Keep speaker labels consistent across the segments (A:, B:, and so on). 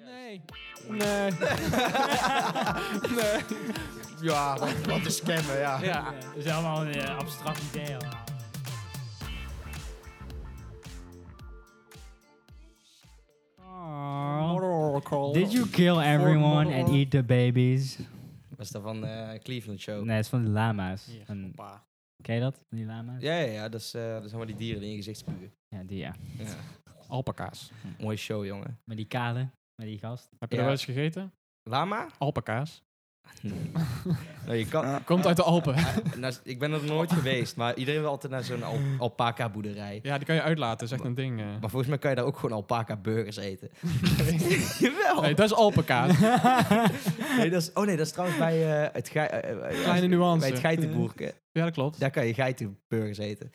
A: Nee. Nee. nee.
B: Ja, wat, wat is scammen, ja.
A: Ja.
C: Dat is allemaal een eh, abstract idee. allemaal. Did you kill everyone and eat the babies?
B: Dat is dat van eh, Cleveland Show.
C: Nee, het is van de lama's.
A: Hier,
C: Een-
A: Hoppa.
C: ken je dat? Van Die lama's?
B: Ja, ja, ja dat, is, eh, dat zijn wel die dieren die in je gezicht spugen.
C: Ja, die ja.
B: Ja.
D: Alpaca's.
B: Mooie show, jongen.
C: Met die kale, met die gast.
D: Heb je
B: Ja.
D: er wel eens gegeten?
B: Lama?
D: Alpaca's.
B: nou, je kan,
D: Komt uit de Alpen.
B: Eh, nou, ik ben er nooit geweest, maar iedereen wil altijd naar zo'n al alpaca boerderij.
D: Ja, die kan je uitlaten. Dat is echt een ding. eh.
B: Maar volgens mij kan je daar ook gewoon alpaca burgers eten. Jawel.
D: Nee, dat is alpaca's.
B: Nee, dat is, oh nee, dat is trouwens bij eh, het gei- eh, eh, als-
D: Kleine nuance.
B: Bij het geitenboerke.
D: Ja, dat klopt.
B: Daar kan je geitenburgers eten.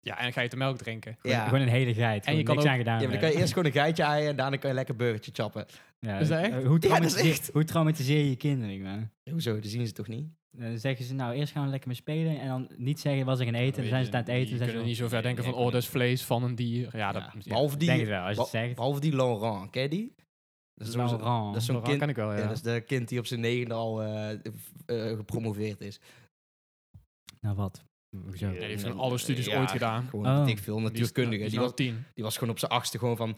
D: Ja, en ga je de melk drinken.
B: Ja.
C: Gewoon een hele geit. En je kan niks
D: ook-
C: aan gedaan.
B: Ja, maar dan kan je eerst gewoon een geitje aaien en daarna kan je lekker burgertje chappen.
C: Ja,
D: Is dat
C: eh,
D: echt?
C: Hoe,
B: Ja, dat is
C: traumatiseer-
B: echt.
C: hoe traumatiseer je je kinderen, man?
B: Hoezo, dat zien ze toch niet?
C: Dan zeggen ze, nou, eerst gaan we lekker mee spelen en dan niet zeggen wat ze gaan eten. Dan zijn ze het aan het eten.
D: Je
C: dan zijn
D: kunt
C: ze
D: niet zo ver denken van, oh, dat is vlees van een dier. Ja, dat
B: Ja,
D: ja,
B: Behalve
C: Ik
B: die,
C: denk het wel, als je het
B: beh-
C: zegt.
B: behalve die Laurent, ken je die? Dat zo'n-
C: Laurent.
B: Dat is zo'n
D: Laurent
B: kind,
D: ken ik wel,
B: ja,
D: ja.
B: dat is de kind die op zijn negende al eh, f- eh, gepromoveerd is.
C: Nou, wat? Hoezo?
D: die heeft gewoon alle studies ooit gedaan.
B: Gewoon,
C: Oh.
B: ik veel, natuurkundige. Die,
D: Die
B: was,
D: was tien.
B: die was gewoon op zijn achtste gewoon van...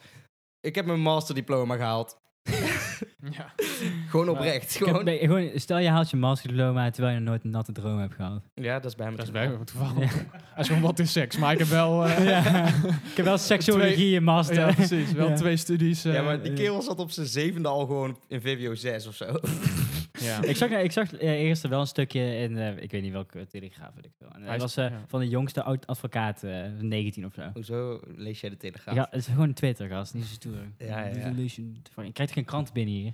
B: Ik heb mijn masterdiploma gehaald.
D: Ja.
B: Gewoon oprecht.
C: Ik heb-
B: Gewoon.
C: nee, gewoon, stel je haalt je masterdiploma terwijl je nog nooit een natte droom hebt gehad.
B: Ja, dat is bij hem.
D: Dat is
B: het
D: bij
B: geval.
D: me toevallig. Hij is gewoon wat is seks, maar ik heb wel... eh,
C: ja. Ik heb wel seksuologie in master.
D: ja, precies. Wel
C: Ja.
D: twee studies. eh,
B: Ja, maar die kerel zat op zijn zevende al gewoon in VWO 6 of zo.
D: ja.
C: Ik zag, ik zag eh, eerst wel een stukje in, eh, ik weet niet welke telegraaf weet ik veel. En
D: Hij
C: dat
D: is-
C: was eh,
D: ja.
C: van de jongste oud-advocaat, eh, 19 of zo.
B: Hoezo lees jij de Telegraaf?
C: Ja, het is gewoon Twitter, gast. Niet zo stoer.
B: Ja, ja, ja.
C: Ik krijg geen krant binnen hier.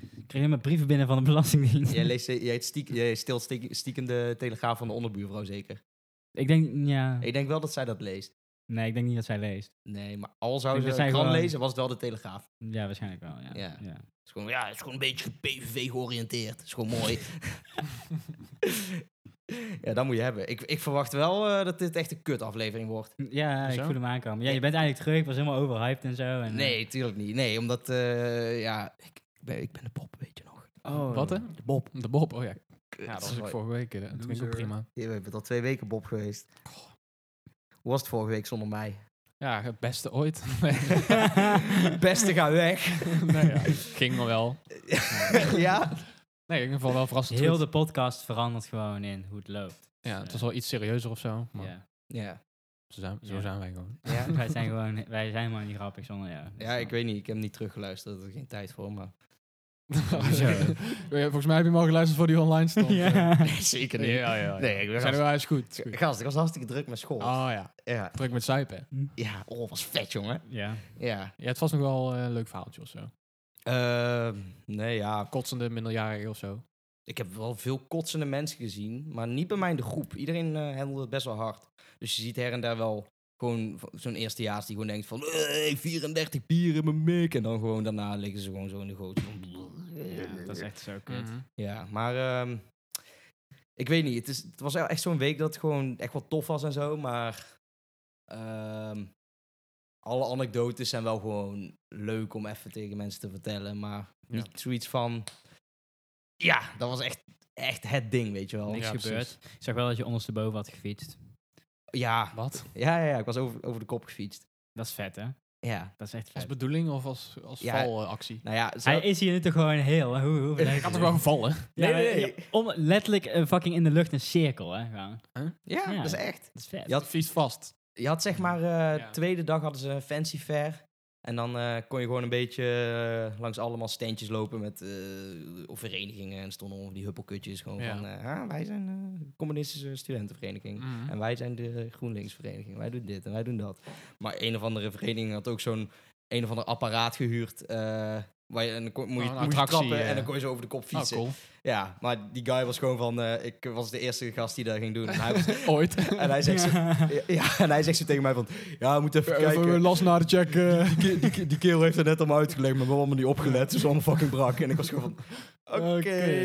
C: Ik krijg helemaal brieven binnen van de Belastingdienst.
B: Jij, leest, eh, jij, stiek, jij stilt stiek, stiekem de Telegraaf van de onderbuurvrouw zeker.
C: Ik denk, ja.
B: Ik denk wel dat zij dat leest.
C: Nee, ik denk niet dat zij leest.
B: Nee, maar al zou
C: Ik
B: ze
C: denk dat
B: een
C: zij
B: krant
C: gewoon-
B: lezen, was het wel de Telegraaf.
C: Ja, waarschijnlijk wel. Ja.
B: Ja.
C: ja.
B: Het is gewoon, ja, het is gewoon een beetje PVV georiënteerd. Het is gewoon mooi. ja, dat moet je hebben. Ik, ik verwacht wel eh, dat dit echt een kut aflevering wordt.
C: Ja, ik
D: Zo?
C: voel hem aankomen. Ja, je bent eigenlijk terug. Ik was helemaal overhyped en zo. En,
B: Nee, tuurlijk niet. Nee, omdat, eh, ja, ik, ik, ben, ik ben de pop, weet je nog.
C: eh, oh,
D: Wat, hè?
B: De Bob.
D: De Bob, oh ja.
B: Kut.
D: Ja, dat was ik
B: Sorry.
D: vorige week. eh, Dat vind ik ook
B: Loser.
D: prima.
B: Je bent al twee weken Bob geweest. Hoe was het vorige week zonder mij?
D: Ja, het beste ooit. Nee,
B: Beste ga weg.
D: nee, ja, ging nog wel.
B: ja?
D: Nee, in ieder geval wel verrassend
C: Heel
D: goed.
C: de podcast verandert gewoon in hoe het loopt. Dus, eh,
D: Ja, het was wel iets serieuzer of zo. Maar
C: Ja.
B: Ja.
D: zo, zijn, zo
C: Ja.
D: zijn wij gewoon.
B: Ja?
C: wij zijn gewoon, wij zijn maar niet grappig zonder jou. Dus, eh,
B: ja, ik weet niet. Ik heb hem niet teruggeluisterd. Ik had er geen tijd voor, maar...
D: Volgens mij heb je hem al geluisterd voor die online stond.
C: Ja.
B: Zeker
D: Nee, ja, ja. ja.
B: Nee, ik ben
D: Zijn
B: gast,
D: wel eens goed. is goed.
B: gast, ik was hartstikke druk met school.
D: Oh ja,
B: Ja.
D: druk met zuipen.
B: ja, oh, was vet, jongen.
C: Ja.
B: Ja.
D: Ja, het was nog wel eh, een leuk verhaaltje of zo.
B: Ehm, nee, ja.
D: Kotsende minderjarige of zo.
B: Ik heb wel veel kotsende mensen gezien, maar niet bij mij in de groep. Iedereen eh handelde het best wel hard. Dus je ziet her en daar wel gewoon v- zo'n eerstejaars die gewoon denkt van... "Hey, 34 bier in mijn mik. En dan gewoon daarna liggen ze gewoon zo in de goot.
C: Ja, dat is echt zo kut.
B: Ja, maar ehm, ik weet niet. Het, is, het was wel echt zo'n week dat het gewoon echt wel tof was en zo. Maar ehm, alle anekdotes zijn wel gewoon leuk om even tegen mensen te vertellen. Maar
D: Ja.
B: niet zoiets van... Ja, dat was echt, echt het ding, weet je wel.
C: Niks
D: Ja,
C: gebeurd. Ik zag wel dat je ondersteboven had gefietst.
B: Ja,
D: Wat?
B: ja, ja, ja, ik was over, over de kop gefietst.
C: Dat is vet, hè?
B: Ja,
C: Dat is echt
D: Als
C: vet.
D: bedoeling of als, als
B: Ja.
D: valactie?
B: nou ja. zo-
C: Hij is hier nu toch gewoon heel. hè? Hoe, hoe
D: Ik
C: verleid
D: had
C: je
D: toch wel
C: dit?
D: gevallen?
C: Ja,
B: Nee, nee,
C: ja, om, letterlijk eh, fucking in de lucht een cirkel, hè? Gewoon.
B: ja,
C: ja.
B: dat is echt.
C: Dat is vet.
B: Ja.
D: Dat vies vast.
B: Je had zeg maar, eh
D: Ja.
B: tweede dag hadden ze een fancy fair. En dan eh, kon je gewoon een beetje eh, langs allemaal standjes lopen met eh, of verenigingen. En stonden over die huppelkutjes gewoon
D: Ja. Mhm.
B: van, eh, ah, wij zijn eh, de communistische studentenvereniging. En wij zijn de GroenLinks-vereniging. Wij doen dit en wij doen dat. Maar een of andere vereniging had ook zo'n een of ander apparaat gehuurd. eh, waar je, en dan kon- moest je,
D: Oh, een
B: moest je
D: attractie,
B: trappen en
D: eh.
B: dan kon je zo over de kop
D: Oh,
B: fietsen.
D: cool.
B: Ja, maar die guy was gewoon van, eh, ik was de eerste gast die dat ging doen. En hij, was-
D: Ooit.
B: en hij zegt zo, ja, ja, en hij zegt zo tegen mij van... Ja, we moeten even kijken.
D: last naar de check. eh.
B: Die, ke- die, ke- die kerel heeft het net allemaal uitgelegd, maar we hebben allemaal niet opgelet. Dus allemaal fucking brak. En ik was gewoon van... Oké.
C: Oké.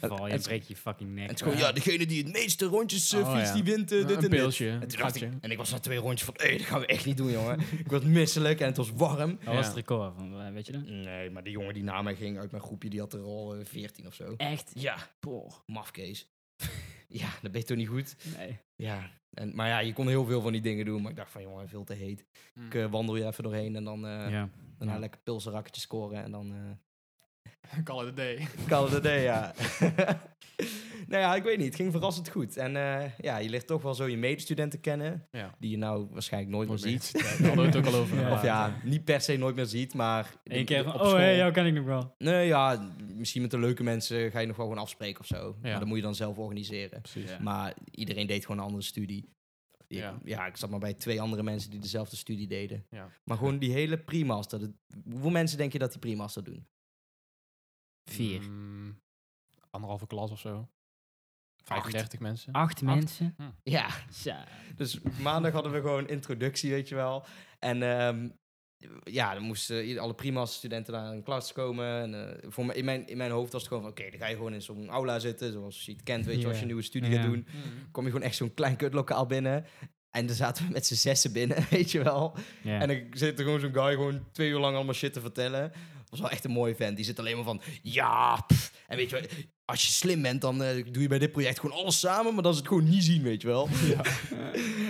B: En-
C: Val, je
B: en-
C: breekt je fucking nek.
B: En het is gewoon, ja, degene die het meeste rondjes eh,
D: Oh,
B: fietst,
D: ja.
B: die wint eh, dit
D: een
B: en dit.
D: pilsje.
B: En,
D: Een
B: toen dacht ik,
D: gaatje.
B: en ik was na twee rondjes van, hé, dat gaan we echt niet doen, jongen. ik werd misselijk en het was warm.
C: Dat was het
D: Ja.
C: record van, eh, weet je dat?
B: Nee, maar die jongen die na mij ging uit mijn groepje, die had er al eh, 14 of zo.
C: Echt?
B: Ja,
C: Boah.
B: mafkees. ja, dat ben je toch niet goed?
C: Nee.
B: Ja. En, maar ja, je kon heel veel van die dingen doen, maar ik dacht van, jongen, veel te heet.
D: Mm.
B: Ik eh, wandel je even doorheen en dan eh,
C: ja.
B: daarna
C: Ja.
B: lekker pilsenrakketje scoren en dan... eh,
D: Call it a day.
B: Call it a day, ja. nou ja, ik weet niet. Het ging verrassend goed. En eh, ja, je leert toch wel zo je medestudenten kennen.
D: Ja.
B: Die je nou waarschijnlijk nooit meer ziet.
D: Ja, Daar hadden we het ook al over.
C: Ja.
B: Of ja, niet per se nooit meer ziet, maar...
C: Eén keer van,
B: op
C: oh
B: school-
C: hey, jou kan ik nog wel.
B: Nee, ja, misschien met de leuke mensen ga je nog wel gewoon afspreken of zo.
D: Ja.
B: Maar dat moet je dan zelf organiseren.
D: Precies.
C: Ja.
B: Maar iedereen deed gewoon een andere studie. Ik- ja.
D: Ja.
B: ik zat maar bij twee andere mensen die dezelfde studie deden.
D: Ja.
B: Maar gewoon die hele pre-master. dat- Hoeveel mensen denk je dat die pre-master doen?
C: Vier.
D: Mm, anderhalve klas of zo. 35 mensen.
C: Acht mensen.
B: Ja,
C: Ja.
B: Dus maandag hadden we gewoon introductie, weet je wel. En ehm, ja, dan moesten ieder- alle prima's studenten naar een klas komen. En, eh, voor me, in, mijn, in mijn hoofd was het gewoon van, oké, dan ga je gewoon in zo'n aula zitten, zoals je het kent, weet je, als je
C: Ja.
B: een nieuwe studie
C: Ja.
B: gaat doen. Kom je gewoon echt zo'n klein kutlokaal binnen. En dan zaten we met z'n zessen binnen, weet je wel.
C: Ja.
B: En dan zit er gewoon zo'n guy gewoon twee uur lang allemaal shit te vertellen. Dat was wel echt een mooie vent. Die zit alleen maar van, ja, pff. en weet je wel, als je slim bent, dan eh, doe je bij dit project gewoon alles samen, maar dan is het gewoon niet zien, weet je wel.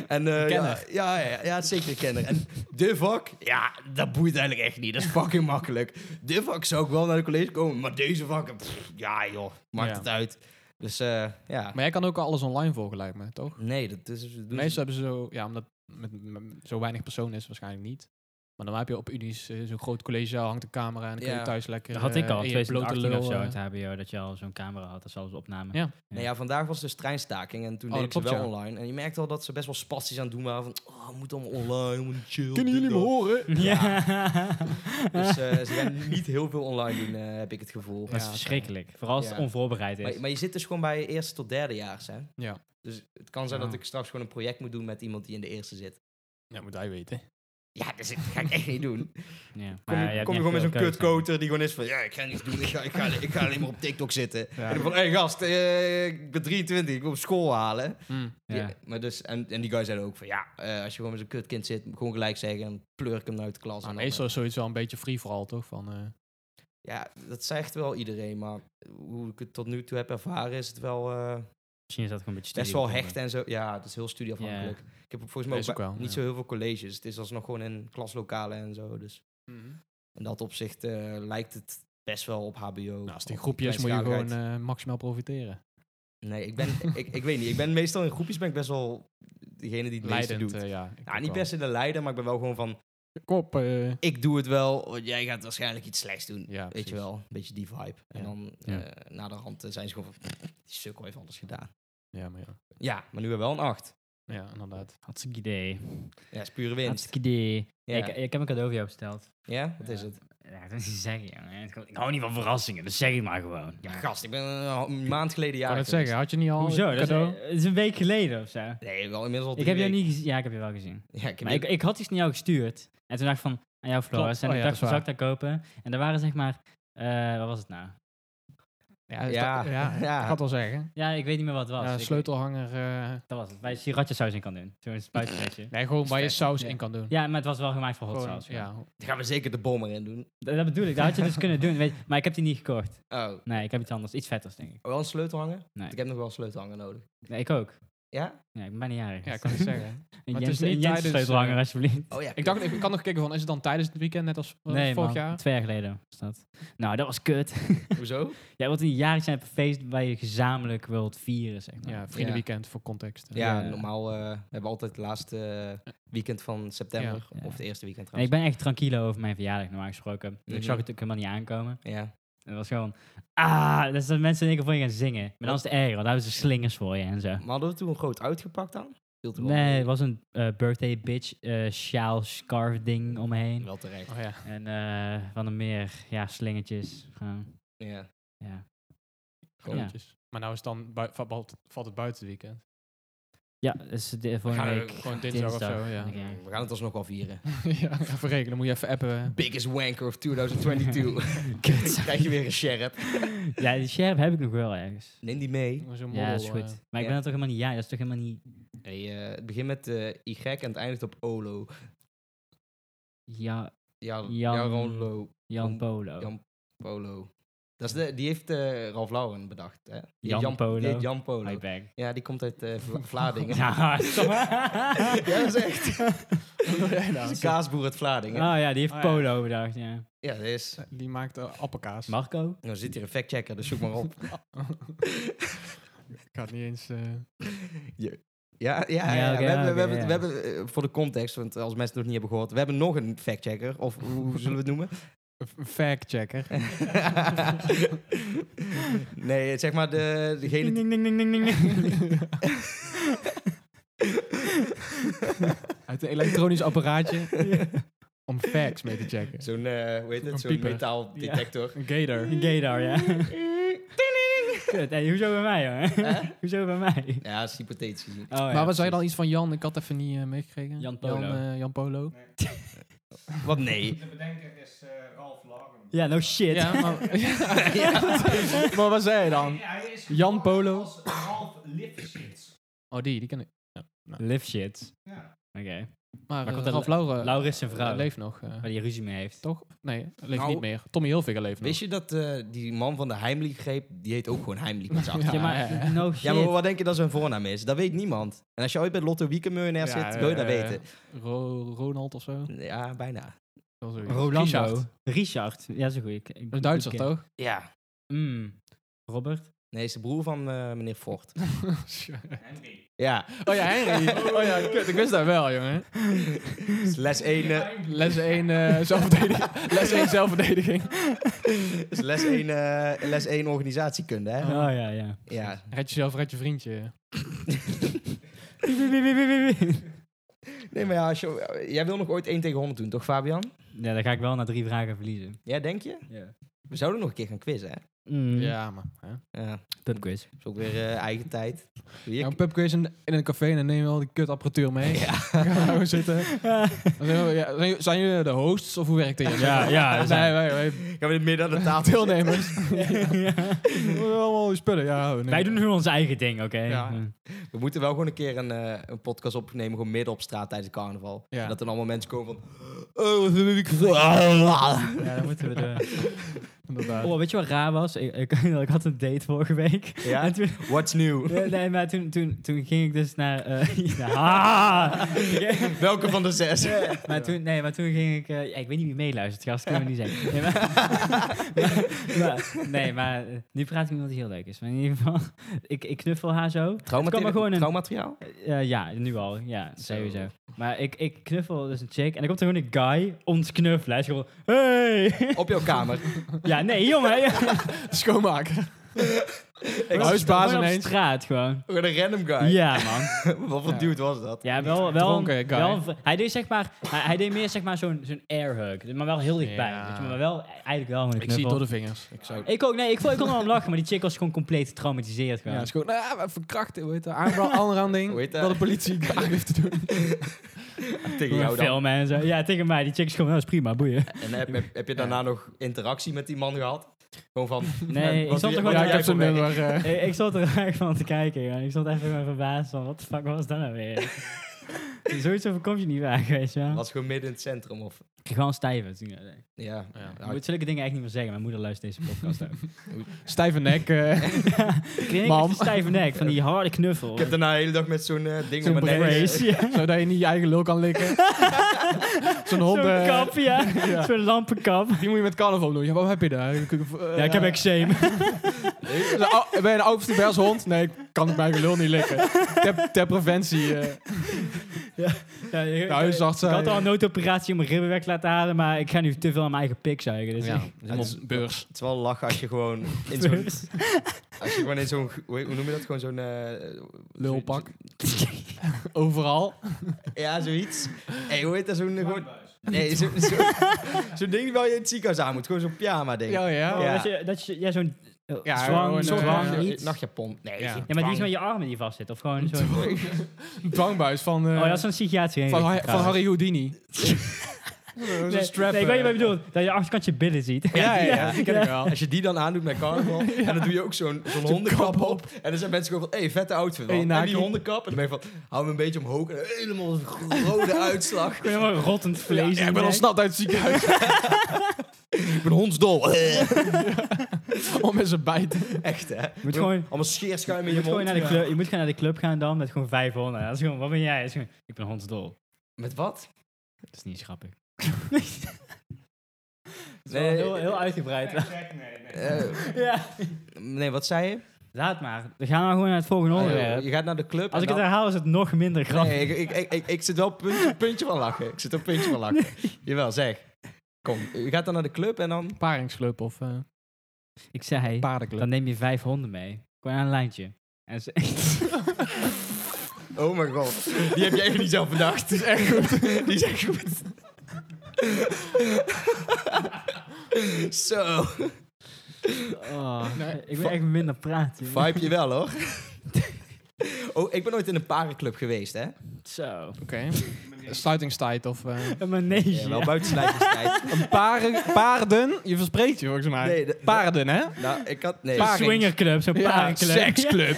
B: En, eh,
D: Kenner.
B: Ja, ja, ja, ja, het is zeker een kenner. En de vak, ja, dat boeit eigenlijk echt niet. Dat is fucking makkelijk. De vak zou ik wel naar de college komen, maar deze vakken, pff, ja joh, maakt
D: Ja.
B: het uit. Dus eh, ja,
D: Maar jij kan ook alles online volgen, lijkt me, toch?
B: nee, dat is... dat doen ze-
D: Meestal hebben ze zo, ja, omdat met, met zo weinig personen is waarschijnlijk niet. Maar dan heb je op Unis eh, zo'n groot collegezaal, hangt een camera en dan kun
B: Ja.
D: je thuis lekker.
C: Dat had ik
D: eh,
C: al,
D: in je blote
C: 2018
D: lul,
C: of zo,
D: eh,
C: uit het HBO, dat je al zo'n camera had, dat ze alles opnamen.
D: Ja.
B: Nou ja, vandaag was dus treinstaking en toen
D: Oh,
B: deed ik
D: dat
B: ze wel
D: klopt, ja.
B: online. En je merkte al dat ze best wel spastisch aan het doen waren. Van, oh, we moeten allemaal online, we moeten chill.
D: Kunnen
B: dit,
D: jullie me
B: dat.
D: horen?
C: Ja.
B: Dus eh, ze gaan niet heel veel online doen, eh, heb ik het gevoel.
C: dat is
D: Ja,
C: verschrikkelijk. Vooral als het
B: Ja.
C: onvoorbereid is.
B: Maar, maar je zit dus gewoon bij eerste tot derdejaars, hè?
D: Ja.
B: Dus het kan zijn
C: Ja.
B: dat ik straks gewoon een project moet doen met iemand die in de eerste zit.
D: Ja, moet hij weten.
B: Ja, dus dat ga ik echt niet doen.
C: ja.
B: Kom je,
C: Maar hebt
B: kom je
C: niet
B: gewoon met zo'n
C: veel keuze.
B: kutkoter die gewoon is van... Ja, ik ga niks doen. Ik ga, ik ga, ik ga alleen maar op TikTok zitten. En dan van, hé hey, gast, eh, ik ben 23. Ik wil op school halen. Ja.
C: Ja.
B: maar dus, en, en die guy zei ook van... Ja, eh, als je gewoon met zo'n kutkind zit, moet gewoon gelijk zeggen. En pleur ik hem nou uit de
C: Ah,
B: klas.
D: Maar
C: nou,
B: en dan,
D: Nou, meestal is zoiets wel een beetje free for all, toch? Van, eh,
B: eh, ja, dat zegt wel iedereen. Maar hoe ik het tot nu toe heb ervaren is het wel... eh,
C: Misschien is dat gewoon een beetje
B: best wel hecht
C: studiebedoeling.
B: en zo. Ja, het is heel studieafhankelijk. Ik heb volgens mij
D: Is
B: ook
D: ook
B: bij-
D: wel,
B: niet
D: ja.
B: zo heel veel colleges. Het is alsnog gewoon in klaslokalen en zo. Dus
C: Hmm.
B: in dat opzicht eh, lijkt het best wel op HBO.
D: nou, als het in
B: Op
D: groepjes moet je gewoon
B: kleinschaligheid.
D: eh, maximaal profiteren.
B: Nee, ik ben, ik, ik weet niet. Ik ben meestal in groepjes ben ik best wel degene die het meeste
D: Leidend,
B: doet.
D: eh, ja. ik
B: nou,
D: ook
B: niet
D: wel.
B: best in de leider, maar ik ben wel gewoon van,
D: Kop. eh,
B: ik doe het wel, want jij gaat waarschijnlijk iets slechts doen.
D: ja,
B: weet
D: precies.
B: je wel, een beetje die vibe. En
D: Ja.
B: dan
C: Ja.
B: eh, na de hand eh, zijn ze gewoon van, die sukkel heeft alles gedaan.
D: Ja, maar ja.
B: Ja, maar nu hebben we wel een acht.
D: Ja, inderdaad.
C: Hartstikke idee.
B: Ja, is pure winst.
C: Hartstikke idee.
B: Ja,
C: Ik, ik heb een cadeau voor jou besteld.
B: ja? wat is
C: Ja.
B: het?
C: Ja, dat is niet zeggen, jongen. Ik hou niet van verrassingen, dat zeg ik maar gewoon.
B: Ja, gast, ik ben eh, een maand geleden
D: Ik
B: jaar.
D: kan het zeggen, had je niet al
C: Hoezo?
D: een
C: Dat is,
D: cadeau?
C: dat is een week geleden of zo.
B: Nee, wel inmiddels al
C: Ik
B: drie
C: heb jou
B: weken.
C: niet gezien. Ja, ik heb je wel gezien.
B: Ja, ik heb
C: Maar ik,
B: je-
C: ik had iets naar jou gestuurd. En toen dacht ik van, aan jou Floris.
D: Klopt.
C: En
D: Oh
C: ik
D: ja,
C: dacht,
D: dat
C: zal
D: is
C: ik dat kopen? En daar waren zeg maar, eh, wat was het nou?
D: Ja, is
B: Ja.
D: dat- ja,
B: Ja.
D: ik had al zeggen.
C: Ja, ik weet niet meer wat het was.
D: Ja,
C: Ik-
D: sleutelhanger. eh,
C: Dat was het. Waar je srirachjasaus in kan doen. Zo'n spuitje.
D: nee, gewoon waar je
B: Vet.
D: saus
B: Ja.
D: in kan doen.
C: Ja, maar het was wel gemaakt voor hot
D: Gewoon,
C: sauce. Ja.
D: ja.
B: Daar gaan we zeker de bom erin doen.
C: Dat, dat bedoel ik. Dat had je dus kunnen doen. Weet, maar ik heb die niet gekocht.
B: Oh,
C: Nee, ik heb iets anders. Iets vetters, denk ik.
B: wel een sleutelhanger?
C: Nee.
B: Ik heb nog wel een sleutelhanger nodig.
C: Nee, ik ook.
B: Ja?
C: Ja, ik ben bijna jarig.
D: Ja, ik kan het zeggen.
C: Een
D: Maar het
C: Jens,
D: is niet
C: een Jens
D: tijdens,
C: sleutelhanger,
D: eh,
C: alsjeblieft.
B: Oh ja.
D: Ik dacht, ik kan nog kijken van, is het dan tijdens het weekend net als eh,
C: Nee,
D: vorig
C: man.
D: jaar?
C: Twee jaar geleden was dat. Nou, dat was kut.
B: Hoezo?
C: Jij wilt een jarig zijn op een feest waar je gezamenlijk wilt vieren, zeg maar.
D: Ja, vriendenweekend voor context.
B: Ja,
C: Ja.
B: normaal eh, we hebben altijd het laatste eh, weekend van september.
C: Ja.
B: Of het eerste weekend
C: En ik
B: trouwens.
C: ben echt tranquilo over mijn verjaardag, normaal gesproken. Dus Ik
B: Mhm.
C: zag het ook helemaal niet aankomen.
B: Ja.
C: En het was gewoon... Ah, dat is dat mensen in één keer voor je gaan zingen. Maar dan is het erger, want daar hebben ze slingers voor je en zo.
B: Maar hadden we toen groot uitgepakt dan? Viel toen wel
C: Nee,
B: mee.
C: het was een eh, birthday bitch eh sjaal scarf ding om me heen.
B: wel terecht.
D: Oh ja.
C: En eh, van de meer, ja, slingertjes. Gewoon,
B: Ja.
C: ja.
D: Grootjes. Maar nou is het dan bui- va- valt, valt het buiten het weekend.
C: Ja, dus de,
D: We
C: volgende
D: gaan er
C: week.
D: gewoon dinsdag of zo, ja.
C: Oké.
B: We gaan het alsnog wel vieren.
D: ja, even rekenen. Moet je even appen.
B: Biggest wanker of 2022. Krijg je weer een sheriff.
C: ja, die scherp heb ik nog wel ergens.
B: Neem die mee.
D: Zo'n model,
C: Ja, is
D: eh,
C: goed. Maar ik ben
B: ja.
C: er toch helemaal niet... Ja, dat is toch helemaal niet...
B: Hey, eh, het begint met eh, Y en het eindigt op Olo.
C: Ja,
B: Ja,
C: Jan-
B: Jaronlo.
C: Jan
B: Jan-
C: Polo.
B: Jan Polo. Dat is de, die heeft eh Ralph Lauren bedacht. Hè? Die
C: Jan
B: heeft
C: Polo.
B: die heet Jan Polo.
C: Hi, back.
B: Ja, die komt uit eh, Vla- Vlaardingen.
C: Ja, sorry.
B: Ja, dat is echt.
D: Wat doe jij nou?
B: Dat is een kaasboer uit Vlaardingen.
C: Oh ja, die heeft
D: Oh, ja.
C: Polo bedacht, ja.
B: Ja, dat is.
D: Die maakt eh, appelkaas.
C: Marco?
B: Nou zit hier een factchecker, dus zoek maar op.
D: ik had niet eens... eh,
B: Ja, ja, ja,
C: Ja,
B: ja.
C: oké,
B: we, hebben,
C: oké,
B: we, hebben,
C: ja.
B: we hebben, eh, voor de context, want als mensen het nog niet hebben gehoord, we hebben nog een factchecker, of hoe hoe zullen we het noemen?
D: een fact-checker.
B: nee, zeg maar de, degene die...
C: Ding, ding, ding, ding, ding, ding.
D: Uit een elektronisch apparaatje om facts mee te checken.
B: Zo'n, eh, hoe heet
D: Een
B: het, zo'n
D: pieper.
B: metaaldetector.
D: Een gator.
C: Een Gaydar, ja. Kut, hey, hoezo bij mij, hoor?
B: Hè?
C: Hoezo bij mij?
B: Ja, dat is hypothetisch. gezien.
C: Oh, ja,
D: maar wat zei je
C: precies.
D: dan iets van Jan? Ik had even niet eh, meegekregen.
C: Jan Polo.
D: Jan, eh, Jan Polo.
B: Wat nee?
A: bedenker is eh Ralph Lauren.
C: Ja, no shit.
D: Ja, maar, maar wat zei je dan?
A: hij is
D: Jan
A: geboren
D: Polo.
A: als Ralph Lipschitz.
D: Oh, die, die ken ik.
C: Live shit.
A: Ja.
C: Oké.
D: Maar,
C: komt
D: eh,
C: dat
D: Ralph
C: Le-
D: Lauren
C: Laura is zijn vrouw.
D: leeft nog. eh,
C: Waar die ruzie mee heeft.
D: toch? Nee, leeft
B: Nou,
D: niet meer. Tommy Hilfiger leeft nog.
B: Wist je dat eh, die man van de Heimliegreep, die heet ook gewoon Heimlich met z'n achter.
D: Ja.
C: Ja, maar no shit.
B: Ja, maar wat denk je dat zijn voornaam is? Dat weet niemand. En als je ooit bij Lotto Wiekenmeunair
D: Ja,
B: zit, wil je dat
D: eh,
B: weten.
D: Ro- Ronald of zo?
B: Ja, bijna.
D: Wel zoiets.
C: Rolando.
D: Richard.
C: Richard. Ja, dat is een goeie. Ik- ik-
D: Een Duitser,
C: ik-
D: toch?
B: Ja.
C: Mm. Robert?
B: Nee, is de broer van eh, meneer Ford.
A: Henry.
B: Ja,
D: oh ja, Henry. Oh ja, kut. Ik wist dat wel, jongen.
B: is les 1, eh,
D: Les 1 eh zelfverdediging. Les 1 zelfverdediging.
B: is les 1, eh, les 1 organisatiekunde, hè?
C: Oh ja, ja.
B: Ja.
D: Red jezelf, red je vriendje.
B: Nee, maar ja, als je, jij wil nog ooit 1 tegen 100 doen, toch Fabian?
C: Ja, dan ga ik wel na drie vragen verliezen.
B: Ja, denk je?
C: Ja.
B: We zouden nog een keer gaan quizzen, hè?
C: Mm.
D: Ja, maar. Hè?
B: Ja,
C: Pubquiz.
B: is ook weer eh, eigen tijd. Doe je-
D: Ja, een pubquiz in, in een café en dan neem je al die kutapparatuur mee. Ja. Gaan we zitten. Dan Zijn, we- ja, zijn- zijn jullie de hosts of hoe werkt dit?
C: Ja, ja,
D: Nee,
C: we zijn-
D: wij, wij,
B: Gaan we in het midden aan de tafel
D: deelnemers. We hebben allemaal die spullen. Ja, oh, nee.
C: Wij doen nu ons eigen ding, oké?
D: Ja.
C: Mm.
B: We moeten wel gewoon een keer een, eh, een podcast opnemen, gewoon midden op straat tijdens het carnaval.
D: Ja.
B: En Dat er allemaal mensen komen van... Oh, wat heb ik gezegd?
C: Ja, dat moeten we doen.
D: Inderdaad.
C: Oh, weet je wat raar was? Ik, ik, ik had een date vorige week.
B: Ja?
C: En toen,
B: What's new?
C: nee, nee, maar toen, toen, toen ging ik dus naar... eh, naar- Ah!
B: Welke van de zes?
C: Maar toen, nee, maar toen ging ik... eh, ja, ik weet niet wie meeluistert, gast. Kunnen we niet zeggen. Nee, maar, maar- nee, maar eh, nu praat ik met iemand die heel leuk is. Maar in ieder geval, ik, ik knuffel haar zo. Het kan maar gewoon een-
B: Trouwmateriaal?
C: Eh, ja, nu al. Ja,
B: Zo.
C: sowieso. Maar ik, ik knuffel dus een chick en dan komt er gewoon een guy ons knuffelen. Hij is gewoon... Hey!
B: Op jouw kamer.
C: ja, nee, jongen. Ja.
D: Schoonmaker.
B: Ik-
D: Huisbaas
C: Gewoon op
D: ineens.
C: straat gewoon.
B: Gewoon een random guy.
C: Ja, man.
B: Wat voor
D: Ja.
B: dude was dat?
C: Ja, wel... wel,
D: Dronken guy.
C: wel hij deed zeg maar... Hij, hij deed meer zeg maar zo'n zo'n airhug. Maar wel heel dichtbij.
D: Ja.
C: Weet je, maar wel... Eigenlijk wel gewoon een
D: Ik zie het
C: knuffel.
D: door de vingers. Ik zou...
C: Ik ook, nee, ik, vond- ik kon wel om lachen, maar die chick was gewoon compleet getraumatiseerd.
D: Ja,
C: Gewoon.
D: het is gewoon, nou ja, verkrachten, hoe heet dat? Aanval, aanranding.
B: Hoe heet dat?
D: Wat de politie graag heeft te doen.
B: Tegen
C: Gewoon
B: jou dan.
C: filmen en zo. Ja, tegen mij. Die chick is gewoon, dat is prima, boeien.
B: En heb, heb, heb je daarna nog interactie met die man gehad? Gewoon van...
C: Nee,
B: wat
C: ik
B: doe
C: zat
B: je-
C: er
B: wat
D: Ja, ik
C: gewoon...
B: doe jij
D: heb zo'n
B: voor werk?
D: nummer. eh.
C: Ik, ik zat er eigenlijk van te kijken, ja. Ik zat even maar verbaasd van, wat de fuck was dat nou weer? Zoiets overkomt je niet vaak, weet je wel.
B: Was gewoon midden in het centrum of...
C: Ik gewoon stijven. Toen, ja, nee.
B: Ja.
D: Ja.
C: Je moet zulke dingen echt niet meer zeggen. Mijn moeder luistert deze podcast ook.
D: Stijve nek. eh.
C: Ik kreeg echt
D: Mam.
C: een stijve nek van die harde knuffel.
B: Ik heb daarna de hele dag met zo'n eh, ding
C: Zo'n
B: om mijn nek.
C: brace, ja.
D: Zodat je niet je eigen lul kan likken. Zo'n hond.
C: Zo'n
D: eh,
C: kap, ja.
D: ja.
C: Zo'n lampenkap.
D: Die moet je met carnaval doen. Ja, wat heb je daar? Ik- ik- eh,
C: Ja, ik heb eczeem.
D: Is een ou- Ben je een oud vers hond? Nee, ik kan mijn eigen lul niet likken. Ter, ter preventie. eh.
C: Ja, ik-
D: De huisarts eh,
C: Ik
D: zei-
C: had al een noodoperatie om mijn ribben weg te laten halen, maar ik ga nu te veel aan mijn eigen pik zuigen. Dus
D: Ja,
C: ik- dus-
D: dat is beurs.
B: Het is wel lachen als je gewoon in zo'n... Als je gewoon in zo'n... Hoe hoe noem je dat? Gewoon zo'n... eh,
D: Lulpak.
B: zo'n-
D: Overal.
B: Ja, zoiets. Hé, hoe heet dat? Zo'n gewoon-
A: Dwangbuis.
B: nee, zo, zo, zo'n ding waar je in het ziekenhuis aan moet. Gewoon zo'n pyjama ding.
D: Ja, ja.
C: Oh,
B: Ja. oh,
C: Dat je, dat je ja, zo'n eh,
D: Ja,
C: zwang,
D: gewoon,
B: Zo'n
D: eh,
C: zwang,
D: ja,
C: iets.
B: nachtjapon. Nee,
D: Ja.
B: geen
C: Ja, maar die is met
B: dwang.
C: je armen die vastzitten. Of gewoon zo'n...
D: Een dwangbuis van, eh,
C: Oh, dat is een psychiatrie.
D: van, Har-
C: inrichting
D: van Harry Houdini.
C: trouwens.
D: Zo'n
C: Nee,
D: strap,
C: nee, ik weet
D: eh.
C: niet wat je bedoelt. Dat je achterkant je billen ziet.
D: Ja, ja, ja, die ken ik wel.
B: Als je die dan aandoet met carnaval, en dan doe je ook zo'n zo'n hondenkap op. En dan zijn mensen gewoon van, hé, hey, vette outfit
D: Hey,
B: man. en
D: Naki.
B: die hondenkap, en dan ben je van, hou hem een beetje omhoog. En helemaal een rode uitslag.
C: Gewoon helemaal rottend vlees.
D: Ja, ik ben
C: erbij.
D: ontsnapt uit het ziekenhuis
B: Ik ben hondsdol.
D: om met zijn bijten.
B: Echt, hè.
C: Je moet gewoon...
B: Allemaal scheerschuim in
C: Je
B: je
C: moet, gewoon
B: mond.
C: naar de club, je moet gewoon naar de club gaan dan met gewoon 500. Dat is gewoon, wat ben jij? Dat is gewoon, ik ben hondsdol.
B: Met wat?
C: Dat is niet eens grappig. nee, heel, heel uitgebreid.
A: Nee, nee, nee.
B: Eh,
C: ja.
B: nee, wat zei je? Oh,
C: Laat maar. We gaan maar gewoon naar het volgende onderwerp.
B: je gaat naar de
C: Als
B: club. en
C: ik het
B: dan-
C: herhaal is het nog minder grappig.
B: Nee, ik, ik, ik, ik, ik zit wel op puntje, puntje van lachen. Ik zit op puntje van lachen. Jawel, zeg. Kom, je gaat dan naar de club en dan...
D: Paringsclub of eh
C: Ik zei,
D: paardenclub.
C: dan neem je vijf honden mee. Gewoon aan een lijntje. En ze,
B: Oh mijn god. Die heb jij even niet zelf bedacht. Die is echt goed. Die is echt goed. Zo.
C: oh,
D: Nee,
C: ik
B: fa-
C: wil echt minder praten. jongen.
B: Vibe je wel, hoor. Oh, ik ben ooit in een parenclub geweest, hè?
C: Zo.
D: Oké.
A: Meneer.
D: Sluitingstijd of... eh
C: Een manege.
B: Ja, wel buiten sluitingstijd.
D: een paren, paarden. Je verspreekt je volgens mij.
B: Nee, de-
D: paarden, hè?
B: Nou, ik had... Nee,
C: Een swingerclub, zo'n parenclub.
D: seksclub.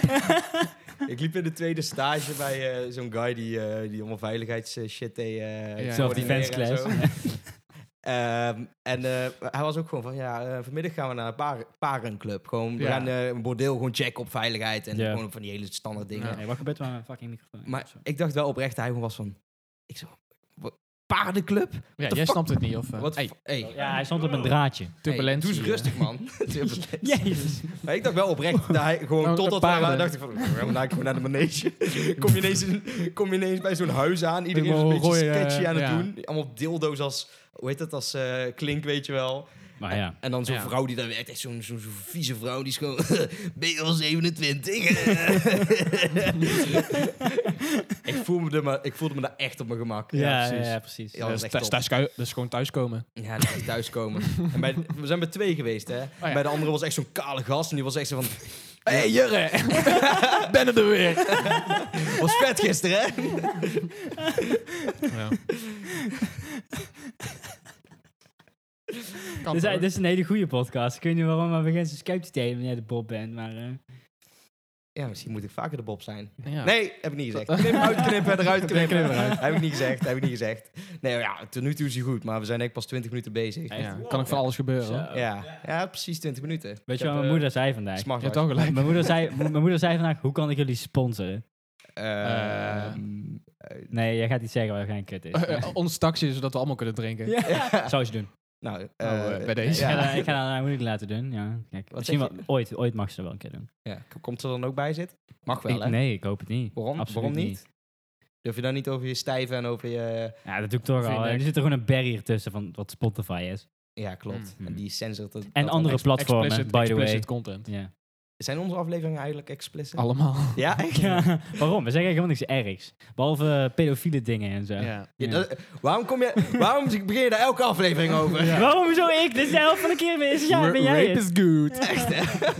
B: Ik liep in de tweede stage bij eh, zo'n guy die, eh, die allemaal veiligheidsshit deed. eh,
D: Ja.
C: Self-defense
B: coördineren en
C: class.
B: zo. Ehm, en eh, hij was ook gewoon van, ja, eh, vanmiddag gaan we naar een par- parenclub. Gewoon, we
D: Ja.
B: gaan eh, een bordeel gewoon checken op veiligheid en
C: Ja.
B: gewoon op van die hele standaard dingen.
D: Ja.
C: Nee, wat gebeurt er met mijn fucking microfoon?
B: Maar ik dacht wel oprecht, hij was van, ik zo, wa- paardenclub?
D: Ja, jij
B: the fuck?
D: snapt het niet. Of, eh
B: Wat
D: hey,
B: voor- hey, hey,
C: Ja, hij stond op een draadje.
D: turbulentie.
B: doe eens rustig, man. Turbulentie.
C: Jezus.
B: Maar ik dacht wel oprecht, dat hij gewoon
D: Nou,
B: totdat
D: paarden.
B: we waren, dacht ik van, we gaan gewoon naar de manege. Kom je ineens, in- kom je ineens bij zo'n huis aan, iedereen is een beetje
D: Helemaal rooie,
B: sketchy aan het
D: eh, ja.
B: doen. Allemaal dildo's als, hoe heet dat, als eh, klink, weet je wel.
C: Maar ja.
B: En dan zo'n
D: Ja.
B: vrouw die daar werkt, echt zo'n zo'n zo'n vieze vrouw, die is gewoon, ben je al 27? ik, voelde me er maar, ik voelde me daar echt op mijn gemak.
C: Ja, ja,
D: precies.
C: ja, precies.
B: Ja.
D: Dat is
B: echt
D: thuis-
B: top.
D: thuis- dat is gewoon thuiskomen.
B: Ja, dat is thuiskomen. en bij, we zijn bij twee geweest,
C: Oh
B: hè.
D: ja.
B: Bij de andere was echt zo'n kale gast en die was echt zo van...
D: Hé, hey, Jurre! ben er weer!
B: Was vet gisteren, hè?
D: Ja. Kan
C: Dit
B: Dus
C: is,
D: toch?
C: dit is een hele goede podcast. Ik weet niet waarom, maar we gaan zo sceptisch tegen wanneer je de Bob bent. Maar eh,
B: Ja, misschien moet ik vaker de Bob zijn.
D: Ja.
B: Nee, heb ik niet gezegd. Knip, uitknippen, eruit knippen.
C: Knip eruit.
B: Heb ik niet gezegd, heb ik niet gezegd. Nee, ja, tot nu toe is hij goed, maar we zijn denk ik pas 20 minuten bezig.
C: Ja.
D: Ja, kan ook van alles gebeuren. hoor.
C: zo.
B: Ja, ja precies 20 minuten.
C: oh. Weet je wat
B: Ik heb,
C: mijn
B: eh,
C: moeder zei vandaag?
B: Smart
D: Je hebt al gelijk.
C: Mijn moeder zei, m- mijn moeder zei vandaag, hoe kan ik jullie sponsoren?
B: Eh,
D: Eh,
C: Nee, jij gaat niet zeggen waar geen kut is.
D: Eh, eh, ons taxi, zodat we allemaal kunnen drinken.
C: Ja. Zou ze doen.
B: nou,
D: Nou,
B: eh,
D: eh, bij deze.
C: Oh, Ik ga
B: Ja.
C: dat- Ik ga dat aan moeilijk laten doen. Ja. Kijk, misschien
B: zeg
C: wel, ooit, ooit mag ze er wel een keer doen.
B: Ja, k- Komt ze er dan ook bij zitten? Mag wel,
C: Ik-
B: hè?
C: nee, ik hoop het niet.
B: Waarom?
C: Absoluut
B: Waarom niet? Durf je dan niet over je stijven en over je...
C: Ja, dat doe ik toch
D: Vind
C: al.
D: ik.
C: hè. Er zit er gewoon een barrier tussen van wat Spotify is.
B: Ja,
D: Hmm.
B: klopt.
C: Mm.
B: Hmm. En die sensor... dat-
C: En
B: dat
C: andere
B: dan-
C: platformen,
D: Explicit-
C: by the way.
D: explicit content.
C: Ja.
B: Zijn onze afleveringen eigenlijk explicit?
D: Allemaal.
B: Ja, echt?
C: ja. Waarom? We zeggen helemaal niks ergs. Behalve eh, pedofiele dingen en zo.
D: Ja.
B: Ja,
C: Ja.
B: dat- waarom, kom je, waarom begin je daar elke aflevering over?
C: Waarom zo ik? Dit is de helft van de keer mis. Ja,
D: Ra-
C: ben jij
D: Rape
C: het?
D: is good.
B: Echt, hè?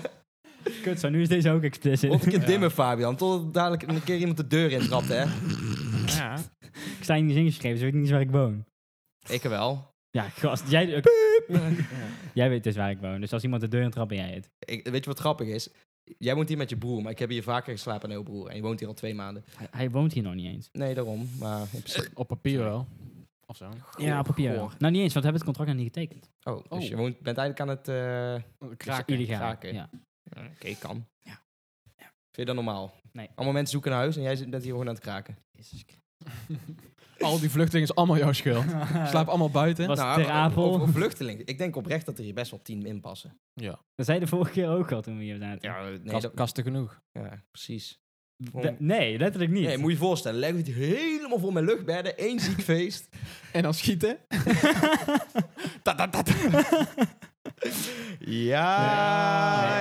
C: Kut, zo. Nu is deze ook
B: Wat
C: explicit.
B: een keer dimmen, Fabian. Totdat dadelijk een keer iemand de deur intrapt, hè?
D: Ja.
C: ik sta hier niet eens ingeschreven, dus ik weet niet eens waar ik woon.
B: Ik wel.
C: Ja, gast. Jij, ook- jij weet dus waar ik woon. Dus als iemand de deur intrapt, ben jij het.
B: Ik, weet je wat grappig is? Jij woont hier met je broer, maar ik heb hier vaker geslapen dan jouw broer. En je woont hier al twee maanden.
C: Hij, hij woont hier nog niet eens.
B: Nee, daarom. Maar in principe-
D: Op papier wel. Of zo.
C: ja, op papier. wel.
B: goor.
C: Nou, niet eens, want we hebben het contract nog niet getekend.
B: Oh, dus
D: Oh.
B: je woont, bent eigenlijk aan het... eh,
D: Kraken.
C: Illegaal.
B: kraken.
C: Ja.
B: Oké, kan.
C: Ja.
B: Vind je dat normaal?
C: Nee.
B: Allemaal mensen zoeken een huis en jij zit- bent hier gewoon aan het kraken.
C: Jezus Christus.
D: Al die vluchtelingen is allemaal jouw schuld. Slaap allemaal buiten.
C: Was
B: Nou,
C: Ter Apel.
B: Of, of eh, vluchtelingen. Ik denk oprecht dat er hier best wel tien in passen.
C: Dat zei je de vorige keer ook al toen we hier zaten.
B: Ja, nee,
D: Kast-
B: dat-
D: kasten genoeg.
B: ja precies.
C: Da- nee, letterlijk niet.
B: Nee, moet je je voorstellen. Leg het helemaal vol met luchtbedden. één ziek feest.
D: En dan schieten.
B: Ja, Ja,
C: Nee,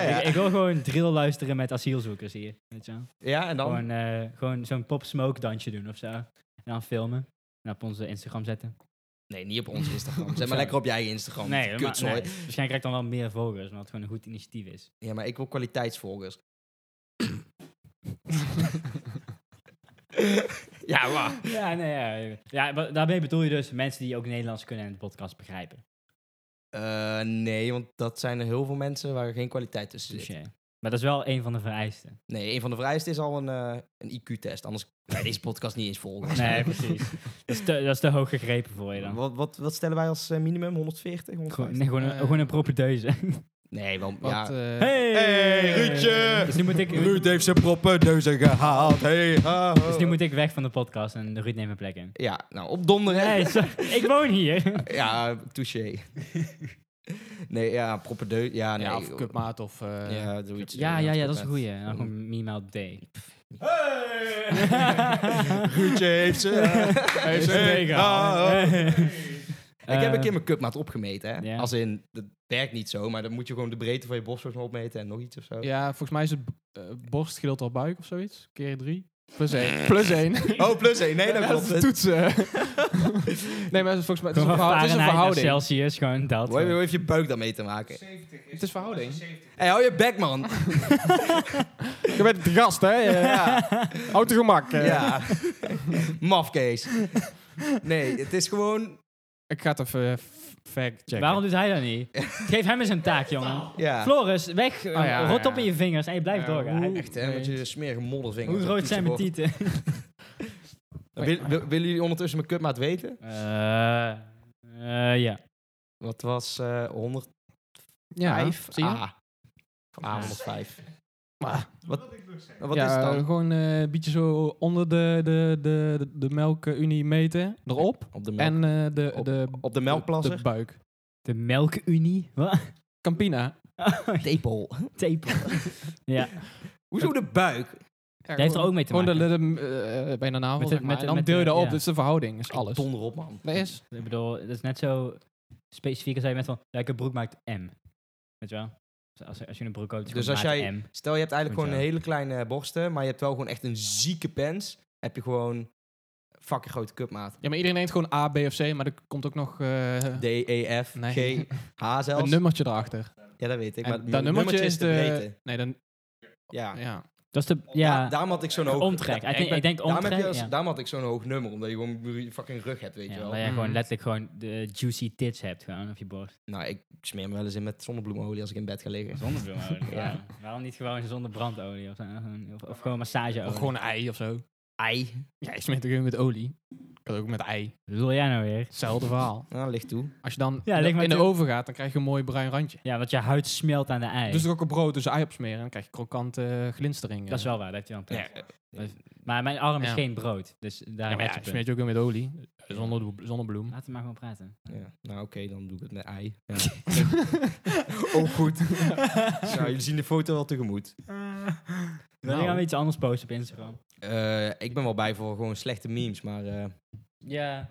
B: Ah, ja.
C: Ik, ik wil gewoon drill luisteren met asielzoekers hier. Weet je wel?
B: Ja, en dan?
C: Gewoon, eh, gewoon zo'n pop smoke dansje doen of zo. En dan filmen. En op onze Instagram zetten.
B: Nee, niet op ons Instagram. Zet maar
C: Zo.
B: lekker op je eigen Instagram.
C: nee, maar,
B: Kutzooi.
C: nee, waarschijnlijk krijg ik dan wel meer volgers, omdat het gewoon een goed initiatief is.
B: Ja, maar ik wil kwaliteitsvolgers. ja, maar.
C: Ja, nee, ja. ja maar daarmee bedoel je dus mensen die ook Nederlands kunnen en de podcast begrijpen.
B: Eh, nee, want dat zijn er heel veel mensen waar geen kwaliteit tussen zit.
C: Touché. Dus, Maar dat is wel een van de vereisten.
B: Nee, een van de vereisten is al een, eh, een IQ-test. Anders kan je deze podcast niet eens volgen.
C: Nee, precies. Dat is te, dat is te hoog gegrepen voor je dan.
B: Wat, wat, wat stellen wij als eh, minimum? 140?
C: Gewoon,
B: 150?
C: nee, gewoon, een,
D: Eh.
C: gewoon een propedeuse.
B: Nee, wel...
D: Wat,
B: ja.
D: eh,
C: Hey!
B: Hey, Ruudje!
C: Dus nu moet ik,
B: Ruud heeft zijn proppendeuzen gehaald. Hey, ha, ho.
C: dus nu moet ik weg van de podcast en Ruud neemt mijn plek in.
B: Ja, nou, op donderen.
C: Nee, sorry, ik woon hier.
B: Ja, touché. nee, ja, proppendeu... Ja, nee.
D: ja, of cupmaat of... eh,
B: Ja, zoiets.
C: Ja, ja, ja, dat is een goeie. En dan
B: Ruudje
C: gewoon minimaal D.
B: heeft ze.
C: Heeft ze
B: Ah,
C: meegehaald.
B: ah.
C: Eh,
B: Ik heb een keer mijn cupmaat opgemeten, hè.
C: Ja.
B: Als in, dat werkt niet zo, maar dan moet je gewoon de breedte van je borstels opmeten en nog iets of zo.
D: Ja, volgens mij is het eh, borst gedeeld door buik of zoiets. Keer drie. Plus één. Plus één.
B: Oh, plus één. Nee, dat
D: Ja,
B: klopt
D: is
B: het.
D: toetsen. nee, maar het is volgens mij het is
C: Gewoon
D: een,
C: van
D: verhou- het is een
C: Fahrenheit naar
D: verhouding.
C: Celsius, gewoon dat.
B: Hoe hoe heeft je buik daarmee te maken?
A: 70 is
D: Het is verhouding.
A: 70.
B: Hé, hou je bek, man.
D: Je bent de gast, hè?
B: Ja.
D: Houd te gemak. eh.
B: ja. Mafkees. Nee, het is gewoon...
D: Ik ga het even eh, f- fact checken.
C: Waarom doet hij dat niet? Geef hem eens een taak, jongen.
B: Ja.
C: Floris, weg. eh,
D: ja, ja,
C: rot op
D: ja.
C: in je vingers en je blijft
D: Ja,
C: doorgaan.
D: hoe-
B: Echt, hè, met je smerige moddervinger.
C: Hoe groot zijn mijn tieten?
B: Wil- wil- willen jullie ondertussen mijn cupmaat weten?
C: Eh, eh, ja.
B: Wat was eh 105?
D: Ja, zie je?
B: Ah. Ah, 105. Wat-
A: Wat ik nog zei.
B: En Wat
D: ja,
B: is het dan?
D: Gewoon eh, een beetje zo onder de, de, de, de, de melkunie meten. Erop.
B: Op de, melk,
D: En eh, de, de,
B: op de
D: de,
B: melkplasser?
D: de buik.
C: De melkunie? Wat?
D: Campina.
B: tepel.
C: Tepel. ja.
B: Hoezo de buik?
D: Ja,
C: heeft er ook mee te
D: gewoon
C: maken.
D: Gewoon de, de, eh, bijna navel,
C: Met de-
D: zeg maar.
C: met de-
D: en dan
C: met de-
D: deel je dat op.
C: ja.
D: Dat is de verhouding. Dat is alles.
B: Donder op, man.
D: Dat is...
C: Ik bedoel, dat is net zo specifiek als jij met van, ja, ik een broek maakt M. Weet je wel? Dus Als, als je een broek koopt, is
B: Dus
C: gewoon
B: als
C: maat
B: jij-
C: M.
B: Stel, je hebt eigenlijk
C: Moet
B: gewoon een
C: je
B: hele kleine borsten, maar je hebt wel gewoon echt een zieke pens. Heb je gewoon fucking grote cupmaat.
D: Ja, maar iedereen heeft gewoon A, B of C, maar er komt ook nog eh,
B: D, E, F,
D: Nee.
B: G, H zelfs.
D: een nummertje erachter.
B: ja, dat weet ik.
D: En
B: Maar
D: dat
B: het
D: nummertje is de...
B: breedte.
D: Nee, dan...
B: Ja.
D: Ja.
C: Dat is de,
B: ja.
C: ja,
B: daarom had ik zo'n
C: de
B: hoog...
C: omtrek. Ik,
B: Ja,
C: denk- ik denk
B: daarom, heb
C: omtrek,
B: je als-
C: ja.
B: daarom had ik zo'n hoog nummer, omdat je gewoon je fucking rug hebt, weet
C: Ja,
B: je wel.
C: dat jij gewoon
D: Mhm.
C: letterlijk gewoon de juicy tits hebt gewoon op je borst.
B: Nou, ik smeer me wel eens in met zonnebloemolie als ik in bed ga liggen.
C: Zonder brandolie,
B: Ja.
C: ja. Waarom niet gewoon zonder brandolie of, zo, eh, of, of gewoon massageolie?
D: Of gewoon een ei of zo.
B: Ei.
D: Ja, je smeert ook met olie. Kan ook met ei.
C: Wat bedoel jij nou weer?
D: Hetzelfde verhaal.
B: Nou, ligt toe.
D: Als je dan
C: Ja,
D: in de-
C: ligt maar
D: in de
C: toe.
D: oven gaat, dan krijg je een mooi bruin randje.
C: Ja, want je huid smelt aan de ei.
D: Dus er ook een brood tussen ei op smeren. En dan krijg je krokante eh, glinsteringen.
C: dat is wel waar, dat je dan
B: Ja.
C: Maar mijn arm is
D: Ja.
C: geen brood, dus daar
D: Ja, maar
C: heb
D: ja,
C: je
D: je
C: het
D: smeert
C: punt.
D: je ook weer met olie. Zonder, zonder bloem.
C: Laten we maar gewoon praten.
B: Ja. Nou, oké, dan doe ik het met ei. Ja. oh, goed. nou, jullie zien de foto wel tegemoet.
C: Wil je
B: Nou.
C: gaan we iets anders posten op Instagram?
B: Eh, ik ben wel bij voor gewoon slechte memes, maar... eh,
C: Ja.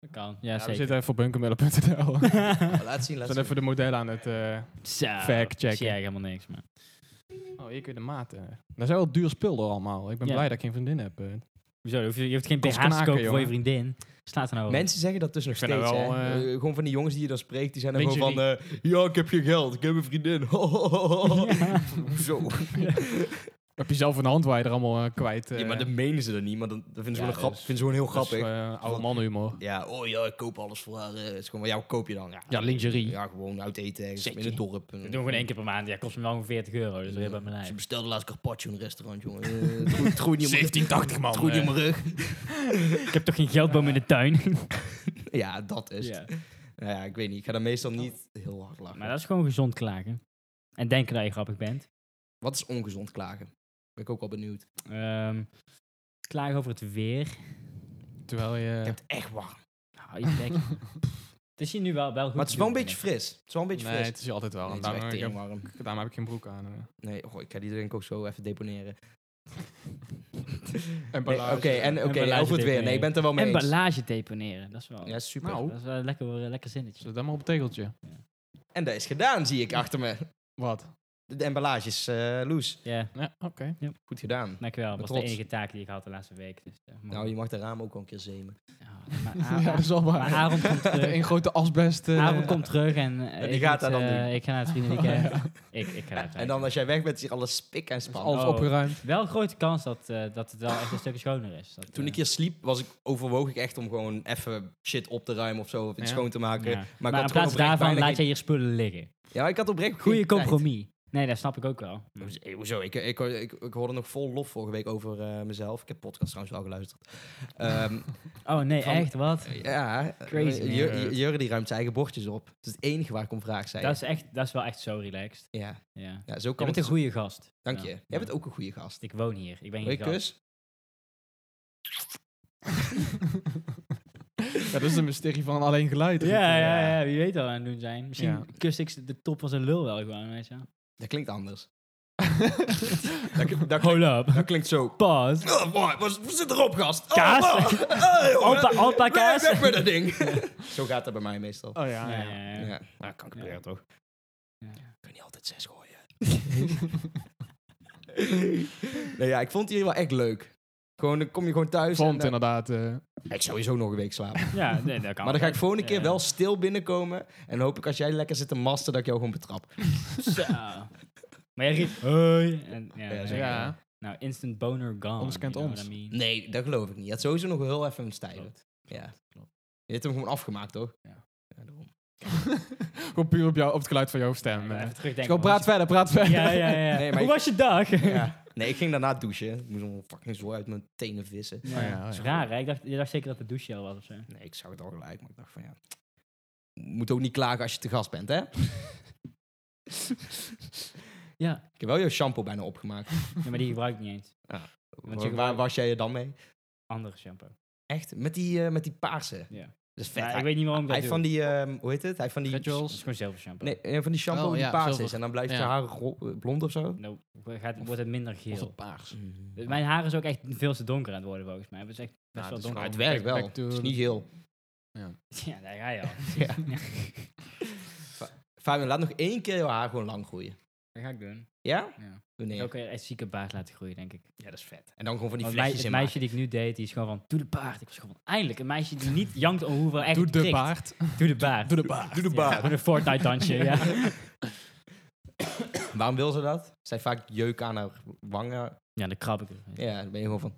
C: Dat kan, ja,
D: Ja, we
C: zeker.
D: zitten voor bunkermillen.nl. We
B: laat zien, laat
D: zijn even de modellen aan het... eh,
C: Zo,
D: Fact checken.
C: zie jij helemaal niks, man.
D: Oh, hier kun je de maten. Dat zijn wel duur spul door allemaal. Ik ben
C: Ja.
D: blij dat ik geen vriendin heb. eh.
C: Hoezo, je hoeft- je hoeft geen
D: Kost
C: BH's te
D: knaken,
C: kopen voor je
D: jongen.
C: vriendin. Slaat er nou over.
B: Mensen zeggen dat dus nog
D: Ik vind
B: steeds,
D: dat wel,
B: hè.
D: eh,
B: Eh, gewoon van die jongens die je dan spreekt, die zijn dan gewoon
D: Lingerie.
B: van... eh, ja, ik heb geen geld, ik heb een vriendin. Zo.
D: Heb je zelf een hand waar je er allemaal eh, kwijt. eh,
B: Ja, maar dat menen ze dan niet, maar dan, dat vinden ze,
D: Ja,
B: gewoon, een grap,
D: dus-
B: vinden ze gewoon heel
D: dat is,
B: grappig.
D: eh, oude mannenhumor.
B: ja, oh ja, ik koop alles voor haar. eh. Het is gewoon, ja, wat koop je dan? Ja,
D: Ja, lingerie.
B: Ja, gewoon uit eten ergens in
D: Zetje.
B: het dorp. En-
C: Dat doen we gewoon één keer per maand. Ja, kost me wel ongeveer 40 euro, dus weer bij mijn
B: Ze
C: lijf.
B: bestelde laatst carpaccio in een restaurant, jongen. Eh, het groeit- het groeit niet om mijn rug.
D: 1780 man.
B: Het groeit niet
C: eh.
B: om mijn rug.
C: Ik heb toch geen geldboom in de tuin?
B: Ja, dat is het.
C: ja.
B: Nou ja, ik weet niet. Ik ga daar meestal niet heel hard lachen.
C: Maar dat is gewoon gezond klagen. En denken dat je grappig bent.
B: Wat is ongezond klagen? Ben ik ook al benieuwd.
C: Ehm, klagen over het weer.
D: Terwijl je...
B: Ik heb het echt warm.
C: Hou je bek. het is hier nu wel, wel goed.
B: Maar het
C: te
B: is wel een
C: doen,
B: beetje fris. Het is wel een beetje
D: nee,
B: fris.
D: het is hier altijd wel.
B: Nee,
D: en
B: het is wel
D: daarom,
B: echt
D: ik heb,
B: warm.
D: daarom heb ik geen broek aan. eh.
B: Nee, goh, ik ga die drink ook zo even deponeren.
D: En
B: Nee, Oké,
D: ballage.
B: en oké,
C: Emballage
B: over het weer. Nee, ik ben het er wel mee
C: En
B: eens.
C: ballage deponeren, dat is wel,
B: Ja, super.
D: Nou.
C: dat is wel een lekker, een lekker zinnetje.
D: Zet hem maar op het tegeltje.
B: En dat is gedaan, zie ik achter me.
D: Wat?
B: De emballage is eh, loose.
C: Ja,
D: Ja, oké.
B: Goed gedaan.
C: dankjewel. Dat was de
B: trots.
C: enige taak die ik had de laatste week. Dus, eh, mooi.
B: Nou, je mag de ramen ook al een keer zemen.
C: Ja, maar
B: Ah,
C: A-
D: Ja, dat is wel
C: Maar
D: waar.
C: Aaron komt
B: eh,
C: terug.
D: Een grote asbest. eh,
C: Aaron komt terug en eh,
B: die
C: ik
B: gaat
C: moet,
B: dat dan
C: eh,
B: doen.
C: Ik ga naar het vriendenweekend. ik, ik ga naar het
B: En dan
C: werk.
B: als jij weg bent, is hier alles spik en span.
D: Alles
C: Oh.
D: opgeruimd.
C: Wel een grote kans dat, eh, dat het wel echt een stukje schoner is. Dat,
B: Toen
C: eh,
B: ik hier sliep, was ik, overwoog ik echt om gewoon even shit op te ruimen of zo. Of iets
D: Ja.
B: schoon te maken.
C: ja.
B: Maar, ik
C: Maar,
B: had
C: in
B: gewoon
C: plaats
B: oprecht
C: daarvan
B: bijna
C: laat
B: geen-
C: jij hier spullen liggen.
B: Ja, ik had oprecht...
C: Goeie
B: geen
C: compromis. Nee, dat snap ik ook wel.
B: tijd. Hoezo- eh, Hoezo? Ik, ik, ik, ik hoorde nog vol lof vorige week over eh, mezelf. Ik heb podcast trouwens wel geluisterd. Ehm,
C: Oh nee,
B: Van-
C: echt? Wat?
B: ja,
C: Crazy,
B: eh,
C: man.
B: Jur- Jur- Jurre die ruimt zijn eigen bordjes op. Dat is het enige waar ik om vraag zei.
C: Dat is, echt, dat is wel echt zo relaxed.
B: Ja,
C: Ja.
B: ja, zo
C: Je
B: kan
C: bent een
B: het.
C: goede gast.
B: Dank
C: Ja.
B: je. Jij bent ook een goede gast.
C: Ik woon hier. Ik ben
B: Wil
C: hier
B: je
C: gast.
B: kus?
D: Ja, dat is een mysterie van alleen geluid. eh.
C: Ja, ja, ja, wie weet wat we aan het doen zijn. Misschien
D: Ja.
C: kus ik de top van zijn lul wel gewoon, weet je.
B: Dat klinkt anders. dat, klinkt- dat klinkt,
C: Hold up.
B: dat klinkt zo...
C: Pas.
B: Oh, boy, wat, wat zit erop, gast?
C: Kaas?
B: Oh, oh, hey, jongen.
C: Alpa, alpa
B: Weg-
C: kaas.
B: Weg met dat ding. Zo gaat dat bij mij meestal.
D: Oh ja, ja.
C: Ja, ja, ja.
B: Ja.
C: Nou, kan gebeuren, Ja.
B: toch?
C: Ja.
B: Kun je altijd zes gooien. nee, ja, ik vond het hier wel echt leuk. Gewoon, dan kom je gewoon thuis.
D: Vond
B: en, dan-
D: inderdaad. eh,
B: ik sowieso nog een week slapen.
C: Ja, nee, dat kan.
B: maar dan ga ik volgende keer
C: Oh, Ja.
B: wel stil binnenkomen. En hoop ik als jij lekker zit te masten, dat ik jou gewoon betrap.
C: Zo. Maar jij riep, hoi. En, ja,
B: Ja,
C: dan
B: zo.
C: denk ik,
D: Ja.
C: eh, Nou, instant boner gone.
D: Ons kent
C: you know
D: ons.
C: what I mean?
B: Nee, dat geloof ik niet. Je had sowieso nog heel even een stijl.
C: Klopt.
B: Ja.
C: Klopt.
B: Je hebt hem gewoon afgemaakt, toch?
C: Ja.
B: daarom.
D: Gewoon puur op, jou, op het geluid van jouw stem.
C: Ja,
D: eh.
C: even terugdenken.
D: Gewoon praat verder, praat verder.
C: Ja, ja, ja.
B: Nee, maar
C: Hoe
B: ik- Oh,
C: was je dag?
B: Ja. Nee, ik ging daarna douchen. Ik moest hem fucking zo uit mijn tenen vissen.
C: Ja.
D: Oh ja, oh ja.
C: is raar, hè? Ik dacht, je dacht zeker dat het douchegel was of zo.
B: Nee, ik zag het al gelijk, maar ik dacht van ja. Moet ook niet klagen als je te gast bent, hè?
C: Ja.
B: Ik heb wel jouw shampoo bijna opgemaakt.
C: ja, maar die gebruik ik niet eens.
B: Waar,
C: Want je
B: waar
C: gebruikt-
B: was jij je dan mee?
C: Andere shampoo.
B: Echt? Met die, eh met die paarse.
C: Ja.
B: Dat is vet.
C: Maar
B: hij
C: ik weet niet waarom ik
B: hij
C: dat
B: heeft
C: doe.
B: van die, ehm, hoe heet het? Hij heeft van die.
C: Dat is gewoon zelf shampoo.
B: Nee, eh, van die shampoo
D: Oh,
B: die
D: ja,
B: paars
D: zilver.
B: is. En dan blijft je
D: Ja.
B: haar ro- blond of zo. Mm.
C: Nou, gaat, wordt het minder
D: Of
C: geel.
D: het paars.
C: Dus Mijn haar is ook echt veel te donker aan het worden volgens mij. Het is echt best
B: Nou,
C: wel
B: het, is,
C: donker.
B: maar het werkt wel.
D: Back
B: Het
D: to-
B: is niet heel.
C: Ja, daar ga je al.
B: Ja. Fabian, laat nog één keer jouw haar gewoon lang groeien.
C: Dat ga ik doen.
B: Ja?
C: Ja.
B: Doe
C: Ik
B: neer.
C: ook een echt zieke baard laten groeien, denk ik.
B: Ja, dat is vet. En dan gewoon van die
C: Want mij-
B: vlechtjes
C: het
B: in
C: meisje die ik nu deed, die is gewoon van, doe de baard. Ik was gewoon, eindelijk, een meisje die niet jankt om hoeveel echt
D: Doe de
C: prikt.
D: baard.
C: Doe de baard.
D: Doe de baard.
B: Doe de
C: Ja,
B: baard.
C: gewoon een Fortnite dansje, ja.
B: Waarom wil ze dat? Zij vaak jeuk aan haar wangen.
C: Ja, dan krab ik er.
B: Ja, dan ben je gewoon van...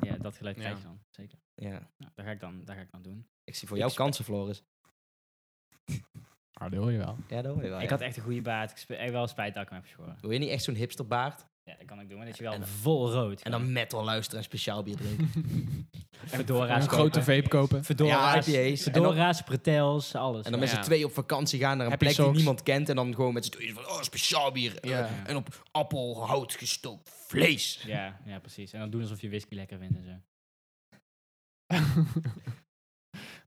C: Ja, dat geluid krijg je
D: Ja.
C: dan, zeker.
B: Ja.
C: Nou, dat, ga ik dan, dat ga ik dan doen.
B: Ik zie voor
C: Ik
B: jou
C: spe-
B: kansen, Floris.
D: Ah, dat hoor je wel.
B: Ja, dat hoor je wel.
C: ik
B: Oh, ja.
C: had echt een goede baard. Ik spe- heb wel spijt dat ik hem heb geschoren.
B: Wil je niet echt zo'n hipsterbaard?
C: Ja, dat kan ik doen, maar dat je wel
B: En dan-
C: vol rood.
B: En dan metal luisteren en speciaal bier drinken.
C: fedora's
D: Een grote
C: kopen.
D: vape kopen.
C: Fedora's,
B: Ja, IPA's.
C: fedora's, pretels, alles.
B: en dan
C: ja.
B: met z'n
D: Ja.
B: twee op vakantie gaan naar een
D: Happy
B: plek die
D: socks.
B: niemand kent. En dan gewoon met z'n tweeën van, oh, speciaal bier. eh,
D: Ja.
B: En op appelhout gestookt vlees.
C: Ja, ja, precies. En dan doen alsof je whisky lekker vindt en zo.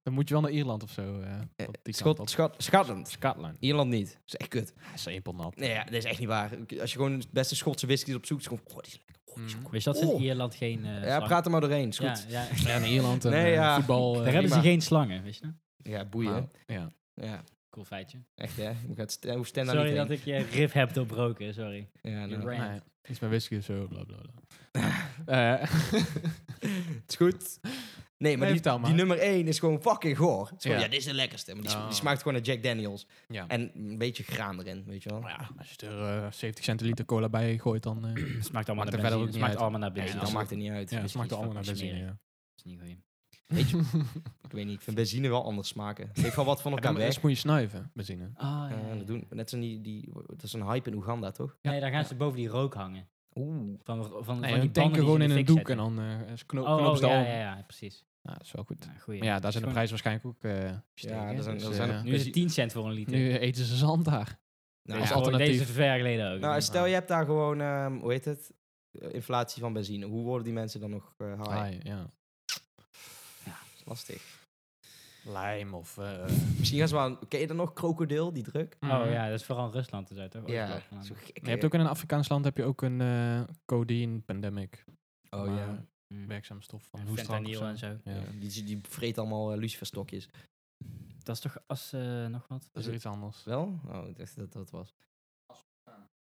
D: Dan moet je wel naar Ierland of zo. eh, op die kant op.
B: Schot, schat, Schotland.
D: Scotland.
B: Ierland niet. Dat is echt kut.
D: Dat is simpel nat.
B: Nee, ja, dat is echt niet waar. Als je gewoon de beste Schotse whisky opzoekt, is gewoon, oh, die is lekker. Oh, die is
D: Mhm.
B: goed.
C: Weet je dat ze in
B: Oh.
C: Ierland geen eh,
B: Ja,
C: slangen-
B: praat er maar doorheen. Is goed.
C: Ja,
B: Ja,
C: ja.
D: Ja, in Ierland en
B: Nee,
D: eh,
B: ja.
D: voetbal. eh,
C: Daar hebben ze
B: prima.
C: geen slangen, weet je nou?
B: ja boeien.
D: maar- Ja.
B: Ja,
C: Cool feitje.
B: echt hè. Hoe gaat st- hoe stand daar
C: Sorry
B: niet
C: dat
B: heen?
C: ik je riff heb doorbroken, sorry.
B: Ja, nou,
C: You're right.
D: Nee, iets met whisky of zo. Bla, bla, bla. Eh,
B: Het is goed. Nee, maar
D: Nee,
B: die,
D: vertel maar.
B: die nummer 1 is gewoon fucking goor. Het is gewoon,
D: Ja.
B: ja. dit is de lekkerste. Maar die, sm-
D: Oh.
B: die smaakt gewoon naar Jack Daniels.
D: ja.
B: En een beetje graan erin, weet je wel.
D: Nou
B: Dus
D: ja, als je er eh, 70 centiliter cola bij gooit, dan... eh,
C: Het smaakt allemaal
D: Maakt
C: naar
D: er verder
C: benzine.
D: ook
C: Het
D: niet
C: smaakt
D: uit.
C: allemaal naar
B: Nee,
C: benzine.
B: dat
C: Dat
B: maakt het niet uit.
D: ja,
B: Dus
C: whisky
D: het smaakt er
C: is
D: allemaal naar
C: fucking
D: benzine. Ja.
C: is niet goed.
B: Weet je, ik weet niet, ik vind benzine wel anders smaken. Het heeft wel wat van
D: Ja, dan
B: elkaar weg.
D: eerst moet je snuiven, benzine.
C: Ah, ja,
B: Eh,
C: ja.
B: dat doen, net zo'n die, die, dat is een hype in Oeganda, toch?
C: Nee, daar gaan ze boven die rook hangen.
B: Oeh.
C: Van, van, van
D: Nee,
C: die
D: dan tanken
C: pannen
D: gewoon
C: die
D: in
C: ze
D: een
C: de
D: doek
C: fik
D: en
C: zetten.
D: dan eh kno
C: Oh,
D: knopen
C: oh,
D: ze
C: ja,
D: al.
C: ja, ja, precies.
D: Ja, dat is wel goed.
C: Ja, goeie.
D: Maar ja, daar zijn de
C: Gewoon-
D: prijzen waarschijnlijk ook eh
B: Ja,
D: steken.
B: daar zijn- daar
D: eh,
B: zijn ook-
C: Nu is het 10 cent voor een liter.
D: Nu eten ze zand daar. als
B: Nou,
C: ja,
B: stel-
D: alternatief.
C: Deze is ver jaar geleden ook.
B: nou,
C: Ja.
B: stel je hebt daar gewoon, ehm, hoe heet het? Eh, Inflatie van benzine. Hoe worden die mensen dan nog eh high?
D: Ah, ja.
B: Dat is lastig.
D: Lijm of... eh,
B: Misschien gaan ze wel, ken je dan nog krokodil, die druk?
D: Mhm.
C: Oh ja, dat is vooral Rusland dus uit, toch?
B: Ja,
C: Oostblok, maar-
B: zo gek.
D: Mm-hmm. Je hebt ook in een Afrikaans land heb je ook een eh codeine pandemic.
B: Oh
D: maar
B: ja.
C: Mm.
D: Werkzaam stof van
C: En
D: hoestdrank of
C: fentanyl
D: zo.
C: en zo.
D: Ja.
B: Ja, Die, die vreet allemaal eh, luciferstokjes.
C: Dat is toch als eh, nog wat?
D: Dat is weer iets anders.
B: Wel? Oh, ik dacht dat dat was.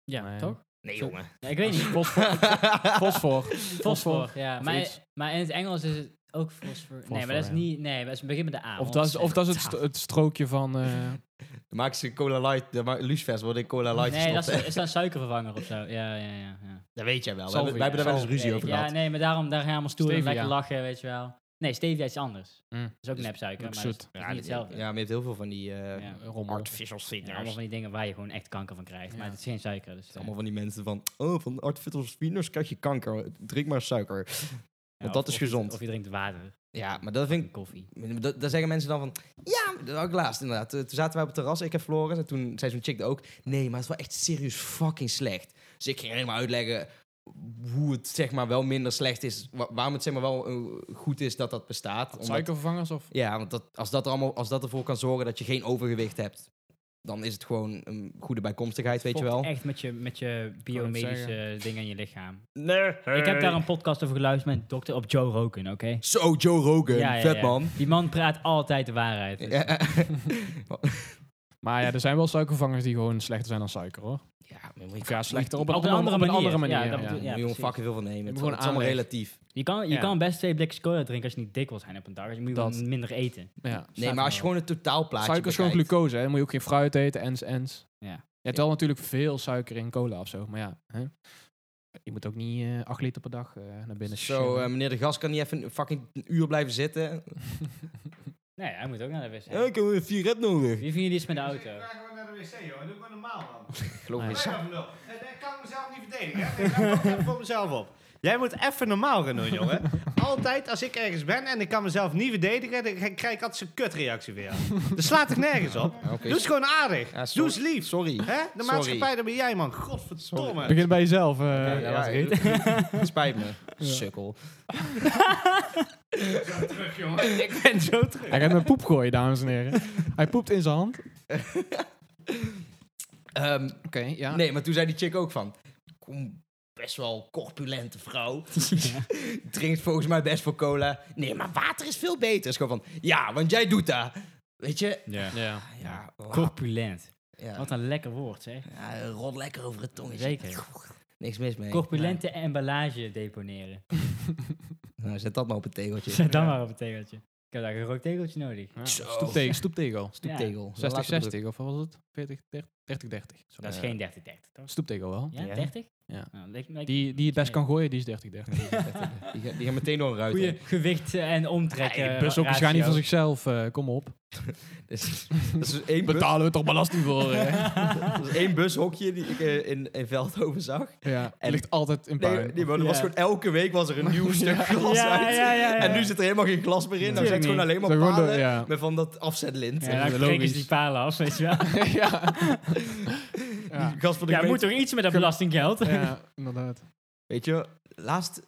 C: Ja,
D: Nee.
C: toch?
B: Nee,
C: Zo-
B: jongen.
C: Ja, ik weet niet.
D: Fosfor. Fosfor. Nou,
C: Fosfor, ja.
D: Of
C: Maar,
D: iets.
C: maar in het Engels is het ook fosfor. nee, maar dat is
D: ja.
C: niet... Nee, dat is een begin met de A.
D: Of dat is, of dat is het, st- het strookje van... eh,
B: Dan maken ze cola light, dan ma- lucifers worden in cola light
C: Nee, dat
B: gestopt.
C: is,
B: hè?
C: is dat een suikervervanger of zo. Ja, ja, ja. ja.
B: Dat weet jij wel. We
D: Salvia.
B: hebben, wij hebben daar wel eens ruzie
C: Nee,
B: over
C: Ja,
B: gehad.
C: nee, maar daarom daar gaan we allemaal stoer en
D: Stevia.
C: lekker lachen, weet je wel. Nee, stevia is iets anders.
D: mm,
C: Dat is ook nepsuiker,
D: ook
C: maar dat is
D: zoet.
C: dat is niet hetzelfde.
B: Ja, maar je hebt heel veel van die eh,
C: Ja.
D: rommel.
B: artificial
C: Ja,
B: sweeteners.
C: allemaal van die dingen waar je gewoon echt kanker van krijgt. Maar
D: Ja.
C: het is geen suiker. Dus, eh,
B: allemaal van die mensen van, oh, van artificial sweeteners krijg je kanker. Drink maar suiker.
C: ja,
B: dat
C: of-
B: is
C: of-
B: gezond.
C: Of je drinkt water,
B: Ja, maar dat vind ik...
C: koffie.
B: Dat, daar zeggen mensen dan van, ja, dat had ik laatst inderdaad. Eh, Toen zaten wij op het terras, ik heb Floris. En toen zei zo'n chick ook, nee, maar het is wel echt serieus fucking slecht. Dus ik ging helemaal uitleggen hoe het zeg maar wel minder slecht is. wa- waarom het zeg maar wel eh, goed is dat dat bestaat. Omdat-
D: Suikervervangers of...
B: Ja, want dat, als, dat er allemaal, als dat ervoor kan zorgen dat je geen overgewicht hebt, dan is het gewoon een goede bijkomstigheid, weet je
C: Fokt
B: wel.
C: Echt met je, met je biomedische dingen in je lichaam.
B: Nee,
C: Ik heb daar een podcast over geluisterd met dokter op Joe Rogan, oké?
B: Zo, Joe Rogan,
C: Ja, ja,
B: vet
C: ja.
B: man.
C: Die man praat altijd de waarheid. Dus-
B: Ja.
D: Maar ja, er zijn wel suikervervangers die gewoon slechter zijn dan suiker, hoor.
B: ja, maar moet je
D: Of ja, slechter op een,
C: Op een
D: andere, op een
C: andere
D: andere
C: manier.
D: manier.
C: Ja, dat
D: ja.
B: moet
C: bedoel-
B: je gewoon
C: precies.
B: fucking veel van nemen. Het,
D: gewoon
B: het is allemaal
D: aanleg.
B: relatief.
C: Je, kan, je
D: Ja.
C: kan best twee blikjes cola drinken als je niet dik wil zijn op een dag. Dus je moet
D: Dat.
C: gewoon minder eten.
D: Ja.
B: Nee, maar als je gewoon het totaalplaatje
D: Suiker is gewoon
B: bekijkt-
D: glucose, hè. Dan moet je ook geen fruit eten, ens, ens.
C: Ja.
D: Je hebt wel natuurlijk veel suiker in cola of zo, maar ja. Hè? Je moet ook niet eh 8 liter per dag eh, naar binnen
B: Zo,
C: ehm,
B: eh, meneer de gast kan niet even een fucking een uur blijven zitten.
C: Nee, hij moet ook naar de wc.
B: Ja, ik heb een sigaret nodig.
C: Wie vinden jullie iets met de
A: Dus Ik
C: auto?
A: ga gewoon naar de wc, joh. Doe maar normaal, man.
B: Geloof
D: Nee.
B: me.
A: Blijf even lul. Eh, Ik kan mezelf niet verdedigen, hè. Ik ga ook even voor mezelf op. Jij moet even normaal gaan doen, jongen. Altijd als ik ergens ben en ik kan mezelf niet verdedigen, dan krijg ik altijd zo'n kutreactie weer. Dat slaat toch nergens op?
B: Oké,
A: Doe eens gewoon aardig.
B: Ja,
A: Doe
B: sorry.
A: eens lief.
B: sorry.
A: Hè? De
B: Sorry.
A: maatschappij, daar ben jij, man. Godverdomme.
D: Begin bij jezelf. eh.
B: Ja, ja,
D: wat heet.
B: het spijt me. Sukkel.
A: Ik ben zo terug.
D: Hij gaat met poep gooien, dames en heren. Hij poept in zijn hand. Oké,
B: Ehm,
D: ja.
B: Nee, maar toen zei die chick ook van... Kom, best wel corpulente vrouw. Drinkt volgens mij best voor cola. Nee, maar water is veel beter. Is gewoon van... Ja, want jij doet dat. Weet je? Nou
C: Ja.
D: Ja.
B: Ja, la-
C: Corpulent.
B: ja.
C: Wat een lekker woord, zeg.
B: ja rot lekker over het tongetje.
C: Zeker.
B: Niks mis mee.
C: Corpulente emballage deponeren.
B: Nou, zet dat maar op het tegeltje.
C: Zet dan
D: Ja.
C: maar op een tegeltje. Ik heb daar een rooktegeltje nodig.
B: Zo.
D: Stoeptegel. Stoeptegel.
B: Stoeptegel. Laat het op
D: 60-60
B: de-
D: Oh. of wat was het? 40, 30, 30, 30.
C: Dat is
B: Ja.
C: geen 30 30 toch?
D: Stoeptegel wel.
C: Ja,
B: Ja.
C: 30?
D: Ja.
C: Nou, lijkt- lijkt-
D: Die, die het best
C: Nee.
D: kan gooien, die is 30, 30.
B: Die gaat, die gaat meteen door een ruit.
C: Goeie
B: heen.
C: gewicht eh, en omtrekken.
D: Hey, bushokjes gaan niet van
C: ratio.
D: zichzelf, eh, kom op.
B: Dat is, dat is dus één, bus,
D: Betalen we toch belasting voor? eh?
B: dat is één bushokje die ik eh, in, in Veldhoven zag.
D: ja,
B: En-
D: en ligt altijd in puin.
B: Nee, nee, maar er
C: Ja.
B: was gewoon elke week was er een nieuw stuk glas
C: Ja,
B: uit.
C: ja, ja, ja.
B: En nu zit er helemaal geen glas meer in. Dan
C: Natuurlijk
B: zit gewoon
C: niet.
B: alleen maar
D: Zo gewoon
B: palen
D: door- ja.
B: met van dat afzetlint.
C: Ja, dan
D: Ja,
C: breken ze
D: logisch.
C: die palen af, weet je wel.
D: ja. ja.
B: Die gast van de
C: Ja,
B: gemeente-
C: moet toch iets met dat belastinggeld?
D: ja, inderdaad.
B: Weet je, laatst...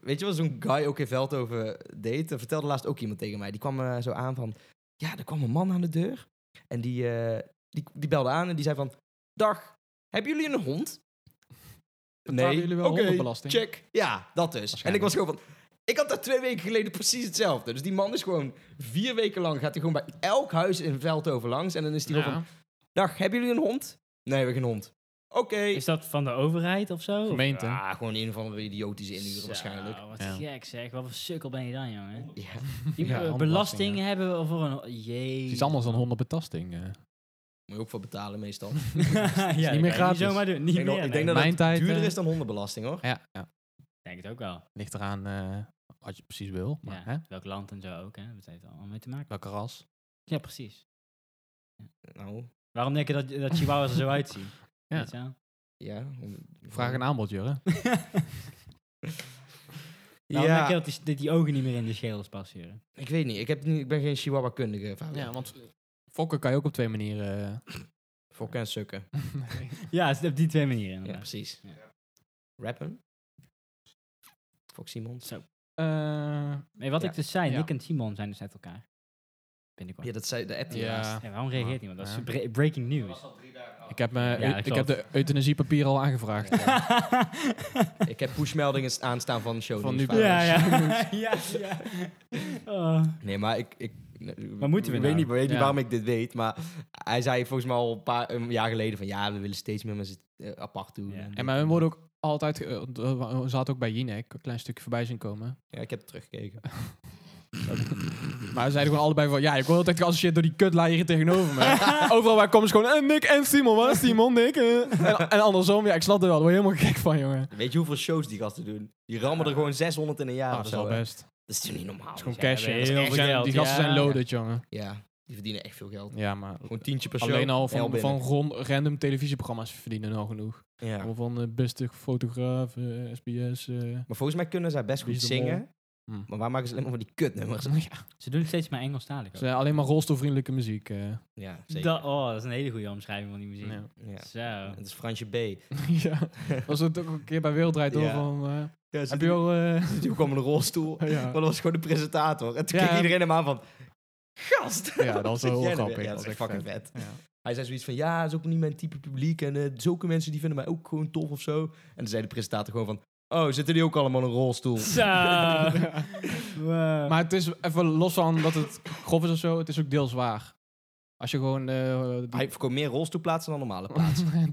B: Weet je wat zo'n guy ook in Veldhoven deed? Er vertelde laatst ook iemand tegen mij. Die kwam eh, zo aan van... Ja, er kwam een man aan de deur. En die, eh, die, die belde aan en die zei van... Dag, hebben jullie een hond?
D: Betalen jullie wel
B: Oké,
D: hondenbelasting?
B: check. Ja, dat dus. En ik
D: Waarschijnlijk.
B: was gewoon van... Ik had daar twee weken geleden precies hetzelfde. Dus die man is gewoon vier weken lang... Gaat hij gewoon bij elk huis in Veldhoven langs. En dan is hij
D: Ja.
B: gewoon van... Dag, hebben jullie een hond? Nee, we hebben geen hond. Oké.
C: Is dat van de overheid of zo?
D: Gemeente.
B: Ja, gewoon een van de idiotische inhuren
C: Zo,
B: waarschijnlijk.
C: Wat
D: Ja.
C: gek zeg. Wat voor sukkel ben je dan, jongen?
B: Ja.
C: Die
D: Ja,
C: eh, belasting
D: handbelasting, ja.
C: hebben we voor een...
D: Het
C: Jee.
D: is iets anders dan hondenbelasting. eh.
B: Moet je ook voor betalen meestal.
C: ja,
D: meer
C: dat kan je
D: gratis.
C: Niet zomaar doen. Niet
B: ik
C: meer,
B: denk, dat, ik
C: nee.
B: denk dat
D: Mijn
B: het
D: tijd,
B: duurder
D: eh,
B: is dan hondenbelasting hoor.
D: Ja, ja,
C: Ik denk het ook wel.
D: ligt eraan eh, wat je precies wil. Maar,
C: Ja,
D: hè?
C: Welk land en zo ook, hè? Dat heeft er allemaal mee te maken.
D: Welke ras?
C: Ja, precies.
B: Nou,
C: Waarom denk je dat, dat chihuahuas er zo uitzien?
D: Ja.
C: Weet je wel?
B: ja.
D: Vraag een aanbod, Jurre.
C: Waarom denk je
B: Ja,
C: dat die, dat die ogen niet meer in de schedels passeren?
B: ik weet niet. Ik, heb, nu- ik ben geen chihuahua-kundige. Ja,
D: want fokken kan je ook op twee manieren. eh,
B: Fokken en sukken.
C: Ja, het is op die twee manieren.
B: Ja,
C: inderdaad.
B: precies.
C: Ja.
B: Rappen. Fok Simons.
D: eh,
C: Nee, wat
B: Ja.
C: ik dus zei,
D: Ja.
C: Nick en Simon zijn dus uit elkaar. Binnenkort.
B: Ja, dat zei de app die
D: ja.
B: laatst.
C: Ja, waarom reageert niemand? Dat is
D: Ja.
C: bre- breaking news.
D: Ik heb, me,
C: Ja,
D: ik
C: klopt.
D: heb de euthanasiepapier al aangevraagd.
B: Ik heb pushmeldingen aanstaan van show
D: Van
B: news
D: nu-
B: files.
C: ja, ja. ja, ja. Oh.
B: Nee, maar ik, ik,
C: Maar moeten we
B: Ik
C: nou?
B: weet niet, weet niet
D: Ja.
B: waarom ik dit weet, maar hij zei volgens mij al een paar een jaar geleden van ja, we willen steeds meer mensen eh, apart doen.
C: Ja.
B: En
D: En maar hun worden ook altijd... ge- eh, d- eh, Ze had ook bij Jinek een klein stukje voorbij zien komen.
B: ja, ik heb het teruggekeken.
D: Maar ze zeiden gewoon allebei van... Ja, ik word altijd geassocieerd door die kutlaaier hier tegenover me. Overal waar ik kom is gewoon... eh, Nick en Simon, waar is Simon, Nick? eh? En, en andersom, ja, ik snap het wel. Daar word je helemaal gek van, jongen.
B: Weet je hoeveel shows die gasten doen? Die rammen er gewoon 600 in een jaar.
D: Ah,
B: of
D: dat is
B: zo,
D: al
B: hè.
D: best. Het
B: Dat is toch niet normaal?
D: is gewoon
B: Ja,
D: cash.
C: we
D: hè.
C: hebben
D: Dat is echt-
C: heel veel geld,
D: Die gasten
C: ja.
D: zijn loaded, jongen.
B: Ja, die verdienen echt veel geld.
D: Ja, maar
B: Gewoon tientje per show.
D: alleen al
B: Heel
D: van,
B: binnen.
D: van rond- random televisieprogramma's verdienen al genoeg.
B: Ja.
D: Allemaal Van eh, beste fotograaf, eh, SBS. eh.
B: Maar volgens mij kunnen zij best
D: Wie
B: goed
D: is de mol?
B: zingen.
D: Hm.
B: Maar waar maken ze alleen maar van die kutnummers?
C: Ze doen het steeds maar Engelstalig.
D: Ze
C: ook.
D: zijn alleen maar rolstoelvriendelijke muziek. eh.
B: Ja, zeker.
C: Dat, oh, dat is een hele goede omschrijving van die muziek.
D: Ja.
B: Ja.
C: Zo.
B: Het is Fransje B.
D: ja. Was het ook een keer bij Wereldrijd Door
B: Ja.
D: van... eh,
B: Ja,
D: heb je al... eh,
B: Die kwam in een rolstoel.
D: ja.
B: Maar dat was gewoon de presentator. En toen
D: Ja.
B: keek iedereen hem aan van... Gast!
D: Ja, dat was
B: Zit
D: wel
B: jij er
D: grappig.
B: weer? Ja, dat
D: Dat
B: is echt
D: was
B: fucking
D: echt
B: vet.
D: ja.
B: Hij zei zoiets van... Ja, dat is ook niet mijn type publiek. En eh, zulke mensen die vinden mij ook gewoon tof of zo. En toen zei de presentator gewoon van... Oh, zitten die ook allemaal in een rolstoel?
C: Zo. Wow.
D: Maar het is even los van dat het grof is of zo, het is ook deels waar. Als je gewoon... eh, die-
B: Hij verkoopt meer rolstoelplaatsen dan normale plaatsen.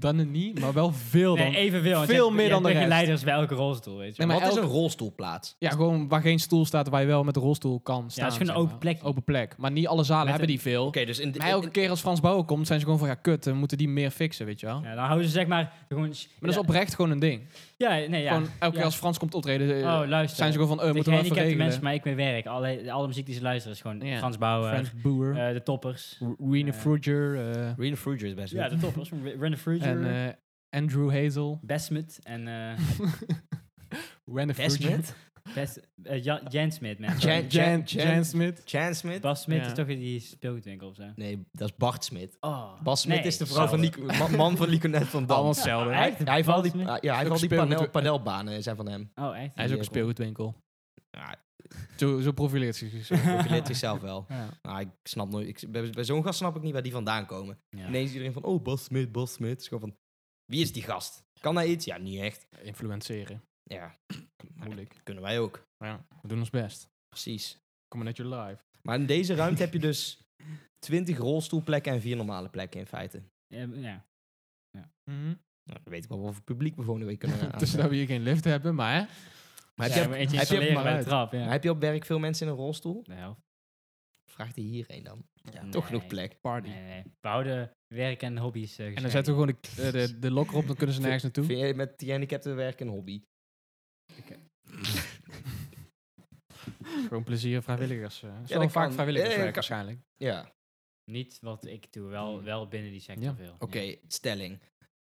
D: dan het niet, maar wel veel dan.
C: Nee, evenveel. want je
D: veel
C: hebt-
D: meer
C: je
D: dan
C: hebt
D: de
C: geen
D: rest.
C: leiders bij elke rolstoel, weet je
D: Nee,
C: wel.
D: maar
B: Wat is
D: elk-
B: een rolstoelplaats?
D: Ja, gewoon waar geen stoel staat, waar je wel met de rolstoel kan staan.
C: het is gewoon een
D: zeg
C: open
D: maar.
C: plekje.
D: Open plek. Maar niet alle zalen
C: Met
D: hebben
C: een-
D: die veel.
B: Oké, dus in de...
D: Maar elke keer als Frans Bauer komt, zijn ze gewoon van ja, kut, we moeten die meer fixen, weet je wel.
C: Ja, dan houden ze zeg maar gewoon...
D: Maar dat is oprecht gewoon een ding.
C: Ja, nee, ja.
D: Gewoon elke keer
C: Ja.
D: als Frans komt optreden, eh,
C: Oh, luister.
D: zijn ze gewoon van eh,
C: de
D: moeten we even
C: gehandicapte
D: regelen.
C: mensen waar ik mee werk, alle, alle muziek die ze luisteren, is gewoon
D: Ja.
C: Frans Bauer,
D: Frans Boer,
C: eh, de toppers.
D: Rene
C: eh,
D: Fruger, eh,
B: Reading Fruger is best
C: Ja,
B: leuk.
C: de toppers. Run the Fruit,
D: en eh, Andrew Hazel.
C: Besmet en... eh,
D: Rene Fruger.
B: Smith?
C: Best, eh, Ja- Jan Smit, man.
B: Jan-
D: Jan,
B: Jan-
D: Jan Smith.
B: Chan Smith?
C: Bas Smit
D: Ja.
C: is toch in die speelgoedwinkel of zo?
B: Nee, dat is Bart Smit.
C: Oh,
B: Bas Smit
C: nee,
B: is de vrouw van
C: sorry.
B: Nico, ma- man van Liconet van Dam.
D: Allemaal hetzelfde.
C: Ja,
B: Hij,
C: echt?
B: hij heeft al die,
C: Bas Smit?
B: ja, hij heeft al
D: Ook
B: die
D: speelgoed-
B: panel, paneelbanen zijn van hem.
C: Oh, echt?
D: Hij is ook een
B: Jezel.
D: speelgoedwinkel.
B: Ja,
D: Zo, zo profileert zich zichzelf.
B: ik leert zichzelf wel.
D: Ja.
B: Maar ik snap nooit, ik, bij, bij zo'n gast snap ik niet waar die vandaan komen.
C: Ja.
B: Ineens iedereen van, oh, Bas Smit, Bas Smit. Het is gewoon van, wie is die gast? Kan hij iets? Ja, niet echt.
D: Influenceren.
B: Ja,
D: Moeilijk.
B: kunnen wij ook.
D: Ja, we doen ons best.
B: Precies.
D: Kom maar net je live.
B: Maar in deze ruimte heb je dus 20 rolstoelplekken en vier normale plekken in feite.
C: Ja, ja.
B: Nou, dan weet ik wel wat voor publiek we volgende week kunnen
D: Dus dat
B: aanzetten.
D: we hier geen lift hebben, maar...
B: Maar heb
C: Ja,
B: je-
C: maar eentje
B: heb je-
C: installeren
D: maar
C: bij de
D: uit.
C: trap,
B: Maar
C: ja.
B: heb je op werk veel mensen in een rolstoel?
C: De helft.
B: Vraag die hierheen dan.
C: Nee.
B: Toch genoeg plek.
D: Party.
C: Nee, nee, nee. We houden werk en hobby's eh,
D: En dan
C: gescheiden.
D: zetten we gewoon de, eh, de, de lokker op, dan kunnen ze nergens naartoe.
B: Vind jij met die gehandicapten werken een hobby?
D: Gewoon plezier, vrijwilligers. eh. Het is
B: Ja,
D: wel
B: dat
D: vaak
B: kan.
D: vrijwilligerswerk
B: Ja, ja, kan.
D: waarschijnlijk.
B: Ja,
C: Niet wat ik doe, wel, wel binnen die sector
D: Hmm. Ja.
C: veel.
B: oké, stelling.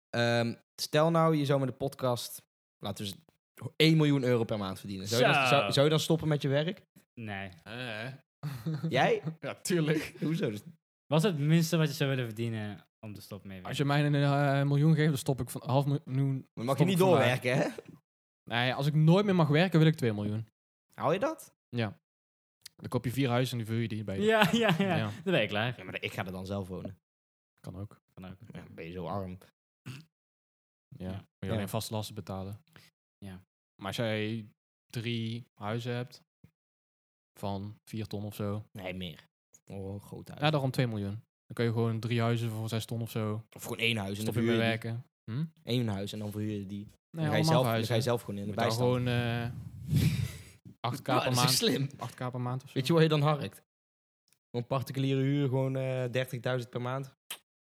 B: Ehm, stel nou, je zou met de podcast, laten we eens 1 miljoen euro per maand verdienen. Zou je, dan,
C: Zo.
B: zou, zou je dan stoppen met je werk?
C: Ja. Nee.
B: Eh. Jij?
D: ja, tuurlijk.
B: Hoezo? Dus-
C: Wat is het minste wat je zou willen verdienen om te stoppen mee?
D: Als
C: werken?
D: je mij een eh, miljoen geeft, dan stop ik van half miljoen.
B: Dan mag je
D: stop
B: niet
D: ik vandaag.
B: doorwerken, hè?
D: Nee, als ik nooit meer mag werken, wil ik 2 miljoen.
B: Hou je dat?
D: Ja. Dan koop je vier huizen en die vul je die bij. je.
C: Ja, ja, ja,
D: Ja.
C: Dan ben ik klaar.
B: Ja, maar ik ga er dan zelf wonen.
D: Kan ook.
C: Kan ook.
B: Ja, ben je zo arm.
D: Ja.
C: Ja.
D: Moet je
B: Ja.
D: alleen vaste lasten betalen.
C: Ja.
D: Maar als jij drie huizen hebt van vier ton of zo,
B: Nee, meer. Oh, groot huis.
D: ja, daarom 2 miljoen. Dan kun je gewoon drie huizen voor zes ton of zo.
B: Of gewoon één huis. En dan
D: Stop je
B: verhuur
D: mee
B: je die.
D: werken. Hm? Nee,
B: Eén huis en dan verhuur je die. Dan ga je,
D: allemaal
B: zelf, dan
D: verhuizen.
B: ga je zelf gewoon in de
D: Met dan
B: bijstand.
D: gewoon eh 8k
B: Ja,
D: per
B: dat is
D: maand.
B: echt slim.
D: 8k per maand of zo.
B: Weet je waar je dan harkt? Een particuliere huur, gewoon eh 30.000 per maand.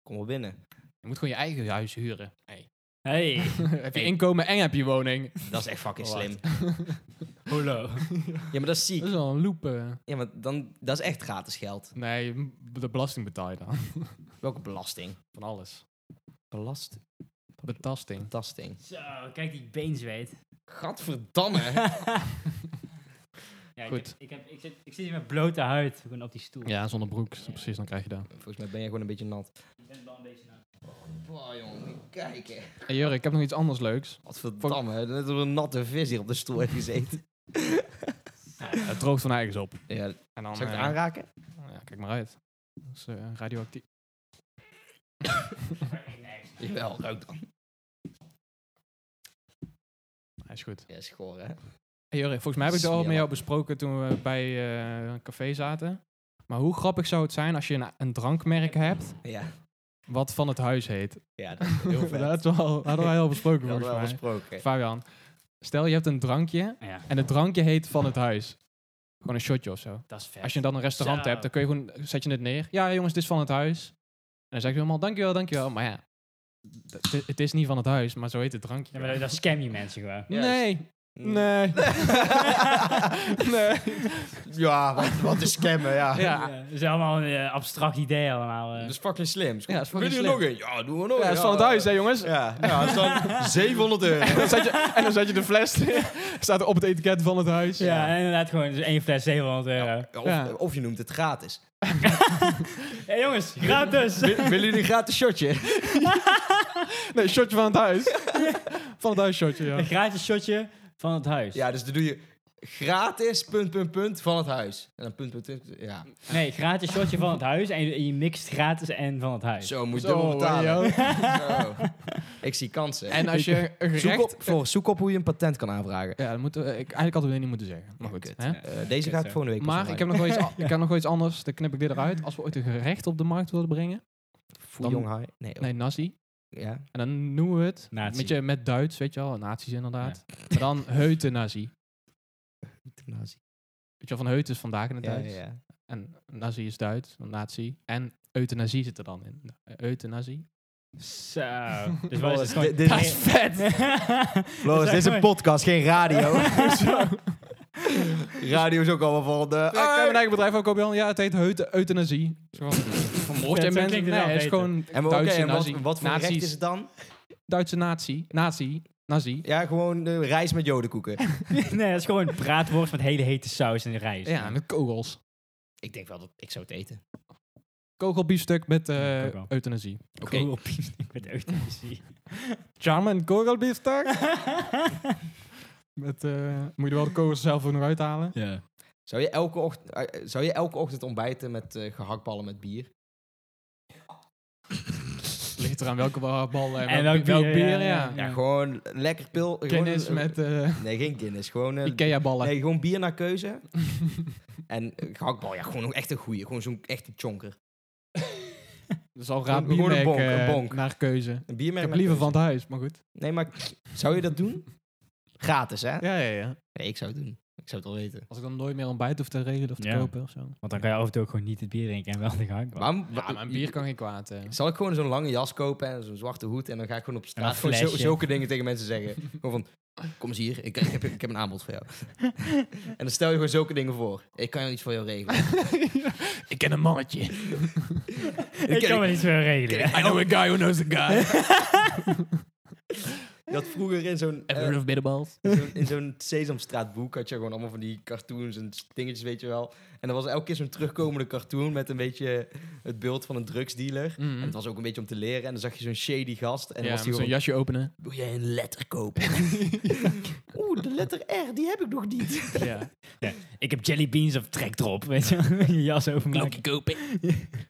B: Kom wel binnen.
D: Je moet gewoon je eigen huis huren.
C: Hey,
D: heb je
B: Hey.
D: inkomen en heb je woning.
B: Dat is echt fucking
D: Wat?
B: slim.
C: holo.
B: Ja, maar dat is
D: Dat
B: ziek.
D: is wel een loop. eh.
B: Ja, maar dan, dat is echt gratis geld.
D: Nee, m- de belasting betaal je dan.
B: Welke belasting?
D: Van alles.
B: Belast.
D: Betasting.
B: Belasting.
C: Zo, kijk die beenzweet.
B: Gadverdamme.
C: Ja,
D: Goed.
C: Ik, heb, ik, heb, ik, zit, ik zit hier met blote huid gewoon op die stoel.
D: Ja, zonder broek. Precies, dan krijg je dat.
B: Volgens mij ben je gewoon een beetje nat.
C: Ik ben wel een beetje nou.
B: Wow, jongen, moet je kijken.
D: Hey, Jurk, ik heb nog iets anders leuks.
B: Wat verdamme. Net als een natte vis hier op de stoel heeft gezeten.
D: Het droogt van eigens op.
B: Ja, zou
D: En dan,
B: ik het
D: eh,
B: aanraken?
D: ja, kijk maar uit. Dat is eh, radioactief.
B: Jawel, ruik dan.
D: Hij is goed.
B: Ja, schoor, hè?
D: Hey, Jurk, volgens mij heb ik het al met
B: Smerig.
D: jou besproken toen we bij eh, een café zaten. Maar hoe grappig zou het zijn als je een, een drankmerk hebt
B: Ja,
D: wat van het huis heet?
B: ja dat is heel vet.
D: Dat is wel, hadden wij al besproken
B: Dat hadden
D: volgens
B: we al
D: mij.
B: besproken.
D: Fabian, stel je hebt een drankje
C: Ja,
D: en het drankje heet van het huis. Gewoon een shotje of zo.
C: dat is vet.
D: Als je dan een restaurant
C: Zo.
D: hebt, dan kun je gewoon, zet je het neer. Ja, jongens, dit is van het huis. En dan zeg je helemaal, dankjewel, dankjewel. Maar ja, d- d- het is niet van het huis, maar zo heet het drankje.
C: Ja, maar dat, dat scam je mensen gewoon.
B: Juist.
D: Nee,
B: Mm.
D: nee. nee.
B: Ja, wat, wat is scammen, ja. Dus-
D: Ja.
C: Dat is allemaal een eh, abstract idee allemaal. eh.
B: Dat is fucking slim.
D: Ja, dat is fucking
B: Wil je
D: slim.
B: nog een? Ja, doen we nog
D: Ja,
B: een.
D: het is van het huis, hè jongens.
B: Ja, ja dat is dan 700 euro.
D: Dan zet je, en dan zet je de fles neer. Staat er op het etiket van het huis.
C: ja, inderdaad gewoon dus één fles 700 euro. Hé
B: Of,
D: Ja.
B: of je noemt het gratis.
C: jongens, gratis!
B: Willen jullie een gratis shotje?
D: Nee, shotje van het huis. van het huis shotje, ja.
C: Een gratis shotje van het huis.
B: Ja, dus dan doe je gratis, punt, punt, punt, van het huis. En dan punt, punt, punt, ja.
C: Nee, gratis shotje van het huis en je, je mixt gratis en van het huis.
B: Zo, moet je
D: Zo,
B: dubbel betalen.
D: joh.
B: Zo. Ik eh, zie kansen.
D: En als je een
B: zoek
D: gerecht...
B: op, voor, zoek op hoe je een patent kan aanvragen.
D: Ja, dat moeten we, ik, eigenlijk hadden we dit niet moeten zeggen. Maar goed.
B: Kut.
D: hè?
B: Eh, deze ga ik volgende week
D: Maar ik heb, nog wel iets, a- ik heb nog wel iets anders. Dan knip ik dit eruit. Als we ooit een gerecht op de markt willen brengen.
B: Voel
D: dan-
B: jong high. Nee, oh,
D: Nee, nasi.
B: ja.
D: En dan noemen we het...
C: Nazi.
D: Met, je, met Duits, weet je wel. Nazi's inderdaad. Maar dan heuten nasi.
B: Euthanasie.
D: Weet je wel, van heut is vandaag in het
B: Ja,
D: Duits.
B: ja, ja.
D: En nazi is Duits, dan nazi. En euthanasie zit er dan in. Eh, Euthanasie.
C: Zo. Dus wat is het gewoon...
B: Dit- dit- Dat
D: is
C: vet!
B: Floris, dit is een podcast, geen radio. radio is ook allemaal van de... Ah!
D: Ja, ik heb mijn eigen bedrijf ook op, Jan. Ja, het heet heut, euthanasie. Vermoord je
C: zo
D: mensen?
C: klinkt
D: Nee,
C: het wel
D: het is
C: beter.
D: gewoon
B: en we- oké,
D: Duitse
B: en wat,
D: nazi.
B: wat voor
D: Nazi's.
B: recht is het dan?
D: Duitse nazi. Nazi. Nazi.
B: Ja, gewoon de reis met jodenkoeken.
C: nee, dat is gewoon braadworst met hele hete saus en rijst.
D: Ja, met kogels.
B: ik denk wel dat ik zou het eten.
D: Kogelbiefstuk met eh,
C: kogel.
D: euthanasie.
B: Oké.
C: Cool. met euthanasie.
D: Charmin kogelbiefstuk. met, eh, moet je er wel de kogels zelf ook nog uithalen.
C: ja.
B: Zou je elke ochtend, eh, zou je elke ochtend ontbijten met eh, gehaktballen met bier?
D: Ligt eraan welke ba- bal en,
C: En
D: welk,
C: welk
D: welk bier,
C: bier, ja,
D: ja.
C: ja.
B: Ja, gewoon lekker pil. gewoon,
D: Kennis
B: eh,
D: met eh,
B: Nee, geen Guinness. Gewoon, eh,
D: Ikea-ballen.
B: nee, gewoon bier naar keuze. en eh, gehaktbal, ja, gewoon echt een goeie. Gewoon zo'n echte chonker.
D: Dat is Dus al raad
B: Gewoon- gewoon een
D: biermerk
B: bonk, een
D: eh,
B: bonk.
D: naar keuze.
B: Een biermerk
D: Ik heb
B: naar
D: liever van
B: keuze.
D: het dus. huis, maar goed.
B: Nee, maar zou je dat doen? Gratis, hè?
D: Ja, ja, ja.
B: Nee, ik zou het doen. Ik zou het wel weten.
D: Als ik dan nooit meer ontbijt hoef te regelen of te
C: Ja.
D: kopen of zo.
C: Want dan kan je af en toe ook gewoon niet het bier drinken en wel de gehaktbal.
B: Maar,
D: Ja, maar een bier kan geen kwaad. eh.
B: Zal ik gewoon zo'n lange jas kopen en zo'n zwarte hoed en dan ga ik gewoon op
C: En
B: straat
C: een
B: gewoon zo-
C: flesje.
B: zulke dingen tegen mensen zeggen. Gewoon van, kom eens hier, ik, ik, heb, ik heb een aanbod voor jou. en dan stel je gewoon zulke dingen voor. Ik kan iets voor jou regelen.
D: Ik ken een mannetje.
C: ik kan me niet zo regelen.
D: I know a guy who knows a guy.
B: Je had vroeger in zo'n, eh,
D: of middenbals?
B: in zo'n, in zo'n Sesamstraatboek had je gewoon allemaal van die cartoons en dingetjes, weet je wel. En er was elke keer zo'n terugkomende cartoon met een beetje het beeld van een drugsdealer. En het was ook een beetje om te leren. En dan zag je zo'n shady gast. En
D: En
B: dan was
D: ja,
B: hij
D: zo'n
B: gewoon
D: jasje openen.
B: Wil jij een letter kopen? Oeh, de letter R, die heb ik nog niet.
D: ja.
C: Ik heb jelly beans of trek erop, weet je wel. Je jas overmaken.
B: kopen.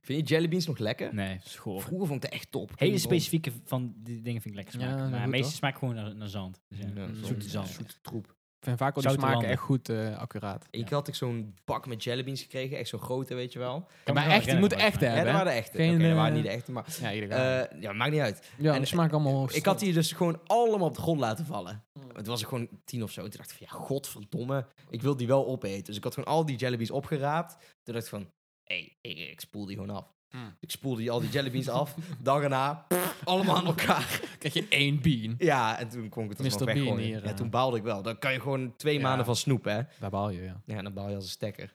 B: Vind je jellybeans nog lekker?
C: Nee, schoor.
B: Vroeger vond ik het echt top.
C: Hele specifieke van die dingen vind ik lekker
D: Ja,
C: smaken. maar
D: goed,
C: de meeste
D: toch?
C: smaakt gewoon naar, naar zand. Dus ja.
B: Ja,
D: zoete
B: zoete
C: zand.
B: Zoete troep.
D: Ik vind vaak al die
C: Zoute
D: smaken
C: landen.
D: echt goed eh, accuraat.
B: Ik had ik zo'n bak met jellybeans gekregen. Echt zo'n grote, weet je wel.
C: Kan me
D: maar
C: wel
D: echt, die
C: herinneren,
D: moet
C: volgens
D: echt
C: mij.
B: Ja,
D: hebben.
B: dat
D: hè?
B: waren de echte. Oké,
D: Geen,
B: dat waren
D: eh,
B: niet de echte, maar...
D: Ja, iedereen.
B: eh, ja, maakt niet uit.
D: ja,
B: en-
D: die smaken allemaal...
B: Ik had die dus gewoon allemaal op de grond laten vallen. Het was er gewoon tien of zo. Toen dacht ik van, ja, godverdomme. Ik wil die wel opeten. Dus ik had gewoon al die jellybeans opgeraapt. Toen dacht ik van, hé, ik, ik spoel die gewoon af.
D: Mm.
B: Ik spoelde die, al die jellybeans af. Dag erna, pff, allemaal aan elkaar.
D: Krijg je één bean.
B: Ja, en toen kon ik het
D: Mr.
B: alsnog
D: Bean
B: weggooien.
D: hier,
B: ja,
D: eh.
B: toen baalde ik wel. Dan kan je gewoon twee
D: Ja.
B: maanden van snoep, hè.
D: Daar baal je, ja.
B: Ja, dan baal je als een stekker.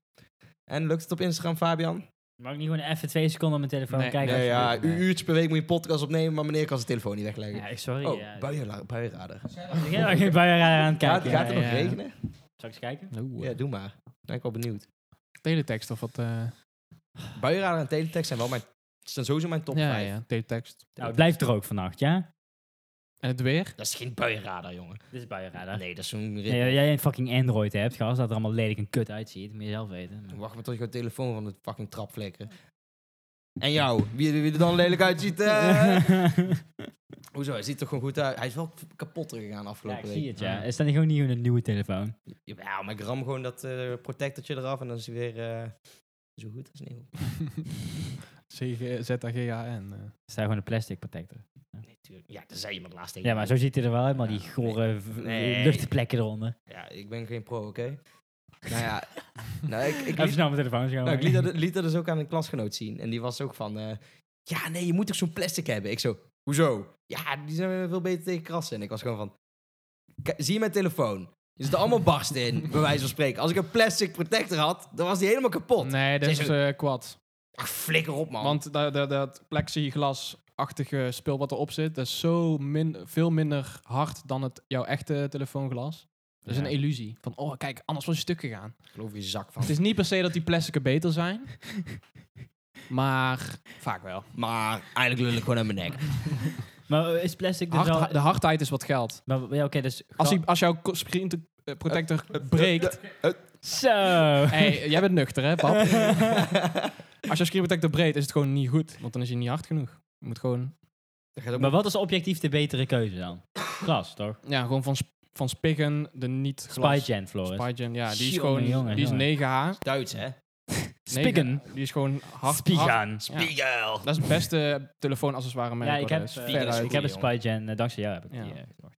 B: En lukt het op Instagram, Fabian?
C: Mag ik niet gewoon even twee seconden op mijn telefoon
D: Nee,
C: kijken?
B: Nee, ja,
C: alsjeblieft?
B: een uurtje per week moet je podcast opnemen, maar meneer kan zijn telefoon niet wegleggen.
C: Ja, ik- sorry.
B: oh,
C: ja.
B: buienla- buienradar.
C: Ik ben geen buienradar aan het
B: Gaat,
C: kijken.
B: gaat het
D: ja,
B: nog
D: ja.
B: regenen?
C: Zal ik eens kijken?
D: Oeh,
B: Ja, doe maar. Ben ik wel benieuwd.
D: Teletext of wat... eh
B: Buienradar en teletext zijn wel mijn... Zijn sowieso mijn top
D: ja,
B: 5.
D: ja, teletext.
C: Nou, het blijft droog vannacht, ja?
D: En het weer?
B: Dat is geen buienradar, jongen.
C: Dit is buienradar.
B: Nee, dat is zo'n... rit-
C: Nee, jij een fucking Android hebt, gast, dat er allemaal lelijk en kut uitziet. Moet je zelf weten. Maar-
B: Wacht maar tot je jouw telefoon van de fucking trap flikkert. En jou, wie, wie er dan lelijk uitziet. eh. Hoezo, hij ziet er gewoon goed uit. Hij is wel k- kapot gegaan
C: ja, ik
B: afgelopen
C: zie
B: week.
C: het, ja. Is dat niet gewoon niet gewoon een nieuwe telefoon?
B: Ja, maar ik ram gewoon dat eh protectortje eraf en dan is hij weer eh, Zo goed als nieuw.
D: C-Z-A-G-A-N. eh.
C: is daar gewoon een plastic protector.
B: Nee, tuurlijk. Ja, daar zei iemand laatst tegen
C: Ja, maar
B: mij.
C: zo ziet hij er wel helemaal die gore v-
B: Nee.
C: luchtplekken eronder.
B: Ja, ik ben geen pro, oké? nou ja, nou, ik, ik,
C: Even
B: liet,
C: snel mijn telefoon gaan.
B: nou, ik liet, dat, liet dat dus ook aan een klasgenoot zien. En die was ook van... eh, ja, nee, je moet toch zo'n plastic hebben? Ik zo, hoezo? Ja, die zijn veel beter tegen krassen. En ik was gewoon van... "K- Zie je mijn telefoon? Er zitten allemaal barsten in, bij wijze van spreken. Als ik een plastic protector had, dan was die helemaal kapot.
D: Nee, dat
B: Zeg
D: is eh kwad.
B: Ach, flikker op, man.
D: Want dat, dat, dat plexiglasachtige spul wat erop zit, dat is zo min, veel minder hard dan het, jouw echte telefoonglas. Dat is
C: Ja.
D: een illusie. Van, oh kijk, anders was je stuk gegaan.
B: ik geloof je zak van.
D: het is niet per se dat die plasticen beter zijn. maar vaak wel.
B: Maar eigenlijk lul ik gewoon aan mijn nek.
C: Maar eh, is plastic dus
D: Hard-
C: al...
D: de hardheid is wat geld.
C: Maar, ja, oké, dus...
D: Als,
C: gra-
D: die, als jouw ko- screen te- eh, protector breekt...
C: Zo!
D: hey, jij bent nuchter, hè, pap? als jouw screen protector breekt, is het gewoon niet goed. Want dan is je niet hard genoeg. Je moet gewoon,
B: Dat gaat ook
C: Maar wat is objectief de betere keuze dan? Gras, toch?
D: ja, gewoon van, sp- van spiggen de niet glas.
C: Spygen, Floris.
D: Spygen, ja, die is
C: Jongen,
D: gewoon
C: jongen,
D: die is
C: jongen.
D: 9H.
B: Duits, hè?
C: Spigen.
D: 9H, Die is gewoon hard. hard-
C: Spigen.
D: Ja.
B: Spiegel.
D: Dat is het beste telefoonaccessoire merk.
C: Ja, ik
D: wat
C: heb,
D: er is.
C: eh,
D: Veruit.
B: Spigen
C: ik heb een
B: Goeie,
C: Spygen. eh, dankzij jou heb ik
D: Ja.
C: die. eh, gekocht.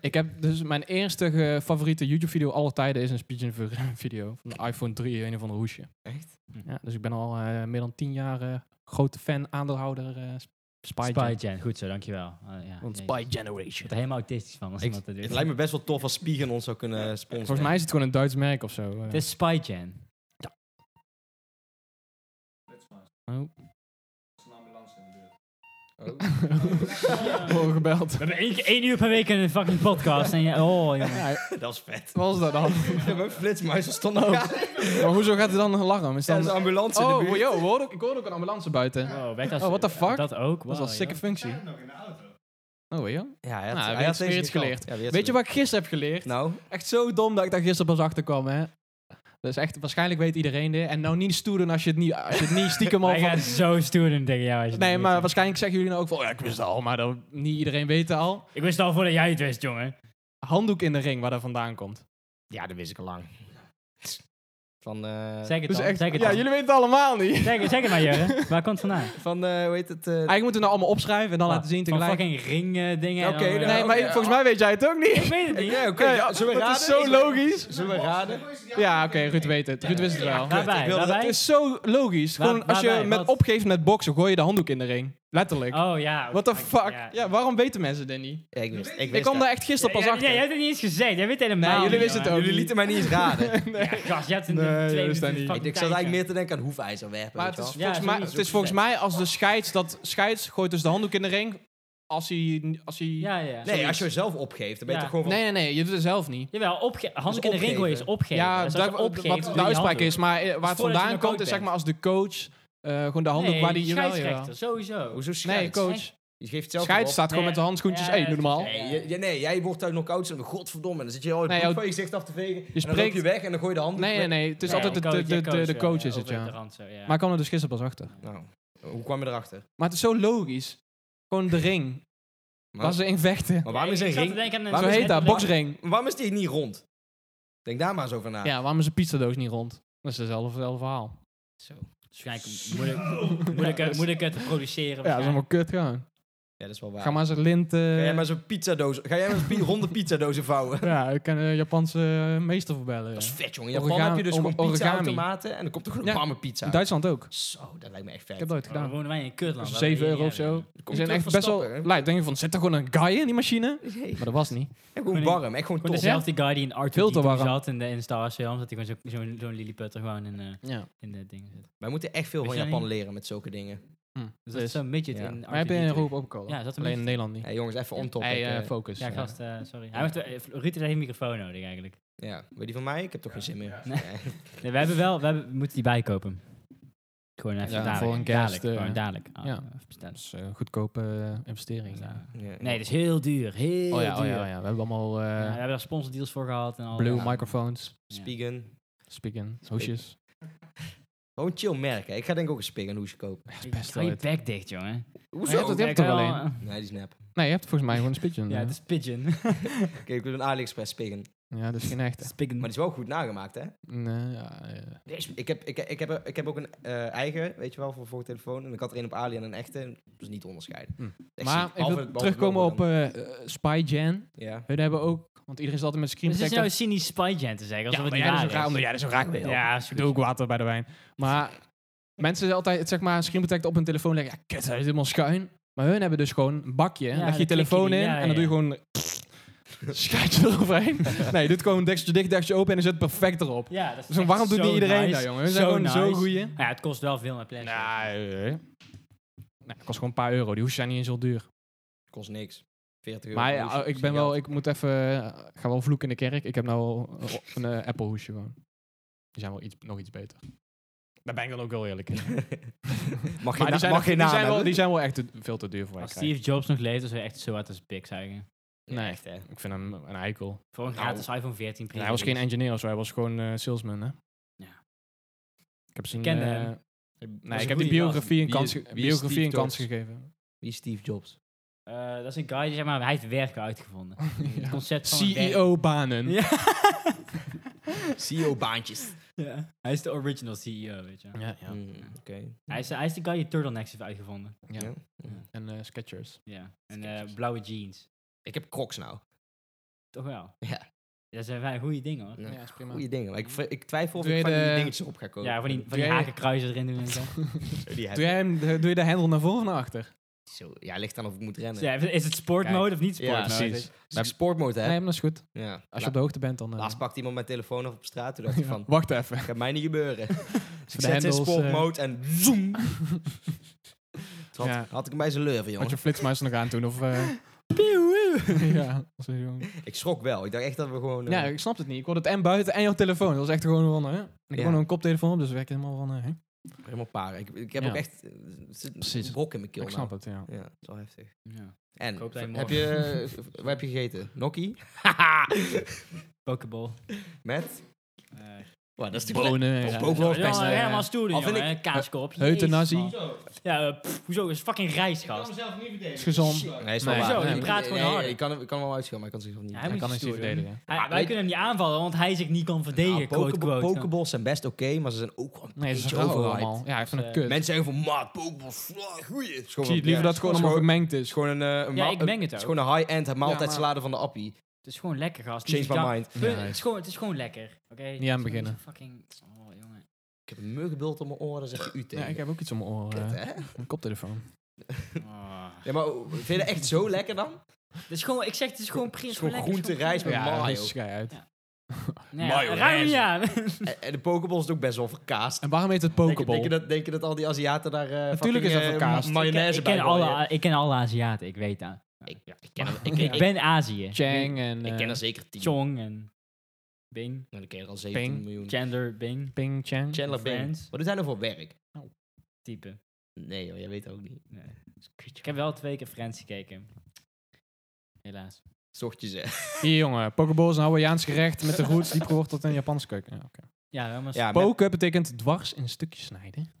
D: Ik heb dus mijn eerste ge- favoriete YouTube-video aller tijden is een Spigen v- video van de iPhone 3, een of ander hoesje.
B: Echt?
D: Ja, dus ik ben al eh, meer dan 10 jaar eh, grote fan, aandeelhouder eh Spygen.
C: Spygen. Goed zo, dankjewel. Eh, ja,
B: Want
C: jezus.
B: Spy
C: Ik
B: Generation.
C: word er helemaal autistisch van. Als
B: Ik-
C: iemand dat doet.
B: Het lijkt me best wel tof als Spiegen ons zou kunnen eh, sponsoren.
D: Volgens mij is het gewoon een Duits merk of zo. eh.
C: Het is Spygen.
D: Oh.
B: Oh.
D: Oh, gebeld.
C: We hebben één, één uur per week een fucking podcast. En je, oh, jongen.
D: Ja,
B: dat is vet.
D: wat was dat dan?
B: Mijn flitsmuizen stonden ook.
D: maar hoezo gaat er dan een alarm? Is
B: Ja,
D: dan...
B: de ambulance in de
D: Oh,
B: buurt.
D: yo, we hoorden ook- ik hoorde ook een ambulance buiten.
C: Oh, werd dat,
D: Oh, what the fuck?
C: Dat ook?
D: Dat is wel een sikke functie.
A: nog in de auto.
D: Oh, ja.
B: Ja, hij had,
D: Nou, weer
B: hij had
D: iets-
B: deze
D: weer iets
B: gekald.
D: geleerd.
B: Ja, weer iets
D: Weet je wat ik gisteren heb geleerd?
B: geleerd. Nou,
D: Echt zo dom dat ik daar gisteren pas achter kwam, hè. Dat is echt, waarschijnlijk weet iedereen dit. En nou niet stoer doen als je het niet, als je het niet stiekem al
C: Wij gaan
D: van...
C: zo stoer doen tegen jou. Als je
D: Nee,
C: dat
D: maar
C: doet.
D: waarschijnlijk zeggen jullie nou ook van... "Oh ja, ik wist het al, maar dat niet iedereen weet het al.
C: Ik wist al voordat jij het wist, jongen.
D: Handdoek in de ring, waar dat vandaan komt.
B: ja, dat wist ik al lang. Van, eh
C: Zeg het
D: Dus
C: dan,
D: echt,
C: zeg het
D: ja,
C: dan.
D: jullie weten het allemaal niet.
C: Zeg, zeg het maar, Jurre. Waar komt het vandaan?
B: van eh hoe heet het? eh,
D: Eigenlijk moeten we nou allemaal opschrijven en dan laten zien
C: Van
D: tegelijk.
C: fucking ring eh, dingen. en
B: Oké,
C: dan, eh,
D: Nee,
B: Ja,
D: maar
B: oké,
D: ik- volgens mij weet jij het ook niet.
C: Ik weet het niet.
B: ja, oké.
D: Nee,
B: ja, zullen we
D: dat
B: raden?
D: is zo
B: Ik-
D: logisch.
B: Zullen we raden?
D: Ja, oké, Ruud weet het. Ruud wist het wel.
C: Daarbij,
B: Ik wilde dat-
D: Het
C: daarbij.
D: is zo logisch.
C: Waar-
D: Gewoon als je
C: waarbij?
D: met
C: Wat?
D: opgeeft met boksen, gooi je de handdoek in de ring. Letterlijk.
C: Oh ja. oké,
D: What the
C: dank je,
D: fuck? Ja, waarom weten mensen dit niet?
B: Ja, ik wist Ik,
D: Ik
B: wist
D: kwam
B: dat.
D: daar echt gisteren pas
C: Ja,
D: achter.
C: jij hebt het niet eens gezegd. Jij weet
D: Nee,
C: helemaal
D: jullie
C: niet,
D: wisten het
C: jongen.
D: ook
B: Jullie
D: niet.
B: lieten mij niet eens raden. ik,
C: Ja, gast, je hebt een
D: Nee,
C: twee
D: jullie
C: minuten
D: staan niet.
C: fucking
B: ik zat eigenlijk
C: tijd,
B: meer te denken aan hoefijzerwerpen.
D: Maar
B: weet
D: het is,
B: je wel.
C: Ja,
D: volgens, mij,
C: zoiets.
D: het is volgens mij als de scheids dat scheids gooit dus de handdoek in de ring. Als hij. Als hij
C: ja. Ja, ja.
B: Nee, als je zelf opgeeft, dan ben je
C: Ja.
B: toch gewoon van...
D: Nee, nee, nee, je doet het zelf niet.
C: Jawel, opge- handdoek in de ring
B: opgeven.
C: gooien is opgeven.
D: Ja,
C: Dus als
D: dat-
C: je opgeeft, doe
D: wat
C: je
D: de
C: je
D: uitspraak
C: handdoek.
D: is, maar eh, waar het
C: voordat je
D: vandaan
C: nog
D: komt,
C: coach
D: is zeg
C: bent.
D: maar als de coach eh, gewoon de handdoek
C: Nee,
D: waar die.
C: die
D: Jawel, jawel.
C: scheidsrechter, sowieso.
B: Hoezo
D: Nee,
B: scheids?
D: coach.
B: Je geeft zelf
D: Scheids
B: erop.
D: staat gewoon
C: Nee,
D: met de handschoentjes.
C: ja,
D: Hé,
C: ja,
D: doe normaal.
C: precies.
B: Nee, je- je- nee, jij wordt uit knock-out en godverdomme. Dan zit je al het
D: Nee,
B: bloed
D: jou-
B: van je gezicht af te vegen. en dan loop
D: spreekt-
B: je weg en dan gooi je de hand.
D: Nee, nee, nee. Het is
C: Ja,
D: altijd de, de, de, de, de coach is het,
C: over de
D: ja.
C: rand zo, ja.
D: Maar ik kwam er dus gisteren pas achter.
B: Nou, hoe kwam je erachter?
D: Maar het is zo logisch. Gewoon de ring.
B: Maar,
D: Waar ze in vechten.
B: maar waarom is een
C: Ik zat te
B: ring...
C: denken aan een
D: Zo heet dat,
C: letterlijk-
D: boksring.
B: Waarom is die niet rond? Denk daar maar eens over na.
D: Ja, waarom is een pizzadoos niet rond? Dat is hetzelfde hetzelfde verhaal.
C: Zo. Waarschijnlijk Dus moeilijk, moeilijk,
D: Ja, dat is-
C: moeilijker te produceren.
D: Ja, dat is allemaal kut gewoon.
B: Ja, dat is wel waar.
D: Ga maar eens een lint... eh,
B: Ga jij maar zo'n pizzadoos... Ga jij maar eens pi- ronde pizzadozen vouwen?
D: Ja, ik kan een Japanse eh, meester voor bellen.
B: Dat is
D: ja.
B: vet, jongen. In
D: Origami-
B: Japan heb je dus
D: or-
B: gewoon
D: origami.
B: pizza-automaten en dan komt er gewoon een
D: Ja.
B: warme
D: In
B: pizza.
D: Duitsland ook.
B: Zo, dat lijkt me echt vet.
D: Ik heb dat ooit
C: waarschijnlijk. Dan
D: gedaan.
C: wonen wij in een kutland.
D: Zo'n
C: waar we
D: 7
C: hier
D: euro of
C: niet
D: zo.
C: hebben.
D: Ze
B: Komt
D: zijn
B: terug
D: echt
B: van
D: best wel...
B: stappen, hè?
D: Lijkt, denk je van, zit er gewoon een guy in die machine? Maar dat was niet.
B: En gewoon
C: Gewoon
B: warm en gewoon
C: Gewoon
B: tof.
C: dezelfde guy die in Arthur
D: Veel te
C: D2
D: warm.
C: zat in, de, in Star Wars films. Dat hij gewoon zo- zo'n zo'n lilliputter gewoon in, eh
D: Ja.
C: in de dingen zit.
B: Wij moeten echt veel
C: Weet
B: van
C: je dat
B: Japan leren met zulke dingen.
D: Hm.
C: Dus dat is zo'n midget
B: ja.
C: in
D: Maar heb je in
C: R2D2.
D: Europa ook al?
C: Ja, dat is een
D: Alleen in
C: beetje-
D: Nederland niet.
B: Hey, jongens, even on topic.
D: Hey, eh,
B: eh.
D: focus.
C: Ja, gast, eh, sorry. Hij heeft, eh, Ruud heeft een microfoon nodig eigenlijk.
B: Ja, weet die van mij? Ik heb toch geen zin meer.
C: Nee.
B: Nee.
C: Nee, we hebben wel, we, hebben, we moeten die bijkopen. Gewoon even
B: Ja,
C: dadelijk.
D: voor een
C: dadelijk,
D: guest, eh,
C: gewoon dadelijk. Ah,
D: ja.
C: even bestellen.
D: Dat is eh, goedkope eh, investering.
C: Dus, eh,
D: ja.
B: Ja,
C: Nee, dat is heel duur. Heel
D: Oh ja, oh
C: duur.
D: ja, oh ja. We hebben allemaal eh,
C: Ja, we hebben daar sponsordeals voor gehad en al.
D: blue
C: Ja.
D: microphones,
C: Ja.
B: Spigen.
D: speaking, hoesjes.
B: Gewoon een chill merk, hè. Ik ga denk ik ook een Spigen hoesje kopen.
C: Ik-
D: best
C: Hou je
D: wel
C: bek dicht, jongen.
D: Hoezo? hebt het- je hebt het
C: Ik
D: er wel
C: wel-
B: Nee, die is nep.
D: eh. Nee, je hebt volgens mij gewoon een speaking.
C: Ja, het is pigeon.
B: Oké, ik wil een AliExpress Spigen.
D: Ja, dus geen echte.
C: Spikken.
B: Maar die is wel goed nagemaakt, hè?
D: Nee, ja, ja.
B: Ik heb, ik, ik heb, ik heb ook een eh, eigen, weet je wel, voor, voor telefoon. En ik had er een op Ali en een echte. Dus niet te onderscheiden.
D: Hm.
B: Echt
D: Maar
B: zie-
D: ik
B: behalve-
D: wil
B: behalve
D: terugkomen
B: logo
D: op
B: dan.
D: eh eh, Spygen.
B: Ja.
D: Hun hebben ook... Want iedereen zat altijd met screen
C: Dus het is
D: protector.
C: nou cynisch Spygen te zeggen, alsof
D: maar
C: het niet
D: jij
C: waar
D: dus
C: is.
D: zo raar- omdat jij dat zo raak wil.
C: ja, is
D: Ik
C: goed.
D: doe ook water bij de wijn. Maar mensen zijn altijd, zeg maar, een screen protector op hun telefoon leggen. Ja, kut, hij is helemaal schuin. Maar hun hebben dus gewoon een bakje.
C: Ja,
D: Leg je
C: dan
D: telefoon
C: klik je
D: in
C: die, ja,
D: en dan doe je gewoon... Schijt je eroverheen. nee, je doet gewoon dekstje dicht, dekstje open en dan zit het perfect erop.
C: Ja, dat is
D: Dus dan
C: echt
D: waarom doet
C: zo
D: niet iedereen
C: nice.
D: dat, jongen? Ze zijn
C: Zo
D: gewoon zo
C: nice.
D: goeie.
C: Ja, het kost wel veel meer plastic.
D: Nee, dat kost gewoon een paar euro. Die hoesjes zijn niet eens heel duur.
B: Kost niks. 40 euro.
D: Maar
B: voor
D: ja,
B: hoesje,
D: ik
B: is
D: ben
B: geen
D: wel, ik
B: geld.
D: moet even, eh, ga wel vloeken in de kerk. Ik heb nou al eh, een eh, Apple hoesje gewoon. Die zijn wel iets, nog iets beter. Daar ben ik dan ook wel eerlijk in.
B: Mag je
D: Maar die
B: na-
D: zijn,
B: mag geen
D: die
B: naam
D: zijn wel,
B: hebben?
D: die zijn wel echt te- veel te duur voor mij.
C: Als Steve Jobs nog leeft, dan zou je echt zo hard als pik zuigen.
D: Nee.
B: Echt, hè?
D: Ik vind hem een eikel.
C: Voor een
B: Nou.
C: gratis iPhone 14 Pro.
D: hij was geen engineer of zo, hij was gewoon eh, salesman, hè?
C: Ja.
D: Ik heb zijn...
C: kende
D: eh,
C: hem.
D: nee,
B: een
D: ik heb
B: goeie
D: die biografie een kans,
B: gast. Wie
D: ge-
B: is- wie is
D: biografie een
B: Steve
D: kans
B: Jobs?
D: gegeven.
B: Wie is Steve Jobs?
C: Eh, dat is een guy, die, zeg maar, hij heeft werken uitgevonden. Het concept van het werk.
B: E
D: E CEO-banen. Ja.
C: Ja.
D: E
B: CEO-baantjes.
C: ja. Hij is de original CEO, weet je.
D: Ja,
B: Ja. Mm, Oké. Mm.
C: Hij, is, hij is de guy die turtlenecks heeft uitgevonden.
D: Ja.
B: Ja.
D: En eh, Skechers.
C: Ja. En eh, blauwe jeans.
B: Ik heb crocs nou.
C: Toch wel?
B: Ja.
C: Dat zijn wel goede dingen, hoor.
B: Ja,
D: is prima.
B: Goeie dingen. Maar ik, vri- ik twijfel of
D: Doe
B: ik
D: je
B: van die
D: de-
B: dingetjes op ga komen.
C: Ja, van die, van die
D: Jij-
C: hakenkruisen erin doen en zo.
B: die heb
D: Doe, jij hem, doe je de hendel naar voren of naar achter?
B: Zo, ja, ligt aan of ik moet rennen.
C: Ja, is het sportmode of niet sportmode?
B: precies. Dus ik sportmode heb.
D: Nee, maar dat is goed. Als
B: Ja.
D: je
B: La-
D: op de hoogte bent, dan... eh,
B: Laatst pakte iemand mijn telefoon af op straat. Toen dacht ik van,
D: Wacht even.
B: gaat mij niet gebeuren. Dus ik
D: de eh.
B: zet in
D: hendels,
B: sportmode en zoom. Toen had,
D: Ja.
B: had ik hem bij zijn leuven,
D: Had je
B: jongen.
D: flitsmuis er nog aan toen? Of, eh, ja, was er gewoon-
B: Ik schrok wel. Ik dacht echt dat we gewoon... eh,
D: ja, ik snap het niet. Ik hoorde het en buiten en jouw telefoon. Dat was echt gewoon van... Hè? Ik heb
B: Ja.
D: gewoon een koptelefoon op, dus het werkt helemaal van... Hè?
B: helemaal paar. Ik, ik heb
D: Ja.
B: ook echt... eh, er zit
D: Precies.
B: een brok in mijn keel
D: Ik snap
B: nou.
D: het, ja.
B: Ja, dat is wel heftig.
C: Ja.
B: En,
C: Ik hoop dat hij
B: heb
C: morgen-
B: je... eh, v- wat heb je gegeten? Nokkie?
C: Pokeball.
B: Met?
C: Eh,
B: Wow, dat is de
D: Bonen.
B: Ja.
D: ja.
B: Ook wel
C: Ja,
B: best, eh,
C: helemaal stoer doen,
B: al vind
C: jongen. hè. Kaaskop.
D: Eh, Euthanasie.
C: Jezus, man. Ja, eh, pff, hoezo? Dat is fucking rijst,
A: Ik kan
C: gast.
A: mezelf niet verdedigen.
D: Is gezond.
B: Nee, is wel
D: Nee.
B: waar.
D: Zo,
B: Nee,
D: je
B: nee,
C: praat
B: nee,
C: gewoon
B: nee,
C: harder.
B: Ik kan, hem- ik kan hem wel uitschillen, maar ik kan zichzelf niet.
C: Ja,
B: Ja,
D: Hij
C: hij moet
D: kan
C: je
D: het niet
C: stoer doen.
D: verdedigen.
C: Hij-
B: Ja,
C: wij
B: weet-
C: kunnen hem niet aanvallen, want hij zich niet kan
D: Nou,
C: verdedigen, quote,
B: Pokeball-
C: quote.
B: Nou, Pokeballs zijn best oké, maar ze zijn ook wel een
D: Nee, ze
B: beetje
D: zijn rauw
B: overhyped. Eh,
D: allemaal. Ja, hij vindt het
C: Dus,
D: kut.
B: Mensen zeggen van, maat, Pokeballs, ah, goeie. Het is
D: Ik
B: gewoon
D: zie het
B: wel-
D: liever
B: ja,
D: dat het gewoon allemaal
B: is gewoon-
D: gemengd
B: is
D: is.
B: gewoon een... eh, een
C: Ja,
B: ma-
C: ik
B: een-
C: meng het
B: Het is
C: ook.
B: gewoon een high-end maaltijdsalade
D: maar-
B: van de appie.
C: Het is gewoon lekker, gast.
B: Change
C: Niet
B: my
C: gek-
B: mind.
C: Punt,
D: Ja.
C: Het, is gewoon, het is gewoon lekker. Oké.
D: Niet aan beginnen.
C: Fucking... Oh, jongen.
B: Ik heb een muggenbult op mijn oren, daar zeg je u tegen.
D: Ja, ik heb ook iets om mijn oren.
B: Kut,
D: eh,
B: hè?
D: Een koptelefoon.
C: Oh.
B: Ja, maar oh, vind je dat echt zo lekker dan?
C: Het is gewoon, ik zeg, het is gewoon prima.
B: Het
C: Het
B: is gewoon groente, rijst met
D: Ja,
B: mayo.
D: dat schij uit.
C: Nee,
B: mayonaise.
C: ruim hem niet aan.
B: En- En de Pokeballs is ook best wel verkaasd.
D: En waarom heet het
B: Denk je- Denk je
D: pokeball?
B: dat, denk je dat al die Aziaten daar eh
D: Natuurlijk is dat
B: fucking, eh,
D: verkaasd.
B: mayonaise
C: ik, ken
B: bij gooien?
C: alle, ik ken alle Aziaten, ik weet dat.
B: Ik- ja, ik
D: ken
B: ken
D: er-
B: er,
D: ik- ik-
C: ben Azië.
D: Chang en...
B: ik
D: eh,
B: ken er zeker tien.
C: Chong en Bing.
B: Nou, ik ken er al 17
D: Ping.
B: miljoen.
C: Chandler Bing.
D: Ping Chang.
B: Chandler Bing.
C: Friends.
B: Wat doet hij nou voor werk?
C: Type.
B: Nee joh, jij weet dat ook niet.
C: Nee. Ik heb wel twee keer Friends gekeken. Helaas.
B: Zochtjes hè.
D: Hier jongen, pokeball is een Hawaiiaans gerecht met de roots diep geworteld in Japanse keuken. Ja, oké.
C: Ja, wel, maar
B: Ja, met,
D: Poken betekent dwars in stukjes snijden.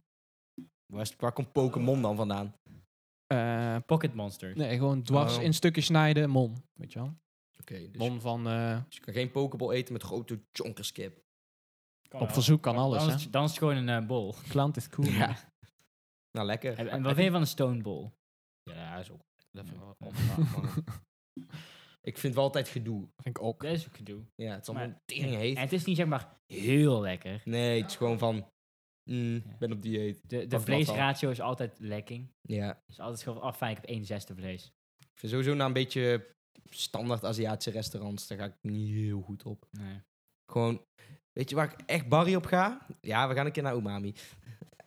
B: waar, is- waar komt Pokémon dan vandaan?
D: Eh,
C: Pocket Monster.
D: nee, gewoon dwars
B: Oh.
D: in stukjes snijden, mon. Weet je wel?
B: Oké, dus,
D: Mon van... eh,
B: dus je kan geen Pokéball eten met grote chonkerskip.
D: op
C: eh,
D: verzoek kan alles,
C: dan,
D: hè?
C: is- dan is het gewoon een eh, bol.
D: Klant is cool.
B: Ja. Nou, lekker.
C: En, en wat vind je van een stonebol?
B: Ja, is ook... Dat vind ik wel
D: Ja.
B: Ik vind wel altijd gedoe.
D: Vind ik ook.
C: Dat is ook gedoe.
B: Ja, het is allemaal
C: Maar-
B: tering
C: En
B: heet.
C: het is niet zeg maar heel lekker.
B: Nee, het is gewoon van... mm,
C: Ja.
B: ben op dieet.
C: De, de
B: dat wel.
C: vleesratio is altijd lekking.
B: Ja.
C: Dus altijd gewoon af, fijn, ik heb 1 zesde vlees.
B: Ik vind sowieso na een beetje standaard Aziatische restaurants, daar ga ik niet heel goed op.
C: Nee.
B: Gewoon, weet je waar ik echt Barry op ga? Ja, we gaan een keer naar Umami.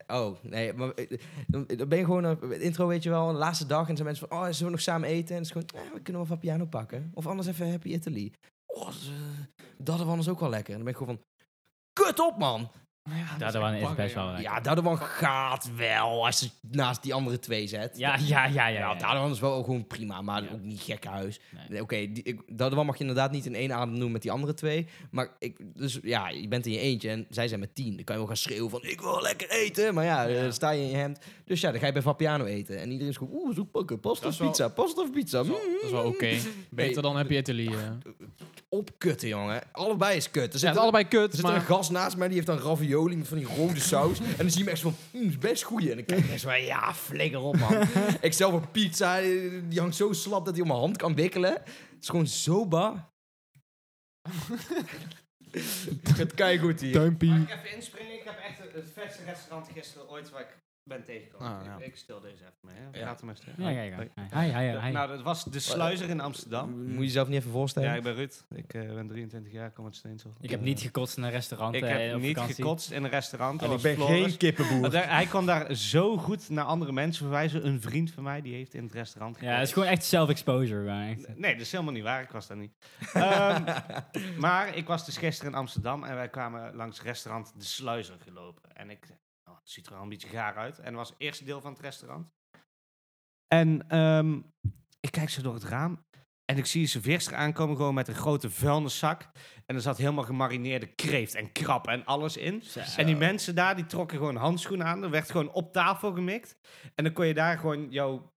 B: Oh, nee, maar eh, dan dan ben je gewoon op het intro, weet je wel, de laatste dag. En dan zijn mensen van, oh, zullen we nog samen eten? En het is gewoon, eh, we kunnen wel Vapiano pakken. Of anders even Happy Italy. Oh, dat is, eh, Dadawan is ook wel lekker. En dan ben ik gewoon van, kut op, man!
D: Ja,
C: Dat is, is best wel lekker.
B: Ja, Dadawan gaat wel, als je het naast die andere twee zet.
C: Ja, ja, ja, ja. ja,
B: Ja,
C: ja.
B: Dadawan is wel gewoon prima, maar
C: Ja.
B: ook niet gekkenhuis.
C: Nee.
B: Nee, Oké, die- ik- Dadawan mag je inderdaad niet in één adem noemen met die andere twee. Maar ik, dus ja, je bent in je eentje en zij zijn met tien. Dan kan je wel gaan schreeuwen van, ik wil lekker eten. Maar ja,
C: Ja.
B: dan sta je in je hemd. Dus ja, dan ga je bij Vapiano eten. En iedereen is gewoon, oeh, zoek pakken, pasta
D: Dat
B: of
D: is wel-
B: pizza, Hmm? pasta of pizza.
D: Dat is wel, dat is wel oké. Beter dan Happy Italy. eh.
B: Mm. opkutten, jongen. Allebei is kut. Er
D: Ja,
B: zit,
D: het is allebei
B: er
D: kut,
B: zit
D: maar...
B: een gast naast mij, die heeft een ravioli met van die rode saus. en dan zie je hem echt zo van, "Mm, is best goeie. En dan kijk ik echt zo van, ja, flikker op, man. ik zelf een pizza, eh, die hangt zo slap dat hij op mijn hand kan wikkelen. Het is gewoon zo bar. Het kan je goed hier.
A: Mag
D: Duimpie.
A: ik even inspringen? Ik heb echt het- het vetste restaurant gisteren ooit waar ik ben tegengekomen.
D: Ah, ja.
A: Ik- Ik stel deze even mee. Hè.
B: Ja.
A: Laat hem even.
C: Ja, kijk aan. Hi, hi, hi.
A: Nou, dat was de sluizer in Amsterdam.
B: Moet je jezelf niet even voorstellen?
A: Ja, ik ben Ruud. Ik eh, ben 23 jaar, kom uit Steensel.
C: Ik heb niet gekotst in een restaurant.
A: Ik
C: eh,
A: heb
C: op
A: niet
C: vakantie.
A: gekotst in een restaurant.
B: en
A: Dat
B: ik
A: was
B: ben
A: Floris.
B: geen kippenboer.
A: Maar daar- hij kon daar zo goed naar andere mensen verwijzen. Een vriend van mij die heeft in het restaurant
C: Ja, het is gewoon echt self-exposure. maar echt.
A: Nee, dat is helemaal niet waar. Ik was daar niet. Ehm, maar ik was dus gisteren in Amsterdam en wij kwamen langs restaurant De Sluizer gelopen. En ik zei, oh, het ziet er al een beetje gaar uit. En dat was het eerste deel van het restaurant. En ehm, ik kijk zo door het raam en ik zie een serveerster aankomen gewoon met een grote vuilniszak. En er zat helemaal gemarineerde kreeft en krab en alles in. En die mensen daar, die trokken gewoon handschoenen aan. Er werd gewoon op tafel gemikt. En dan kon je daar gewoon jouw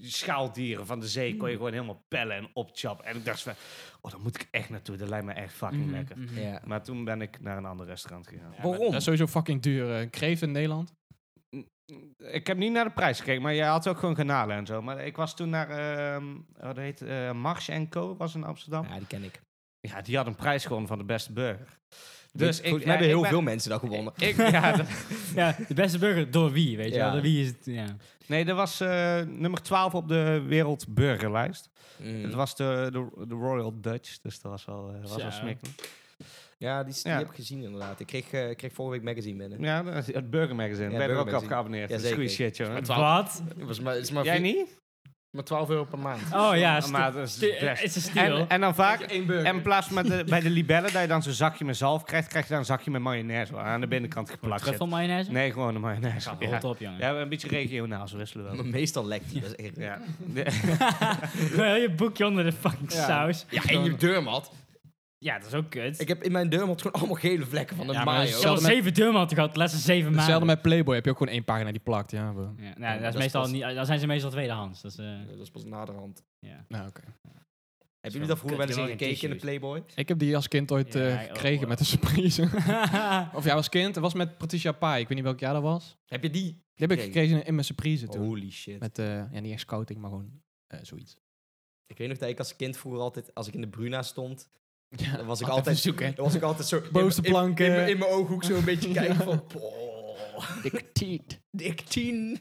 A: schaaldieren van de zee...
B: Mm.
A: kon je gewoon helemaal pellen en opchappen. En ik dacht van, oh, daar moet ik echt naartoe. Dat lijkt me echt fucking
B: Mm-hmm.
C: Mhm,
A: lekker.
C: mhm.
B: Ja.
A: Maar toen ben ik naar een ander restaurant gegaan.
D: Ja, maar
B: Waarom?
D: Dat is sowieso fucking duur. eh, kreeft in Nederland.
A: Ik heb niet naar de prijs gekeken, maar jij had ook gewoon granalen en zo. Maar ik was toen naar, ehm oh, dat heet eh Mars Co. was in Amsterdam.
B: Ja, die ken ik.
A: Ja, die had een prijs gewonnen van de beste burger. Dus
B: Volgens
A: ik, ja,
B: mij hebben
A: ik
B: heel
A: ben-
B: veel mensen dat gewonnen.
A: Ik, ja, dat-
C: Ja, de beste burger door wie, weet je
B: Ja.
C: wel? Door wie is het? Ja.
A: Nee, dat was eh, nummer 12 op de wereldburgerlijst.
B: Mm.
A: Dat was de, de, de Royal Dutch, dus dat was wel, eh, was
C: Zo.
A: wel smikken.
B: Ja, die, die
A: Ja.
B: heb ik gezien inderdaad. Ik kreeg, eh, ik kreeg vorige week magazine binnen.
A: Ja, dat is- het Burger Magazine.
B: Ja,
A: ben je er ook
B: Burger
A: op
B: Magazine.
A: geabonneerd.
B: Ja,
A: dat is goede
B: zeker.
A: shit, jongen.
C: Wat?
B: Het was maar, het is maar,
A: Jij
B: vier-
A: niet?
B: maar 12 euro per maand.
C: Oh ja,
A: maar
C: sti-
A: dat is
C: sti-
A: het best.
C: het is een steal.
A: En, en dan vaak,
D: Eén
A: en in plaats van de, bij de libellen dat je dan zo'n zakje met zalf krijgt, krijg je dan een zakje met mayonaise waar aan de binnenkant geplakt
C: Truffel
A: zit.
C: mayonaise?
A: Nee, gewoon een mayonaise.
C: Ga
A: Ja,
C: rot op, jongen.
A: ja een beetje regionaal, zo wisselen we
B: Maar
A: wel.
B: meestal lekt die. Dat is echt...
A: Ja.
C: Wel je boekje onder de fucking
D: Ja.
C: saus.
B: Ja, en je deurmat.
C: Ja, dat is ook kut.
B: Ik heb in mijn deurmat gewoon allemaal gele vlekken van de
D: Ja, maar dat is
B: mayo.
C: Ik heb al
D: Hetzelfde met-
C: zeven deurmatten gehad de laatste zeven maanden.
D: Hetzelfde met Playboy heb je ook gewoon één pagina die plakt. Ja, bro.
C: Ja, nou, dat
B: dat
C: is
B: is
C: meestal
B: pas-
C: niet, dan zijn ze meestal tweedehands. Dat is, eh,
B: Ja, Dat is pas naderhand.
C: ja.
D: Nou, oké.
B: Hebben jullie dat vroeger wel eens
C: Kut,
B: in
C: je wil
B: gekeken in de
C: geen
B: Playboy?
D: Ik heb die als kind ooit
C: Ja,
D: eh,
C: ik ook
D: gekregen
C: wel.
D: met een surprise. of ja, als kind. Het was met Patricia Pai. Ik weet niet welk jaar dat was.
B: Heb je die?
D: Die heb ik
B: Oké.
D: gekregen in- in mijn surprise toen.
B: Holy Oh, shit.
D: Met, eh, ja, niet echt scouting, maar gewoon eh, zoiets.
B: Ik weet nog dat ik als kind vroeger altijd, als ik in de Bruna stond,
D: Ja,
B: dan was ik altijd,
D: zoeken.
B: dan was ik altijd zo... in-
D: Boze
B: in- in-
D: planken.
B: In, mijn- in mijn ooghoek zo een beetje kijken van... "Boah."
D: Dikke tiet.
B: Dik tien.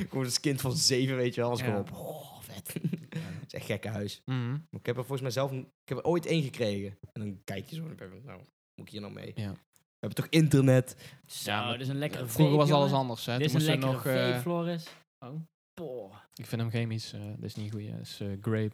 B: Ik word als kind van zeven, weet je wel. Als ik
A: Ja.
B: op. Oh, vet. Het is echt gekke huis.
D: Mhm,
B: Maar Ik heb er volgens mij zelf... Ik heb er ooit één gekregen. En dan kijk je zo en dan ben je van, nou, moet ik hier nou mee?
D: Ja.
B: We hebben toch internet?
C: Zo, dat is een lekkere
D: Vroeger was
C: vape,
D: alles
C: jongen.
D: anders, hè.
C: Dit
D: Toen
C: is een
D: moesten we
C: lekkere
D: nog...
C: vape,
D: eh,
C: Floris.
D: oh.
C: Boah.
D: ik vind hem chemisch. eh dit is niet goed. Dat is eh, grape.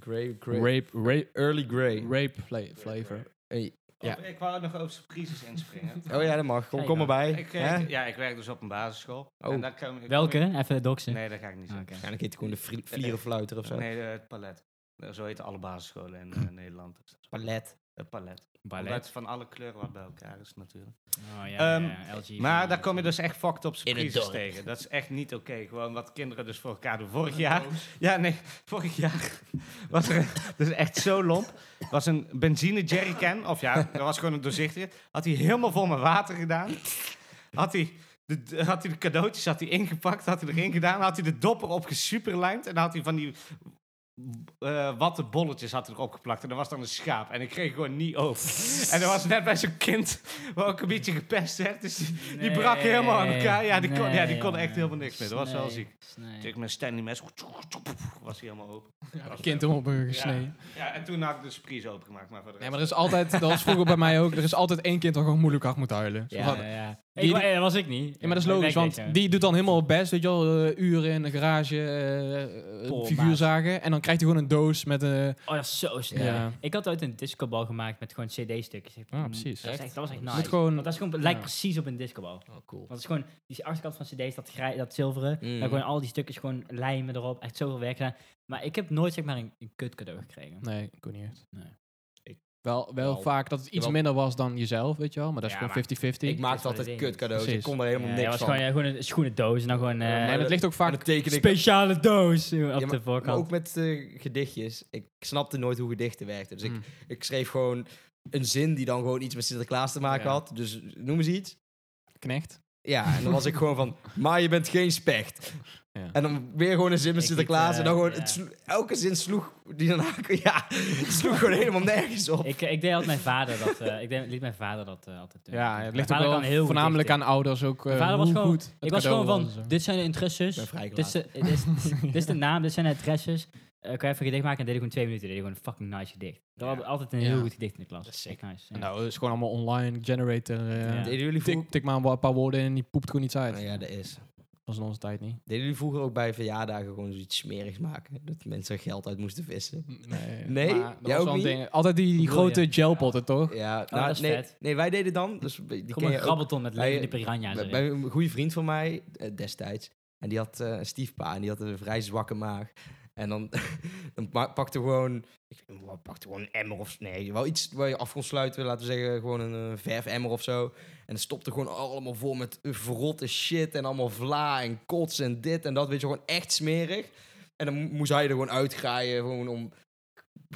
B: Grey, grey.
D: Rape. Rape.
B: Early grey.
D: Rape fla- flavor.
B: Hey. Ja.
A: Oh, Ik wou nog over surprises inspringen.
B: Oh ja, dat mag. Kom,
C: Kijk
B: kom
C: dan.
B: erbij.
A: Ik, eh,
B: Hè?
A: ik- ja, ik werk dus op een basisschool.
B: Oh.
A: En daar kan-
C: Welke? Even doxen.
A: Nee, dat ga ik niet
C: Ah,
A: zeggen.
C: oké.
B: Waarschijnlijk heet hij gewoon de vri- vlierenfluiter of zo.
A: Nee, eh, het palet. Eh, Zo heten alle basisscholen in eh, Nederland. Dus dat is
B: Palet.
A: het palet.
C: Ballet.
A: Omdat het van alle kleuren wat bij elkaar is natuurlijk.
C: Oh, ja,
A: Ehm,
C: ja, LG.
A: Maar daar kom je dus echt fucked op
B: In het
A: surprises
B: dorp.
A: tegen. Dat is echt niet oké. Gewoon wat kinderen dus voor elkaar doen. Vorig jaar... Ja, nee. Vorig jaar was er... een- Dat is echt zo lomp. Was een benzine jerrycan. Of ja, dat was gewoon een doorzichtige. Had hij helemaal vol met water gedaan. Had hij... De, de- had hij de cadeautjes had hij ingepakt, had hij erin gedaan, had hij de dopper opgesuperlijmd en had hij van die eh watte bolletjes had erop geplakt. En dat was dan een schaap. En ik kreeg gewoon niet open. en dat was net bij zo'n kind waar ook een beetje gepest werd. Dus die, die brak helemaal aan elkaar. Ja, die, kon, ja, die kon echt helemaal niks meer. Dat was wel ziek. Dus ik met Stanley mes was hij helemaal open.
D: Kind hem op eh, gesneden.
A: Ja, en toen had ik de surprise opengemaakt. Maar voor de
D: Nee,
A: rest-
D: maar er is altijd, dat was vroeger bij mij ook, er is altijd één kind dat gewoon moeilijk hard moet huilen. Zo
B: Ja,
D: van,
C: Ja, ja.
D: Die-
C: Ik, wa- eh, dat was ik niet.
D: ja, maar dat is logisch, want die doet dan helemaal het best, weet je wel, eh, uren in de garage, eh, eh,
C: Poor
D: figuur
C: baas.
D: zagen. En dan krijgt hij gewoon een doos met eh
C: Oh, dat is zo snel.
D: Ja.
C: Ik had ooit een discobal gemaakt met gewoon cd-stukjes. Ik-
D: Ah, precies.
C: Dat was echt, dat was echt
B: Moet
C: nice.
D: moet gewoon...
C: Want dat is gewoon, het lijkt
D: Ja.
C: precies op een discobal.
B: Oh, cool.
C: Want het is gewoon, die achterkant van cd's, dat, grij- dat zilveren.
B: Mm.
C: Daar gewoon al die stukjes gewoon lijmen erop. Echt zoveel werk gedaan. Maar ik heb nooit zeg maar een, een kut cadeau gekregen.
D: Nee, ik kon niet echt. Wel, wel
B: Wel.
D: vaak dat het iets
B: Wel-
D: minder was dan jezelf, weet je wel. Maar dat is
A: Ja,
D: gewoon 50-50.
B: Ik
C: dat
B: maakte
C: is wat
B: altijd
C: het ding
B: kut
C: is.
B: cadeaus. Ik
D: Precies.
B: kon er helemaal
C: Ja, dat
B: niks
C: was
B: van.
C: gewoon, ja, gewoon een schoenendoos en dan gewoon eh,
B: Ja,
D: en het ligt ook vaak...
B: En dat teken
C: een
B: ik
C: speciale doos eh, op
B: Ja,
C: de
B: Maar
C: voorkant.
B: ook met eh, gedichtjes. Ik snapte nooit hoe gedichten werkten. Dus ik,
D: Mm.
B: ik schreef gewoon een zin die dan gewoon iets met Sinterklaas te maken
A: Ja.
B: had. Dus noem eens iets.
D: Knecht.
B: Ja, en dan was ik gewoon van, maar je bent geen specht.
D: Ja.
B: En dan weer gewoon een zin met
C: Ik
B: Sinterklaas.
C: liet,
B: en dan
C: eh,
B: gewoon,
C: ja.
B: het slo- elke zin sloeg die dan Ja, het sloeg gewoon helemaal nergens op.
C: Ik, ik deed altijd mijn vader dat. eh, ik deed, liet mijn vader dat eh, altijd doen.
D: Ja, het
C: Mijn
D: ligt ook
C: vader
D: wel
C: kan heel goed
D: voornamelijk
C: dichten.
D: aan ouders ook. eh,
C: Mijn vader
D: hoe
C: was gewoon-
D: goed het
C: Ik was
D: cadeau
C: gewoon van:
D: en zo.
C: dit zijn de interesses.
B: Ik ben vrij
C: Dit is, de, dit, is, dit is de naam, dit zijn de adresses. Eh kan je even gedicht maken? En deed ik gewoon twee minuten. Deed ik gewoon een fucking nice gedicht. Dat
B: Ja.
C: was altijd een heel
D: Ja.
C: goed gedicht in de klas.
B: Dat is sick.
C: Echt Nice. ja.
D: Nou, het is gewoon allemaal online generator. eh,
C: Ja.
B: Deden jullie vroeger...
D: Tik, tik maar een paar woorden en die poept gewoon iets uit.
B: Ah, ja, dat is.
D: Dat was in onze tijd niet.
B: Deden jullie vroeger ook bij verjaardagen gewoon zoiets smerigs maken? Dat mensen er geld uit moesten vissen?
D: Nee.
B: Nee?
D: maar dat
B: Jij
D: was
B: ook
D: wel een
B: niet?
D: ding. Altijd die, die
C: Bedoel
D: grote
C: je?
D: gelpotten, toch?
B: Ja,
C: Oh,
B: nou,
C: dat is
B: nee,
C: vet.
B: nee, wij deden dan. Dus die
C: Kom
B: ken
C: een
B: je ook.
C: grabbelton met
B: Bij-
C: levende piranha's
B: Bij,
C: erin.
B: bij een goede vriend van mij eh, destijds. En die had eh, een stiefpa en die had een vrij zwakke maag. En dan, dan pa- pakte gewoon, ik weet niet, wat, pakte gewoon een emmer of nee, wel iets waar je af kon sluiten, laten we zeggen, gewoon een eh, verfemmer of zo. En stopte gewoon allemaal vol met eh, verrotte shit en allemaal vla en kots en dit en dat, weet je, gewoon echt smerig. En dan mo- moest hij er gewoon uitgraaien, gewoon om,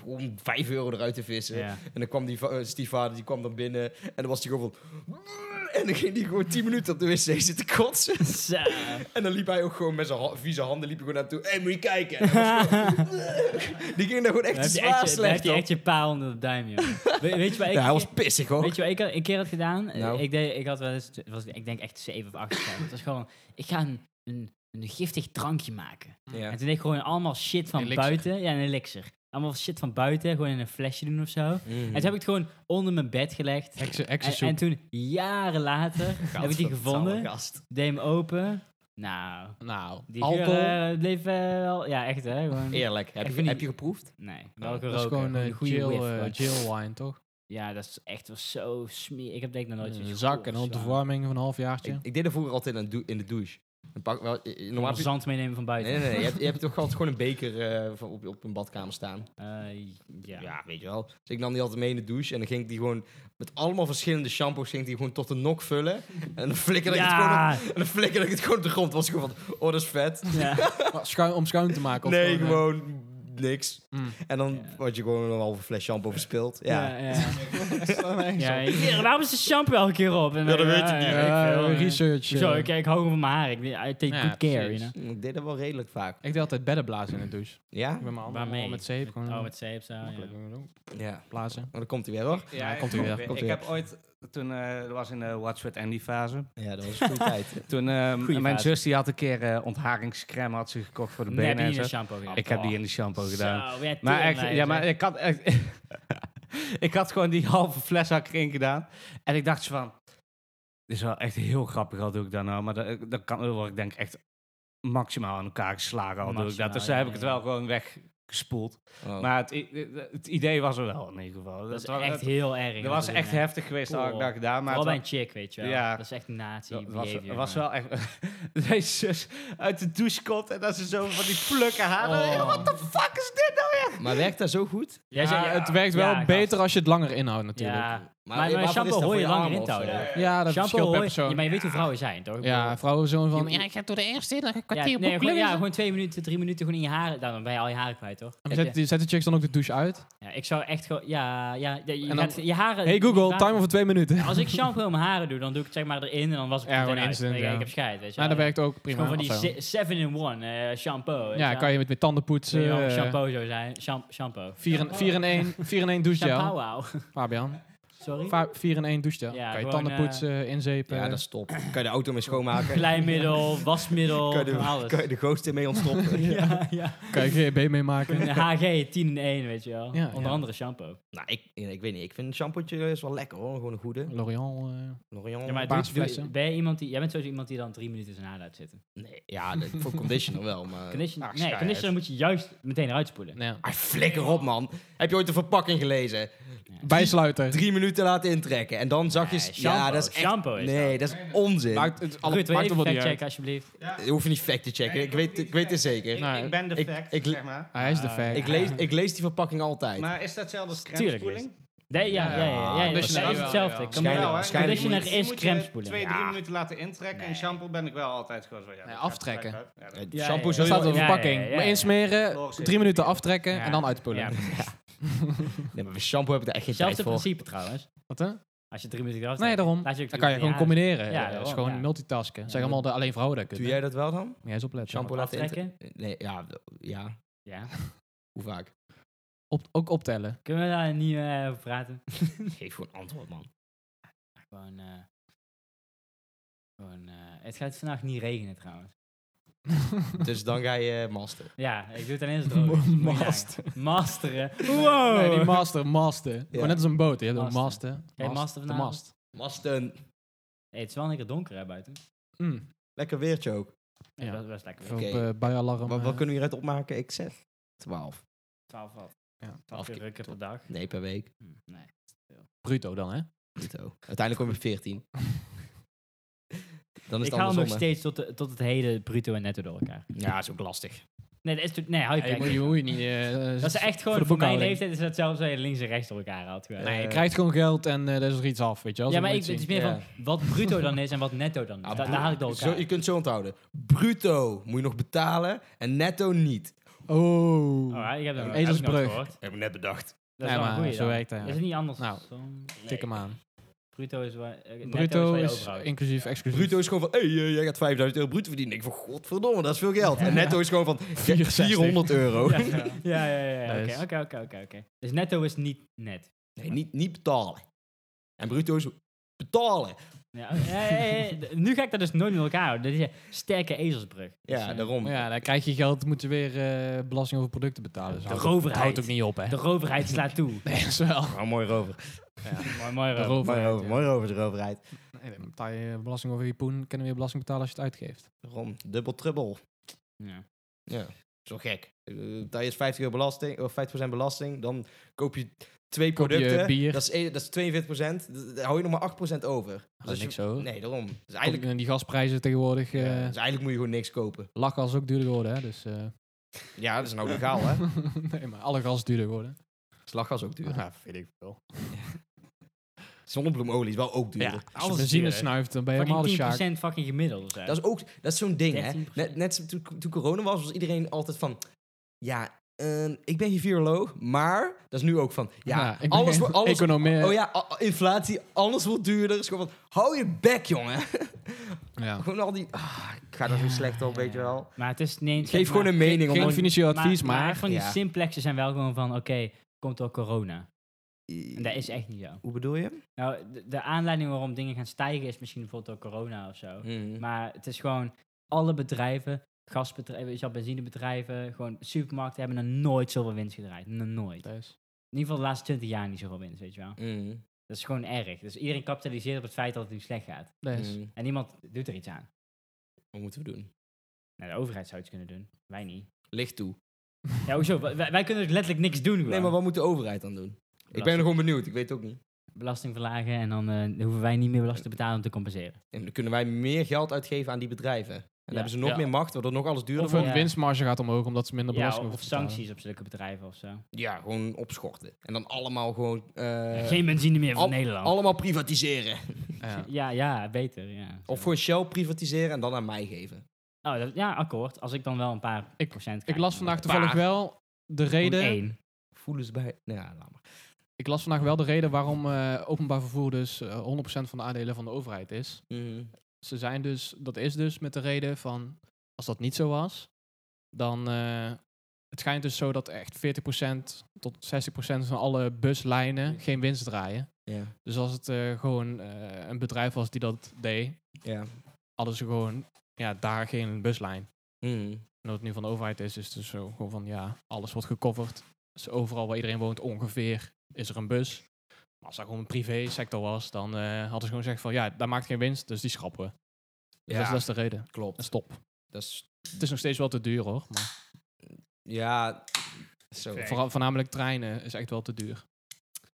B: om 5 euro eruit te vissen.
C: Ja.
B: En dan kwam die va- eh, stiefvader, die kwam dan binnen. En dan was hij gewoon van... En dan ging hij gewoon 10 minuten op de wc zitten kotsen.
C: Zo.
B: En dan liep hij ook gewoon met zijn ha- vieze handen liep hij gewoon naartoe. Hé, moet je kijken. En dan was gewoon- die ging daar
C: Dan
B: gewoon echt
C: heb je
B: zwaar
C: echt, je- dan heb
B: slecht
C: je
B: op.
C: echt je paal onder de duim, joh. We- weet je waar ik...
B: Ja, hij was pissig hoor.
C: Weet je wat ik een keer had gedaan? Eh,
B: Nou.
C: Ik, deed, ik had wel eens, het was, ik denk echt zeven of acht jaar. Het was gewoon, ik ga een, een, een giftig drankje maken.
B: Ja.
C: En toen deed ik gewoon allemaal shit van
D: Elixir.
C: buiten. Ja, een elixir. Allemaal shit van buiten, gewoon in een flesje doen of zo.
D: Hmm.
C: En toen heb ik het gewoon onder mijn bed gelegd.
D: Exe-
C: En,
D: Exensoep.
C: en toen, jaren later, heb ik die gevonden.
B: Gast.
C: Deed hem open. Nou,
D: Nou,
C: die geur
D: alcohol.
C: eh, bleef eh, wel... Ja, echt hè, gewoon...
B: Eerlijk, heb
C: Echt
B: je,
C: niet.
B: heb je geproefd?
C: Nee,
D: Nou,
C: welke
D: dat is
C: roken.
D: gewoon
C: Gewoon
D: eh,
C: een goede
D: Jill,
C: whiff,
D: eh,
C: gewoon.
D: Jill wine, toch?
C: Ja, dat is echt wel zo smerig. Ik heb denk ik nog nooit
D: Een
C: zoiets
D: zak
C: gehoord,
D: en dan op de
C: zwaar.
D: verwarming van een halfjaartje.
B: Ik, ik deed er vroeger altijd in, in de douche. Dan pak, wel, eh, normaal
C: Normaal
B: heb je-
C: zand meenemen van buiten.
B: Nee, nee, nee. Je hebt, je hebt toch altijd gewoon een beker eh, van op, op een badkamer staan.
C: Eh, ja.
B: Ja. weet je wel. Dus ik nam die altijd mee in de douche en dan ging ik die gewoon met allemaal verschillende shampoos ging ik die gewoon tot de nok vullen. En dan flikkerde ik, het gewoon
C: Ja.
B: op- en dan flikkerde ik het gewoon op de grond. Was gewoon van, oh dat is vet.
C: Ja.
D: Maar schuin- om schuin te maken. of
B: nee,
D: eh,
B: gewoon niks.
D: mm.
B: En dan
C: Ja.
B: had je gewoon een halve fles shampoo verspild. Ja.
C: Ja, ja. Ja, ik- waarom is de shampoo elke keer op? En
B: Ja, dat
C: dan-
B: weet ik niet.
D: Eh,
C: veel, eh.
D: research. eh.
C: Zo, ik, ik hou gewoon van mijn haar. Ik, I take
D: Ja,
C: good care,
D: precies.
C: you
B: Ik deed dat wel redelijk vaak.
D: Ik deed altijd beddenblazen in de douche. Ik
B: Ja?
D: ben mijn handen
C: Waarmee?
D: allemaal met zeep. Gewoon
C: know. Oh, met zeep zo, ja.
D: makkelijk, eh, doen.
B: Ja.
D: Blazen.
B: Maar dan komt hij weer hoor.
D: Ja, komt ie weer,
B: komt
E: ik
B: ie
E: heb ooit, toen eh, dat was in de Watch with Andy fase.
B: Ja, dat was een goede tijd.
E: Toen ehm,
C: Goeie
E: mijn
C: fase.
E: zus die had een keer eh, ontharingscrème had ze gekocht voor de
C: Nee, heb je
E: benen en
C: niet in
E: zo.
C: de shampoo gedaan? Oh.
E: Ik heb die in de shampoo gedaan.
C: Zo, ben jij
E: Maar echt,
C: teringleier,
E: ja, maar
C: zeg.
E: ik had echt, ik had gewoon die halve fles had ik erin gedaan en ik dacht zo van, dit is wel echt heel grappig al doe ik dat nou, maar dat, dat kan wel, ik denk echt maximaal aan elkaar geslagen al doe ik dat.
C: Maximaal,
E: Dus daar
C: ja,
E: heb ik het
C: ja.
E: wel gewoon weggespoeld.
B: Oh.
E: Maar het, i- het idee was er wel in ieder geval.
C: Dat is
E: Het was-
C: echt
E: het-
C: heel erg.
E: dat was echt heftig geweest al had ik
C: Cool.
E: dat gedaan, maar
C: Maar bij
E: het
C: een chick, weet je wel.
E: Ja.
C: Dat is echt nazi
E: wa- het was, het
C: behavior,
E: was
C: man.
E: wel echt... Deze zus uit de douche komt en dat ze zo van die plukken haren.
D: Oh.
E: What the fuck is dit nou weer?
B: Maar werkt dat zo goed?
C: Jij
D: Ja,
C: zei- ja,
D: het werkt wel
C: ja,
D: beter als je het langer inhoudt
C: gast. Ja.
D: natuurlijk. Ja,
C: Maar- maar
B: waarvoor
C: shampoo
B: eh, is dat
C: hoor
B: voor
C: je
B: armen
C: langer in
B: of
C: te
B: zo?
C: houden.
D: dat
C: Shampoo,
D: verschilt per
C: hoor je-
D: persoon.
C: ja, maar je weet hoe vrouwen zijn, toch? Ik bedoel-
D: Ja, vrouwen zo'n van... Ja,
F: Ja, ik ga door de eerste, dan ga ik
C: Ja,
F: kwartier
C: nee,
F: boekelen.
C: gewoon, ja, gewoon twee minuten, drie minuten gewoon in je haren. Dan ben je al je haren kwijt, toch?
D: maar zet, die- zet de chicks dan ook de douche uit?
C: Ja, ik zou echt gewoon... Ja, ja, ja, je,
D: En dan-
C: gaat- je haren...
D: Hey Google,
C: time
D: timer voor twee minuten.
C: Als ik shampoo in mijn haren doe, dan doe ik het zeg maar erin en dan was ik
D: Ja,
C: meteen
D: gewoon
C: uit.
D: instant,
C: Ik-
D: ja.
C: Ik heb scheid, weet je
D: Ja,
C: wel.
D: dat werkt ook
C: Het is
D: prima.
C: Gewoon
D: of
C: van
D: zo.
C: die 7-in-1 eh shampoo.
D: Ja, kan je met, met tanden poetsen. eh,
C: shampoo zo zijn. Champ- shampoo.
D: 4 in- 4 in 1 4 in 1 douchegel.
C: Shampoo,
D: Fabian.
C: Sorry?
D: 4 in 1 douchegel.
C: Ja,
D: kan je
C: gewoon, eh,
D: tanden poetsen, inzeepen.
B: Ja, dat is top. Kan je de auto mee schoonmaken?
C: Glijmiddel, wasmiddel,
B: Kan je de-
C: alles.
B: Kan je de gooster mee ontstoppen?
C: ja, ja.
D: Kan je GB meemaken.
C: Een HG 10 in 1, weet je wel.
D: Ja,
C: Onder
D: ja.
C: andere shampoo.
B: Nou, ik, ik weet niet. Ik vind een shampootje is wel lekker hoor. Gewoon een goede.
D: L'Oreal. eh,
B: L'Oreal.
C: Ja, maar
D: Paarse
C: doe- doe-
D: flessen.
C: ben je iemand die... Jij bent sowieso iemand die dan drie minuten zijn haar laat zitten.
B: Nee, ja, dat- voor conditioner wel, maar...
C: Condition,
B: Ach,
C: nee,
B: schijt.
C: conditioner moet je juist meteen eruit spoelen.
D: nee.
B: Ah, flikker op, man. Heb je ooit de verpakking gelezen?
D: Bijsluiter.
B: Drie minuten laten intrekken en dan zag je...
C: Nee, shampoo.
B: ja, dat is echt...
C: Shampoo is
B: nee, dat is onzin.
D: Maakt het alle-
C: Goed, wil je
D: maakt het
C: even
D: wel niet uit.
C: checken alsjeblieft?
B: Je hoeft niet fact te checken. Ik weet, ik weet het zeker.
D: Nou,
E: ik ben de
B: ik-
E: fact,
B: ik-
E: zeg maar.
D: Hij is de
C: Ah,
D: fact.
B: Ik lees, ik lees die verpakking altijd.
E: Maar is datzelfde als
C: Tuurlijk
E: crème spoeling?
C: Nee, ja, ja, ja. ja, ja,
D: Ja,
C: dat is
D: conditioner wel,
C: hetzelfde.
D: ja.
C: Kan wel,
B: Schijnlijk-
C: hè.
B: schijnlijk
C: Conditioner
A: moet-
C: is
A: moet Dus je
C: crème spoelen.
A: Twee, drie
E: Ja.
A: minuten laten intrekken.
C: Nee.
A: En shampoo ben ik wel altijd gewoon zo. Ja,
D: Nee,
A: dat
D: aftrekken.
A: gaat gelijk uit.
B: Eh,
A: Ja, dat-
C: Ja,
D: Shampoo
C: ja,
D: zo
C: ja.
D: staat op de
C: Ja,
D: verpakking.
C: ja, ja,
D: Maar
C: ja.
D: insmeren,
A: Logisch.
D: drie minuten aftrekken
E: Ja.
D: en dan uitpoelen.
E: Ja.
B: Nee, maar voor shampoo heb ik er echt geen
C: Hetzelfde
B: tijd voor.
C: principe trouwens.
D: Wat hè?
C: Als je drie minuten eraf
D: Nee,
C: trekt,
D: daarom.
C: laat je ook
D: Dan
C: drie
D: kan je gewoon
C: minuten
D: combineren.
C: Ja,
D: Ja, dat is
C: daarom,
D: gewoon
C: ja.
D: multitasken.
C: Ja,
D: Zeg allemaal de alleen vrouwen dat
B: Doe
D: kunnen.
B: jij dat wel dan?
D: Jij eens opletten.
B: Shampoo laten
C: aftrekken?
B: intrekken? Nee, ja, ja.
C: Ja.
B: Hoe vaak?
D: Op, ook optellen.
C: Kunnen we daar niet eh, over praten?
B: Geef gewoon antwoord, man.
C: Gewoon, eh, gewoon, eh, het gaat vandaag niet regenen trouwens.
B: dus dan ga je eh, masten.
C: Ja, ik doe het alleen als het droog is. Moet je
D: Master.
C: nagaan. Masteren. Wow.
D: Nee, die master, master. Gewoon net als een boot. Je hebt een
C: Masten.
D: master.
C: Hey, master
D: de
C: vanavond?
D: mast.
B: Masten.
C: Hey, het is wel lekker donker hè, buiten.
D: Mm.
B: Lekker weertje ook.
C: Ja.
D: Ja.
C: Dat was lekker.
D: Voor
B: Oké.
D: op, eh, buialarm.
B: Wat,
D: eh,
B: wat kunnen we hieruit opmaken? Ik zeg 12.
C: 12 watt.
D: ja.
C: 12
B: keer
C: keer rukken per dag.
B: Nee, per week.
C: Hm, Nee.
D: Bruto dan, hè?
B: Bruto. Uiteindelijk kom je op 14. dan is
C: Ik
B: het
C: haal
B: andersom.
C: nog
B: hè?
C: steeds tot, de- tot het hele bruto en netto door elkaar.
B: Ja, is ook lastig.
C: Nee, dat is natuurlijk... Nee, hou je
D: Hey,
C: kijk.
D: moet je, moet je niet... eh,
C: dat is echt gewoon...
D: de
C: Voor, mijn
D: boekhouding.
C: leeftijd is dat zelfs als je links en rechts door elkaar haalt. gewoon.
D: Nee, je
B: Eh,
D: krijgt gewoon geld en eh, er is er iets af, weet je wel.
C: Ja,
D: Zo
C: maar ik,
D: moet je
C: het
D: het
C: is
D: zien.
C: meer van wat bruto dan is en wat netto dan is.
B: Ah,
C: Da- daar haal ik door elkaar.
B: Zo, je kunt het zo onthouden. Bruto moet je nog betalen en netto niet.
D: Oh.
C: Alright, ik heb dat
D: Een
C: heb ik nooit
D: ezelsbrug.
C: gehoord.
B: Heb ik net bedacht.
C: Dat is
D: Nee,
C: wel een
D: maar
C: goeie
D: zo
C: dan.
D: werkt het
C: Is het niet anders?
D: Nou,
C: dan?
D: Tik hem aan.
C: Bruto is waar. eh, netto
D: Bruto
C: is, waar je
D: is
C: overhoudt.
D: inclusief, exclusief.
B: Bruto is gewoon van, hey, eh, jij gaat 5000 euro bruto verdienen. Ik van, godverdomme, dat is veel geld. En netto is gewoon van,
D: 64.
B: 400 euro.
C: Ja, ja, ja, ja.
D: Nice.
C: Oké, oké, oké, oké, oké. Dus netto is niet net.
B: Nee, niet, niet betalen. En bruto is betalen.
C: Ja, oké. Ja, ja, ja, ja. D- Nu ga ik dat dus nooit met elkaar houden. Dat is een sterke ezelsbrug. Dus,
B: Ja,
C: eh,
B: daarom.
D: Maar ja, dan krijg je geld, moet je weer eh, belasting over producten betalen. Dus
C: De
D: houdt-
C: overheid.
D: het houdt ook niet op, hè?
C: eh, De overheid slaat toe.
D: Nee, dat is wel.
B: Oh, mooi rover.
C: mooi, mooi, eh,
D: De
C: Rob.
B: Mooi
D: overheid,
B: rover,
D: ja.
B: mooi rover de overheid.
D: Nee, dan betaal je belasting over je poen. Kunnen weer belasting betalen als je het uitgeeft.
B: Daarom, dubbel trubbel.
C: Ja.
B: Ja, zo gek. Eh, Betaal je eens 50 euro belasting, of 50% belasting, dan koop je twee
D: Koop je
B: producten.
D: bier.
B: Dat is, één- dat is 42%. D- Daar hou je nog maar 8% over.
D: Dat is
B: je-
D: niks zo.
B: Nee, daarom. Dus
D: Eigenlijk,
B: eigenlijk,
D: die gasprijzen tegenwoordig. Oh. eh
B: dus eigenlijk moet je gewoon niks kopen.
D: Lachgas is ook duurder geworden, hè? Dus, eh,
B: Ja, dat is nou legaal, hè?
D: nee, maar alle gas is duurder geworden.
B: Slaggas ook duur.
D: Ja, vind ik veel.
B: Zonnebloemolie is wel ook duurder.
D: Ja, als je benzine snuift, dan ben je helemaal de
C: Fucking 10%
D: sjaak.
C: fucking gemiddeld. of zo.
B: Dat is ook dat is zo'n ding, hè?
C: 13%.
B: Net, net zo- toen, toen corona was, was iedereen altijd van... Ja, ehm, ik ben hier viroloog, maar... Dat is nu ook van... Ja,
D: Ja, ik ben
B: alles,
D: geen
B: wordt- alles,
D: economeer.
B: Oh ja, a- inflatie, alles wordt duurder. Is gewoon van, hou je bek, jongen.
D: Ja.
B: gewoon al die... ah, ik ga daar zo slecht op, weet je wel.
C: Maar het is... Nee,
B: Geef gewoon een mening.
D: Geen
B: omdat-
D: financieel advies, maar.
C: van die
B: ja.
C: simplexen zijn wel gewoon van... Oké, komt door corona. En e- dat is echt niet zo.
B: Hoe bedoel je?
C: Nou, de, de aanleiding waarom dingen gaan stijgen is misschien bijvoorbeeld door corona of zo.
B: Mhm.
C: Maar het is gewoon alle bedrijven, gasbedrijven, weet je wel, benzinebedrijven, gewoon supermarkten hebben er nooit zoveel winst gedraaid. Nog nooit. In
D: Thuis.
C: ieder geval de laatste 20 jaar niet zoveel winst, weet je wel.
B: Mhm.
C: Dat is gewoon erg. Dus iedereen kapitaliseert op het feit dat het nu slecht gaat.
D: Thuis.
B: Mhm.
C: En niemand doet er iets aan.
B: Wat moeten we doen?
C: Nou, de overheid zou iets kunnen doen. Wij niet.
B: Licht toe.
C: Ja, hoezo? Wij, wij kunnen dus letterlijk niks doen. Gewoon.
B: Nee, maar wat moet de overheid dan doen? Ik ben er
C: Belasting-
B: gewoon benieuwd. Ik weet het ook niet.
C: Belasting verlagen en dan eh, hoeven wij niet meer belasting te betalen om te compenseren.
B: En dan kunnen wij meer geld uitgeven aan die bedrijven. En dan hebben ze nog
C: Ja.
B: meer macht, waardoor nog alles duurder
D: Of
B: wordt.
D: hun
C: Ja.
D: winstmarge gaat omhoog omdat ze minder
C: Ja,
D: belasting
C: of
D: hoeven te betalen.
C: sancties op zulke bedrijven of zo.
B: Ja, gewoon opschorten. En dan allemaal gewoon... eh,
C: Geen benzine meer voor
B: al-
C: Nederland.
B: Allemaal privatiseren.
D: Ja.
C: Ja, ja, beter. Ja.
B: Of gewoon Shell privatiseren en dan aan mij geven.
C: Oh, dat- ja, akkoord. Als ik dan wel een paar
D: Ik-
C: procent
D: Ik
C: krijg,
D: las
C: dan-
D: vandaag toevallig
B: Paar.
D: wel de
C: Gewoon
D: reden.
C: één.
B: Voelen ze bij... Nou ja, laat maar.
D: Ik las vandaag wel de reden waarom eh, openbaar vervoer dus eh, 100% van de aandelen van de overheid is. Ze zijn dus, dat is dus met de reden van, als dat niet zo was, dan eh, het schijnt dus zo dat echt 40% tot 60% van alle buslijnen geen winst draaien.
B: Ja.
D: Dus als het eh, gewoon eh, een bedrijf was die dat deed,
B: Ja.
D: hadden ze gewoon ja, daar geen buslijn.
B: Mhm.
D: En dat het nu van de overheid is, is het dus zo gewoon van ja, alles wordt gecoverd. Dus overal waar iedereen woont ongeveer is er een bus. Maar als dat gewoon een privésector was, dan eh, hadden ze gewoon gezegd van ja, daar maakt geen winst, dus die schrappen we. Dus dat,
B: Ja,
D: is, dat is de reden.
B: klopt.
D: En stop.
B: Dat is...
D: Het is nog steeds wel te duur hoor. Maar
B: Ja... Zo.
E: Fair.
D: vooral, voornamelijk treinen is echt wel te duur.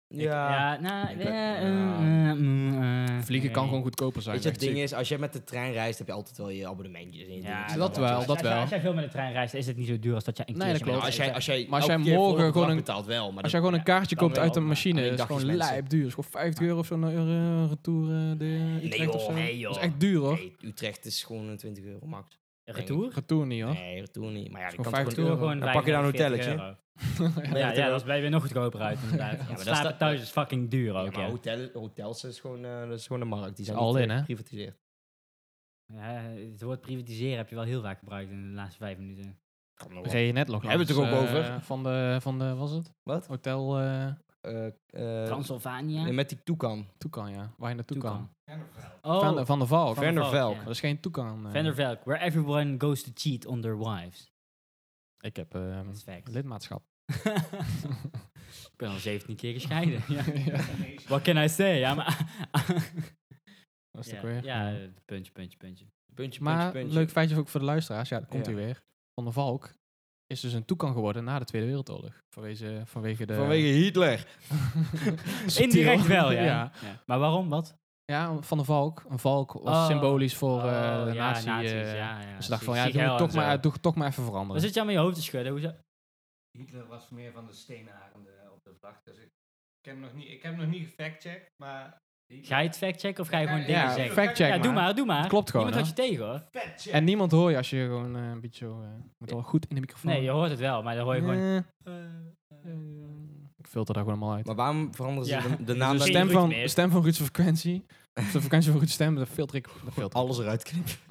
C: Ik- ja, nou,
B: Ik-
C: eh,
B: ja.
C: eh, eh, mm, eh,
D: Vliegen kan
C: nee.
D: gewoon goedkoper zijn.
B: Weet je, het
D: denk ik.
B: ding is, als je met de trein reist, heb je altijd wel je abonnementjes en je dingetjes.
D: dat wel,
C: Als-
D: dat
C: als jij-
D: wel.
C: Als jij veel met de trein reist, is het niet zo duur als dat je een
D: Nee,
C: keertje
D: dat klopt.
B: Als jij, als jij,
D: Maar als
B: elke
D: jij
B: keer voor
D: morgen
B: een
D: gewoon
B: bedrag
D: een-
B: betaalt wel, maar
D: Als
B: dat-
D: jij gewoon een kaartje
B: dan
D: koopt
B: wel,
D: uit een
B: maar
D: machine,
B: alleen
D: is gewoon
B: dagjes mensen.
D: lijp duur. Is gewoon 50 euro of zo naar eh, retour eh, de Utrecht
B: Nee, joh,
D: of zo.
B: nee,
D: Dat is
B: joh.
D: echt duur hoor.
B: Nee, Utrecht is gewoon een 20 euro max.
C: Retour?
D: Retour niet hoor.
B: Nee, retour niet. Maar ja,
D: Is
B: je
D: gewoon
B: kan
D: 50
B: toch gewoon...
C: Retour
D: euro.
C: gewoon
B: Dan pak je daar een
C: 45
B: hotelletje.
C: euro. Ja, ja, dat ben je weer nog goedkoper uit inderdaad. Want
B: maar dat is
C: slapen
B: dat-
C: thuis is fucking duur
B: Ja,
C: ook,
B: maar
C: ja.
B: hotel, hotels is gewoon, eh, dat is gewoon een markt. Die zijn
D: All
B: al
D: in, hè?
B: geprivatiseerd.
C: Ja, Het woord privatiseren heb je wel heel vaak gebruikt in de laatste vijf minuten.
B: Kan nog wel.
D: Reed je net nog
B: Hebben we het er
D: langs,
B: ook
D: eh,
B: over?
D: Van de, van de, was het?
B: Wat?
D: Hotel eh
B: Eh, eh,
C: Transylvania?
B: nee, met die toekan.
D: Toekan, ja. Waar je naartoe kan.
C: Toucan.
D: Van,
C: Oh,
D: de, van der Valk.
C: Van der Valk,
B: Vandervelk.
C: ja.
D: Dat is geen Toekan. eh.
C: Vandervelk, where everyone goes to cheat on their wives.
D: Ik heb eh,
C: Dat is fact.
D: lidmaatschap.
C: Ik ben al 17 keer gescheiden. ja.
D: Ja,
C: What can I say? Ja, maar...
D: Dat is
C: ja,
D: toch weer.
C: ja, puntje, puntje, puntje.
B: Puntje,
D: Maar
B: puntje, puntje.
D: leuk feitje ook voor de luisteraars. Ja, dat komt
B: Ja.
D: hij weer. Van der Valk is dus een Toekan geworden na de Tweede Wereldoorlog. Vanwege, vanwege de...
B: Vanwege Hitler.
D: Subtiel.
C: Indirect wel, ja.
D: ja.
C: Ja. Maar waarom, wat?
D: Ja, Van der Valk. Een valk was
C: Oh.
D: symbolisch voor eh
C: Oh,
D: de
C: ja,
D: nazi.
C: nazi's,
D: eh,
C: ja, ja.
D: Dus ze dacht van,
C: Zie-
D: ja,
C: zie
D: doe
C: ik
D: het
C: heel
D: toch maar,
C: erg
D: doe het toch maar even
C: zo.
D: veranderen.
C: Dan zit je aan met je hoofd te schudden. Hoezo?
E: Hitler was meer van de steenarende op de vlag. Dus ik, ik heb hem nog niet, ik heb hem nog niet gefactcheckt, maar...
C: Ga je het factchecken of ga je gewoon dingen
D: ja,
C: zeggen?
D: fact check
C: ja, doe maar, doe maar.
D: Klopt gewoon,
C: Niemand had je tegen, hoor.
E: Factcheck!
D: En niemand hoor je als je gewoon eh, een beetje zo... eh, moet wel goed in de microfoon.
C: Nee, je hoort het wel, maar dan hoor je gewoon...
D: Eh,
C: eh,
D: ik filter daar gewoon allemaal uit.
B: Maar waarom veranderen ze
C: Ja.
B: de, de
C: Dus
B: naam?
C: een
D: De
B: dan-
C: geen
D: stem
C: Ruud
D: van,
C: meer.
D: stem van Ruud's frequentie. Of de frequentie van Ruud's stem, dat filter ik. Dat filter ik.
B: Alles eruit knippen.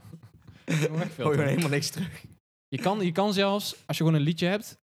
D: Gewoon
B: Gooi
D: wegfilteren.
B: gewoon helemaal niks terug.
D: Je kan, je kan zelfs, als je gewoon een liedje hebt,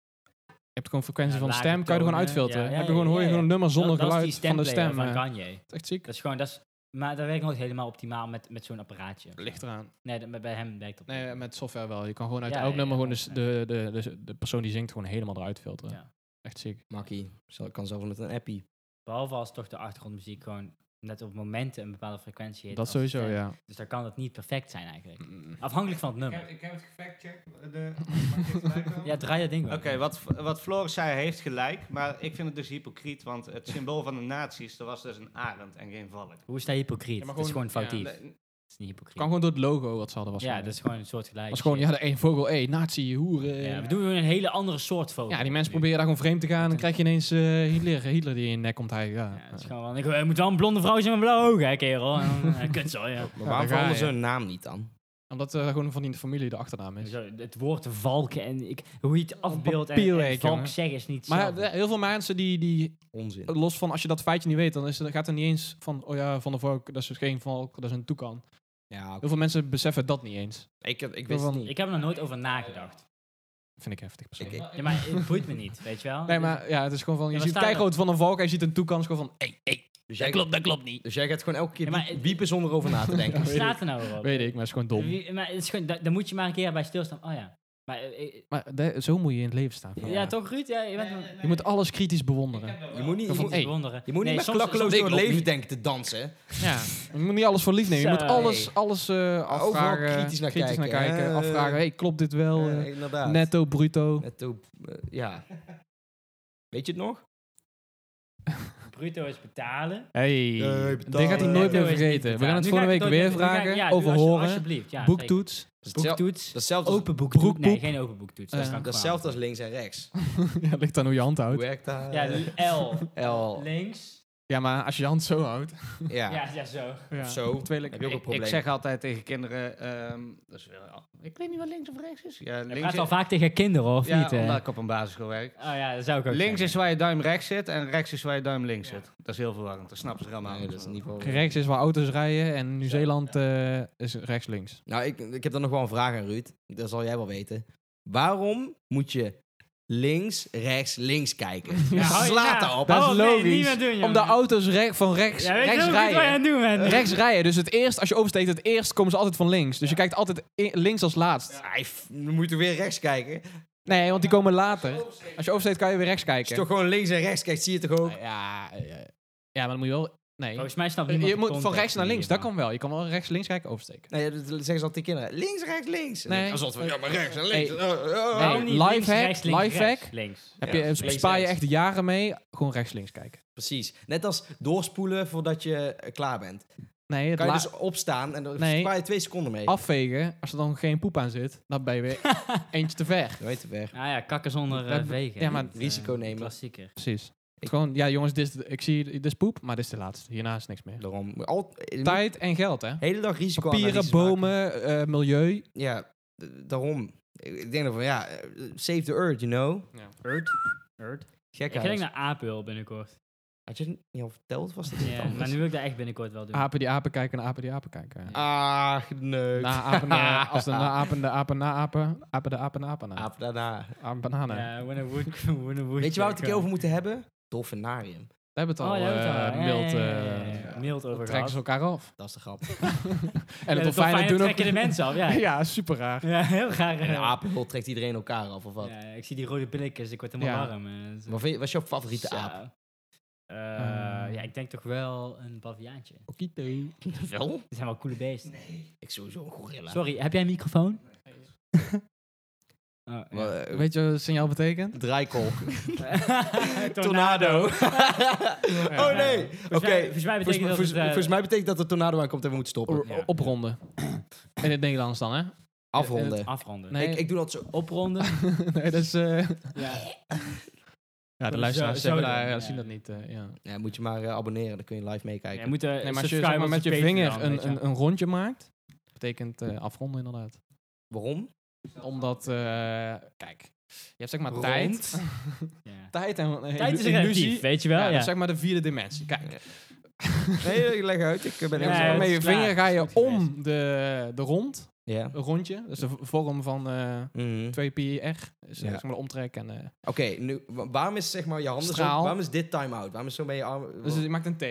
D: je hebt gewoon frequentie
C: Ja,
D: van de
C: lage
D: stem, kan je er gewoon
C: tonen,
D: uitfilteren.
C: ja, ja,
D: heb je gewoon,
C: ja,
D: hoor je
C: ja,
D: gewoon een nummer zonder
C: dat, dat
D: geluid
C: is die
D: van de
C: stemplayer
D: stem. eh.
C: van Kanye.
D: Dat is echt ziek.
C: Dat is gewoon, dat is, maar dat werkt nooit helemaal optimaal met, met zo'n apparaatje.
D: Ligt eraan.
C: Nee, dat- bij hem werkt dat
D: Nee, eh,
C: niet.
D: met software wel. Je kan gewoon uit
C: Ja,
D: elk
C: ja,
D: nummer
C: ja,
D: gewoon de, s- de, de, de, de persoon die zingt gewoon helemaal eruit filteren.
C: Ja.
D: Echt ziek.
B: Makkie. Zal- kan zelfs met een appie.
C: Behalve als toch de achtergrondmuziek gewoon net op momenten een bepaalde frequentie heeft.
D: Dat
C: als
D: sowieso,
C: stem.
D: ja. Mm.
C: Dus dan kan het niet perfect zijn eigenlijk. Afhankelijk van het
E: Ik heb,
C: nummer.
E: ik heb het gefactcheckt. eh, de- mag ik het gelijk wel?
C: Ja, draai dat ding
A: Oké,
C: wel.
A: wat, wat Floris zei heeft gelijk, maar ik vind het dus hypocriet, want het symbool van de nazi's, dat was dus een arend en geen valk.
C: Hoe is dat hypocriet?
D: Ja, maar
C: dat is
D: gewoon-
C: gewoon
D: ja,
C: foutief.
D: nee,
C: dat is niet hypocriet.
D: Kan gewoon door het logo wat ze hadden was.
C: ja, dat is gewoon een soort gelijk.
D: was gewoon, ja, de één vogel, hé, nazi, hoeren.
C: Ja, we
D: Ja,
C: doen een hele andere soort foto.
D: die mensen proberen daar gewoon vreemd te gaan. Dan krijg je ineens eh, Hitler, Hitler die in je nek komt. Hij, ja.
C: Ja, het is gewoon, van, ik eh, moet wel een blonde vrouw zijn met blauwe ogen, hè, kerel. En dan, eh, Kut zo, ja.
B: Maar
D: daar ga
B: waarom veranderen ze
D: je.
B: hun naam niet dan?
D: Omdat eh, gewoon van die familie de achternaam is.
C: Zo, Het woord valken en ik, hoe je het afbeeldt en,
D: papierwerk,
C: en valk
D: jongen.
C: zeggen is niet
D: Maar
C: hetzelfde.
D: eh, heel veel mensen die, die,
B: Onzin.
D: los van als je dat feitje niet weet, dan is, het- gaat er niet eens van, oh ja, van de valk, dat is geen valk, dat is een toekan.
B: Ja,
D: Heel veel mensen beseffen dat niet eens.
B: ik, ik, ik wist het
D: Van-
B: niet.
C: Ik heb er nog nooit over nagedacht.
D: Vind ik heftig persoonlijk.
B: Ik-
C: Ja, maar het boeit me niet, weet je wel?
D: Nee, maar ja, het is gewoon van, je
C: Ja, maar
D: ziet
C: staan er-
D: keigroot van een valk en je ziet een toekan, is gewoon van, hey, hey, dat
B: Dus jij,
D: klopt, dat klopt niet.
B: dus jij gaat gewoon elke keer
C: Ja, maar-
B: diep- diepen zonder over na te denken.
C: Wat staat er nou weer op?
D: eh, Weet ik, maar het is gewoon dom.
C: Wie- Maar het is gewoon, da- daar moet je maar een keer bij stilstaan. Oh ja. Maar, eh, eh,
D: Maar de- zo moet je in het leven staan.
C: ja.
D: van.
C: toch Ruud? Ja, je bent een-
D: Je moet alles kritisch bewonderen.
B: Je moet niet, je
D: Van,
B: moet,
D: hey,
C: bewonderen.
B: je moet niet
C: Nee,
B: met
C: soms-
B: klakkeloos
C: soms-
B: door het leven denken te dansen. hè.
D: Ja. Je moet niet alles voor lief nemen. Je moet
C: Zo.
D: alles, alles eh, afvragen.
B: kritisch naar kijken. Eh,
D: afvragen, hey, klopt dit wel?
B: Eh,
D: eh,
B: inderdaad.
D: netto, bruto.
B: Netto, eh, ja. Weet je het nog?
C: Bruto is betalen.
D: Hey,
B: Eh,
D: dit gaat hij nooit
C: Netto
D: meer
C: is niet
D: vergeten. We
C: betalen.
D: gaan het
C: Nu
D: volgende
C: ik
D: week
C: nooit
D: weer
C: meer- nu ga ik-
D: vragen,
C: ja, doe
D: over
C: alsje-
D: horen,
C: Alsjeblieft, ja.
D: boektoets.
B: Dat is
C: zeker.
B: hetzelfde-
C: Boektoets.
B: Datzelfde als-
C: Open boektoets. Nee,
D: broekpoep.
C: geen open boektoets. Dat is
D: Eh,
C: dan
B: datzelfde als
C: kwalijk.
B: links en rechts.
D: ja, ligt aan hoe je hand
B: Hoe
D: houdt.
B: werkt dat? Eh,
C: Ja, de L.
B: L.
C: Links.
D: Ja, maar als je je hand zo houdt.
B: Ja.
C: Ja, ja, zo.
D: Ja.
B: Zo.
D: Twee link-
B: Heb je ook een
E: Ik,
B: probleem?
E: ik zeg altijd tegen kinderen, ehm, dat is weer al- ik weet niet wat links of rechts is. Ja,
C: Je
E: links
C: praat al vaak tegen kinderen, of
E: ja,
C: niet? eh?
E: omdat ik op een basisschool werk.
C: Oh ja, dat zou ik ook
E: Links is
C: zeggen.
E: waar je duim rechts zit en rechts is waar je duim links zit. Dat is heel verwarrend, dat snappen ze er allemaal
B: Nee, dat
E: niet
B: is
E: van.
B: niet voor.
D: Rechts is waar auto's rijden en Nieuw-Zeeland eh, is rechts-links.
B: Nou, ik, ik heb dan nog wel een vraag aan Ruud. Dat zal jij wel weten. Waarom moet je links, rechts, links kijken?
C: hou je
B: slaat
C: na.
B: daarop.
D: Dat is
C: Oh, nee,
D: logisch.
C: niet meer doen, jongen.
D: Om de auto's re- van rechts,
C: Ja, weet je
D: rechts
C: ook niet wat je aan
D: rijden.
C: het doen bent?
D: Rechts rijden. Dus het eerst, als je oversteekt, het eerst komen ze altijd van links. Dus je kijkt altijd i- links als laatst.
B: Hij f- Dan moet je weer rechts kijken. Als
D: Nee, want die komen later. Als je oversteekt, kan je weer rechts
B: je
D: kijken.
B: toch gewoon links en rechts kijkt, zie je het toch ook?
D: Ja, ja, ja, maar dan moet je wel Nee.
B: Oh,
C: Volgens mij snapt
D: Eh,
C: niemand
D: Je
C: de
D: moet van
C: context
D: rechts naar
C: hier
D: links, dat
C: van.
D: kan wel. Je kan wel rechts links kijken oversteken.
B: Nee, dat zeggen ze altijd kinderen. Links, rechts, links.
D: Nee.
B: Dan zat van, ja, maar rechts en
D: Hey.
B: links. eh, eh, eh.
D: Nee.
C: Waarom niet
D: Lifehack,
C: links, rechts, links,
D: lifehack.
C: rechts, links.
D: Heb
B: Ja,
D: je,
B: links,
D: spaar je
B: rechts.
D: echt jaren mee, gewoon rechts links kijken.
B: Precies. Net als doorspoelen voordat je eh, klaar bent.
D: Nee, het
B: Kan je
D: la-
B: dus opstaan en dan
D: Nee.
B: spaar je twee seconden mee.
D: afvegen, als er dan geen poep aan zit, dan ben je weer eentje te ver.
B: Je weet het weg.
C: Nou ja, kakken zonder eh,
D: Dat-
C: wegen.
D: ja, maar
C: Dat, eh,
B: risico nemen.
C: Klassieker.
D: Precies. Gewoon, ja jongens, dit is, de- ik zie, dit is poep, maar dit is de laatste. Hierna is niks meer.
B: Daarom. Al, eh,
D: Tijd en geld, hè?
B: hele dag risico
D: Papieren, bomen, eh, milieu.
B: Ja, eh, daarom. Ik denk dan van, ja, eh, save the earth, you know.
C: Earth. Earth.
B: Gek
C: Ik ga denk naar Apel binnenkort.
B: Had je het niet al verteld? Was dat
C: Ja, maar nu wil ik dat echt binnenkort wel doen.
D: Apen die apen kijken en apen die apen kijken.
B: Ah, nee.
D: Na apen, eh, als de na apen de apen na apen, apen de apen na apen na.
B: Aap daarna.
D: Apen bananen.
B: eh,
C: Ja, when a wood, when a wood
B: Weet je waar we het een keer
C: come.
B: over moeten hebben? Dolfinarium.
D: Daar hebben we
C: Oh,
D: het al
C: daar hebben we het
D: eh,
C: al. Ja,
D: mild...
C: ja, ja, ja,
D: eh,
C: ja, ja. Mild over
D: Trekken ze
C: gehad.
D: elkaar af.
B: Dat is de grap.
D: En
C: Ja,
D: het
C: de
D: dolfijnen doen ook...
C: trekken de mensen af, ja. ja.
D: Ja, super raar.
C: heel raar.
B: En
C: eh,
B: een apenhul trekt iedereen elkaar af, of wat?
C: ja, ik zie die rode blikjes, ik word helemaal
D: Ja.
C: warm. eh, zo.
B: Wat vind je- wat is jouw favoriete
C: Zo.
B: aap?
C: Eh,
D: Ehm.
C: Ja, ik denk toch wel een baviaantje.
D: Okito.
B: Wel?
C: Dit zijn wel coole beesten.
B: Ik sowieso een gorilla.
C: Sorry, heb jij een microfoon? Oh, ja.
B: Wel, eh,
D: Weet je wat het signaal betekent?
B: draaikolk.
C: Tornado.
B: oh nee.
C: Volgens
B: Oké.
C: mij- volgens mij
B: Volgens,
C: betekent dat
B: volgens-
C: het, eh, Oh,
B: volgens mij betekent dat de tornado aankomt en we moeten stoppen.
D: O- Opronden. In het Nederlands dan, hè?
C: eh,
B: Afronden.
C: afronden.
D: Nee.
B: Ik, ik doe dat zo.
C: Opronden.
D: nee, dat is... eh,
C: ja.
D: ja, de
C: Zo-
D: luisteraars
C: zo
D: hebben
C: doen,
D: daar,
C: ja.
D: zien dat niet. eh, ja.
B: Ja, moet je maar eh, abonneren, dan kun je live meekijken.
C: Je moet, eh,
D: Nee, maar als je
C: subscribe
D: zeg maar,
C: op
D: met je
C: Patreon,
D: vinger
C: weet
D: een,
C: je.
D: een, een rondje maakt, betekent eh, afronden inderdaad.
B: Waarom?
D: Omdat, eh, kijk, je hebt zeg maar tijd.
C: Ja.
D: Tijd en eh,
C: Tijd is
D: illu-
C: relatief, weet je wel?
D: Ja,
C: Ja,
D: dat is zeg maar de vierde dimensie. Kijk,
B: Nee, leg uit. Ik eh, ben
C: Ja,
D: zeg maar
C: het
D: met
C: is
D: je
C: klaar.
D: vinger ga
C: Het is
D: je
C: goed
D: om de, de rond,
B: Ja.
D: een rondje. Dat is de v- vorm van eh
B: Mhm.
D: 2πr. Dus
B: Ja.
D: eh, zeg maar de omtrek en... eh,
B: Oké, nu, wa- waarom is zeg maar je handen zo,
D: Straal.
B: waarom is dit time-out? Waarom is zo met je arm...
D: dus je maakt een T.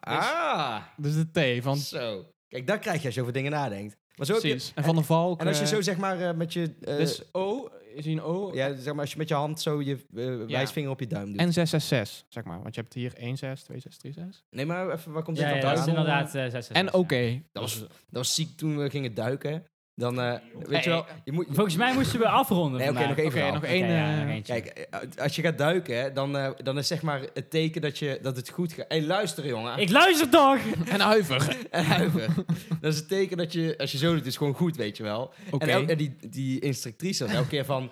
B: ah,
D: Dus de T van
B: zo. Kijk, dat krijg je als je over dingen nadenkt. Maar zo heb je-
D: precies. En van de valk.
B: en als je
D: eh,
B: zo zeg maar eh, met je... eh,
D: dus O is hier een O.
B: ja, zeg maar als je met je hand zo je eh, wijsvinger op je duim doet.
D: En 666, zeg maar. Want je hebt hier 1, 6, 2, 6, 3, 6.
B: nee, maar even, waar komt
C: Ja,
B: dit
C: ja,
B: dan
C: dat is
B: vandaan?
C: inderdaad... eh, zes- zes-
D: En
C: zes,
D: oké.
C: ja.
B: Dat was, dat was ziek toen we gingen duiken. Dan, eh, weet
D: Hey.
B: je wel, je moet...
C: Volgens mij moesten we afronden
B: Nee, oké,
C: vandaag.
B: nog één verhaal.
D: nog één,
C: Oké, ja,
D: eh,
C: nog eentje.
B: Kijk, eh, als je gaat duiken, hè, dan, eh, dan is zeg maar het teken dat, je, dat het goed gaat. Hé, hey, luister jongen.
C: Ik luister toch!
D: En huiver.
B: En huiver. dat is het teken dat je, als je zo doet, is gewoon goed, weet je wel.
D: Oké.
B: En, elke- en die, die instructrice was elke keer van...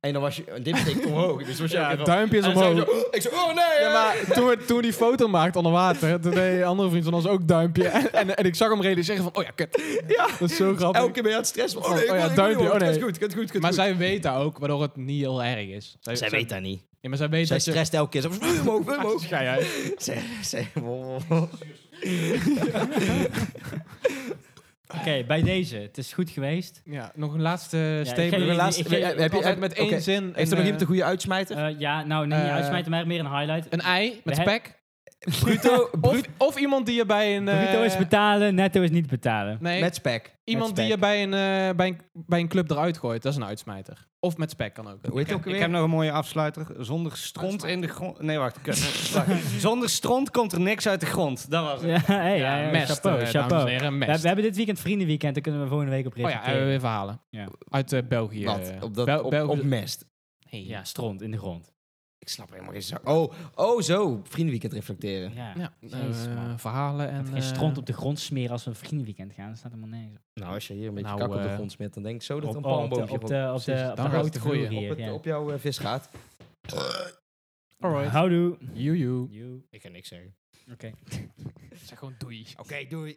B: En dan was je... en Dit betekent omhoog. Dus was je elke
D: Ja,
B: keer
D: duimpjes
B: van- en dan zei
D: omhoog.
B: ze, "Oh," ik zei, oh nee!
D: Ja, maar toen, we- toen die foto maakte onder water, toen deed een andere vriend van ons ook duimpje. En, en, en ik zag hem reden zeggen van, oh ja, kut.
B: Ja.
D: Dat is zo grappig.
B: Elke keer ben je aan het stressen. van, Oh nee, ik
D: Oh ja,
B: wil- ik wil
D: duimpje,
B: niet
D: oh
B: omhoog.
D: nee.
B: Het gaat goed, het gaat goed, het gaat
D: maar
B: goed.
D: zij weet dat ook, waardoor het niet heel erg is. Zij, zij-
B: dat niet.
D: Ja, maar zij weet
B: Zij
D: dat je... Ah,
B: stresst elke keer. Ze was, wil je omhoog, wil je omhoog.
D: Ga jij.
B: Zij, zij, wow, wow.
C: Oké, bij deze. Het is goed geweest.
D: Ja, nog een laatste
C: ik
D: statement.
C: ga jullie-
B: laatste-
C: ik ga jullie-
B: heb je-
D: Altijd met één
B: Oké.
D: zin.
B: Heeft er nog iemand een goede uitsmijter?
C: eh, ja, nou, nee,
D: Eh,
C: uitsmijten, maar meer een highlight.
D: een ei met
C: We heb-
D: spek?
B: Bruto,
D: Of, of iemand die je bij een... eh,
C: Bruto is betalen, netto is niet betalen.
D: Nee,
B: met spek.
D: iemand die je bij een, eh, bij, een, bij een club eruit gooit. Dat is een uitsmijter. Of met spek kan ook.
B: Hoe heet het ook
E: Ik
B: weer?
E: heb nog een mooie afsluiter. Zonder stront in de grond. Nee, wacht. Kut. Wacht. Zonder stront komt er niks uit de grond. Dat was het.
C: Ja, hey, ja, ja,
D: mest,
C: chapeau,
D: eh,
C: chapeau.
D: dames en heren,
C: We,
D: mest.
C: we hebben dit weekend vriendenweekend, daar kunnen we volgende week op
D: Oh ja,
C: reflecteren.
D: hebben we weer verhalen.
C: eh, Ja.
D: Uit eh, België.
B: Wat? Op, dat,
D: Bel-
B: op,
D: België-
B: op mest.
D: Hey.
C: Ja, stront in de grond.
B: Ik snap er helemaal geen zak. Oh, oh zo. Vriendenweekend reflecteren.
C: Ja.
D: Ja,
C: Jezus,
D: eh,
C: man.
D: verhalen en... eh,
C: Laten we geen stront op de grond smeren als we een vriendenweekend gaan. Dat staat helemaal nergens op.
B: Nou, als je hier een beetje
D: Nou,
B: kak op de
D: eh,
B: grond smeert, dan denk ik zo dat er
C: Op,
B: een
C: op, de,
B: palmboomje
C: op,
B: op,
C: de, op, de,
D: Precies, dan
C: op de
D: gaat het
C: houten groeien
D: groeien.
B: op,
C: hier. Ja.
B: het, op jouw eh, vis gaat.
D: Alright.
C: Houdoe.
D: Joejoe.
C: You.
B: Ik ga niks zeggen.
D: Zeg gewoon doei.
B: Oké, doei.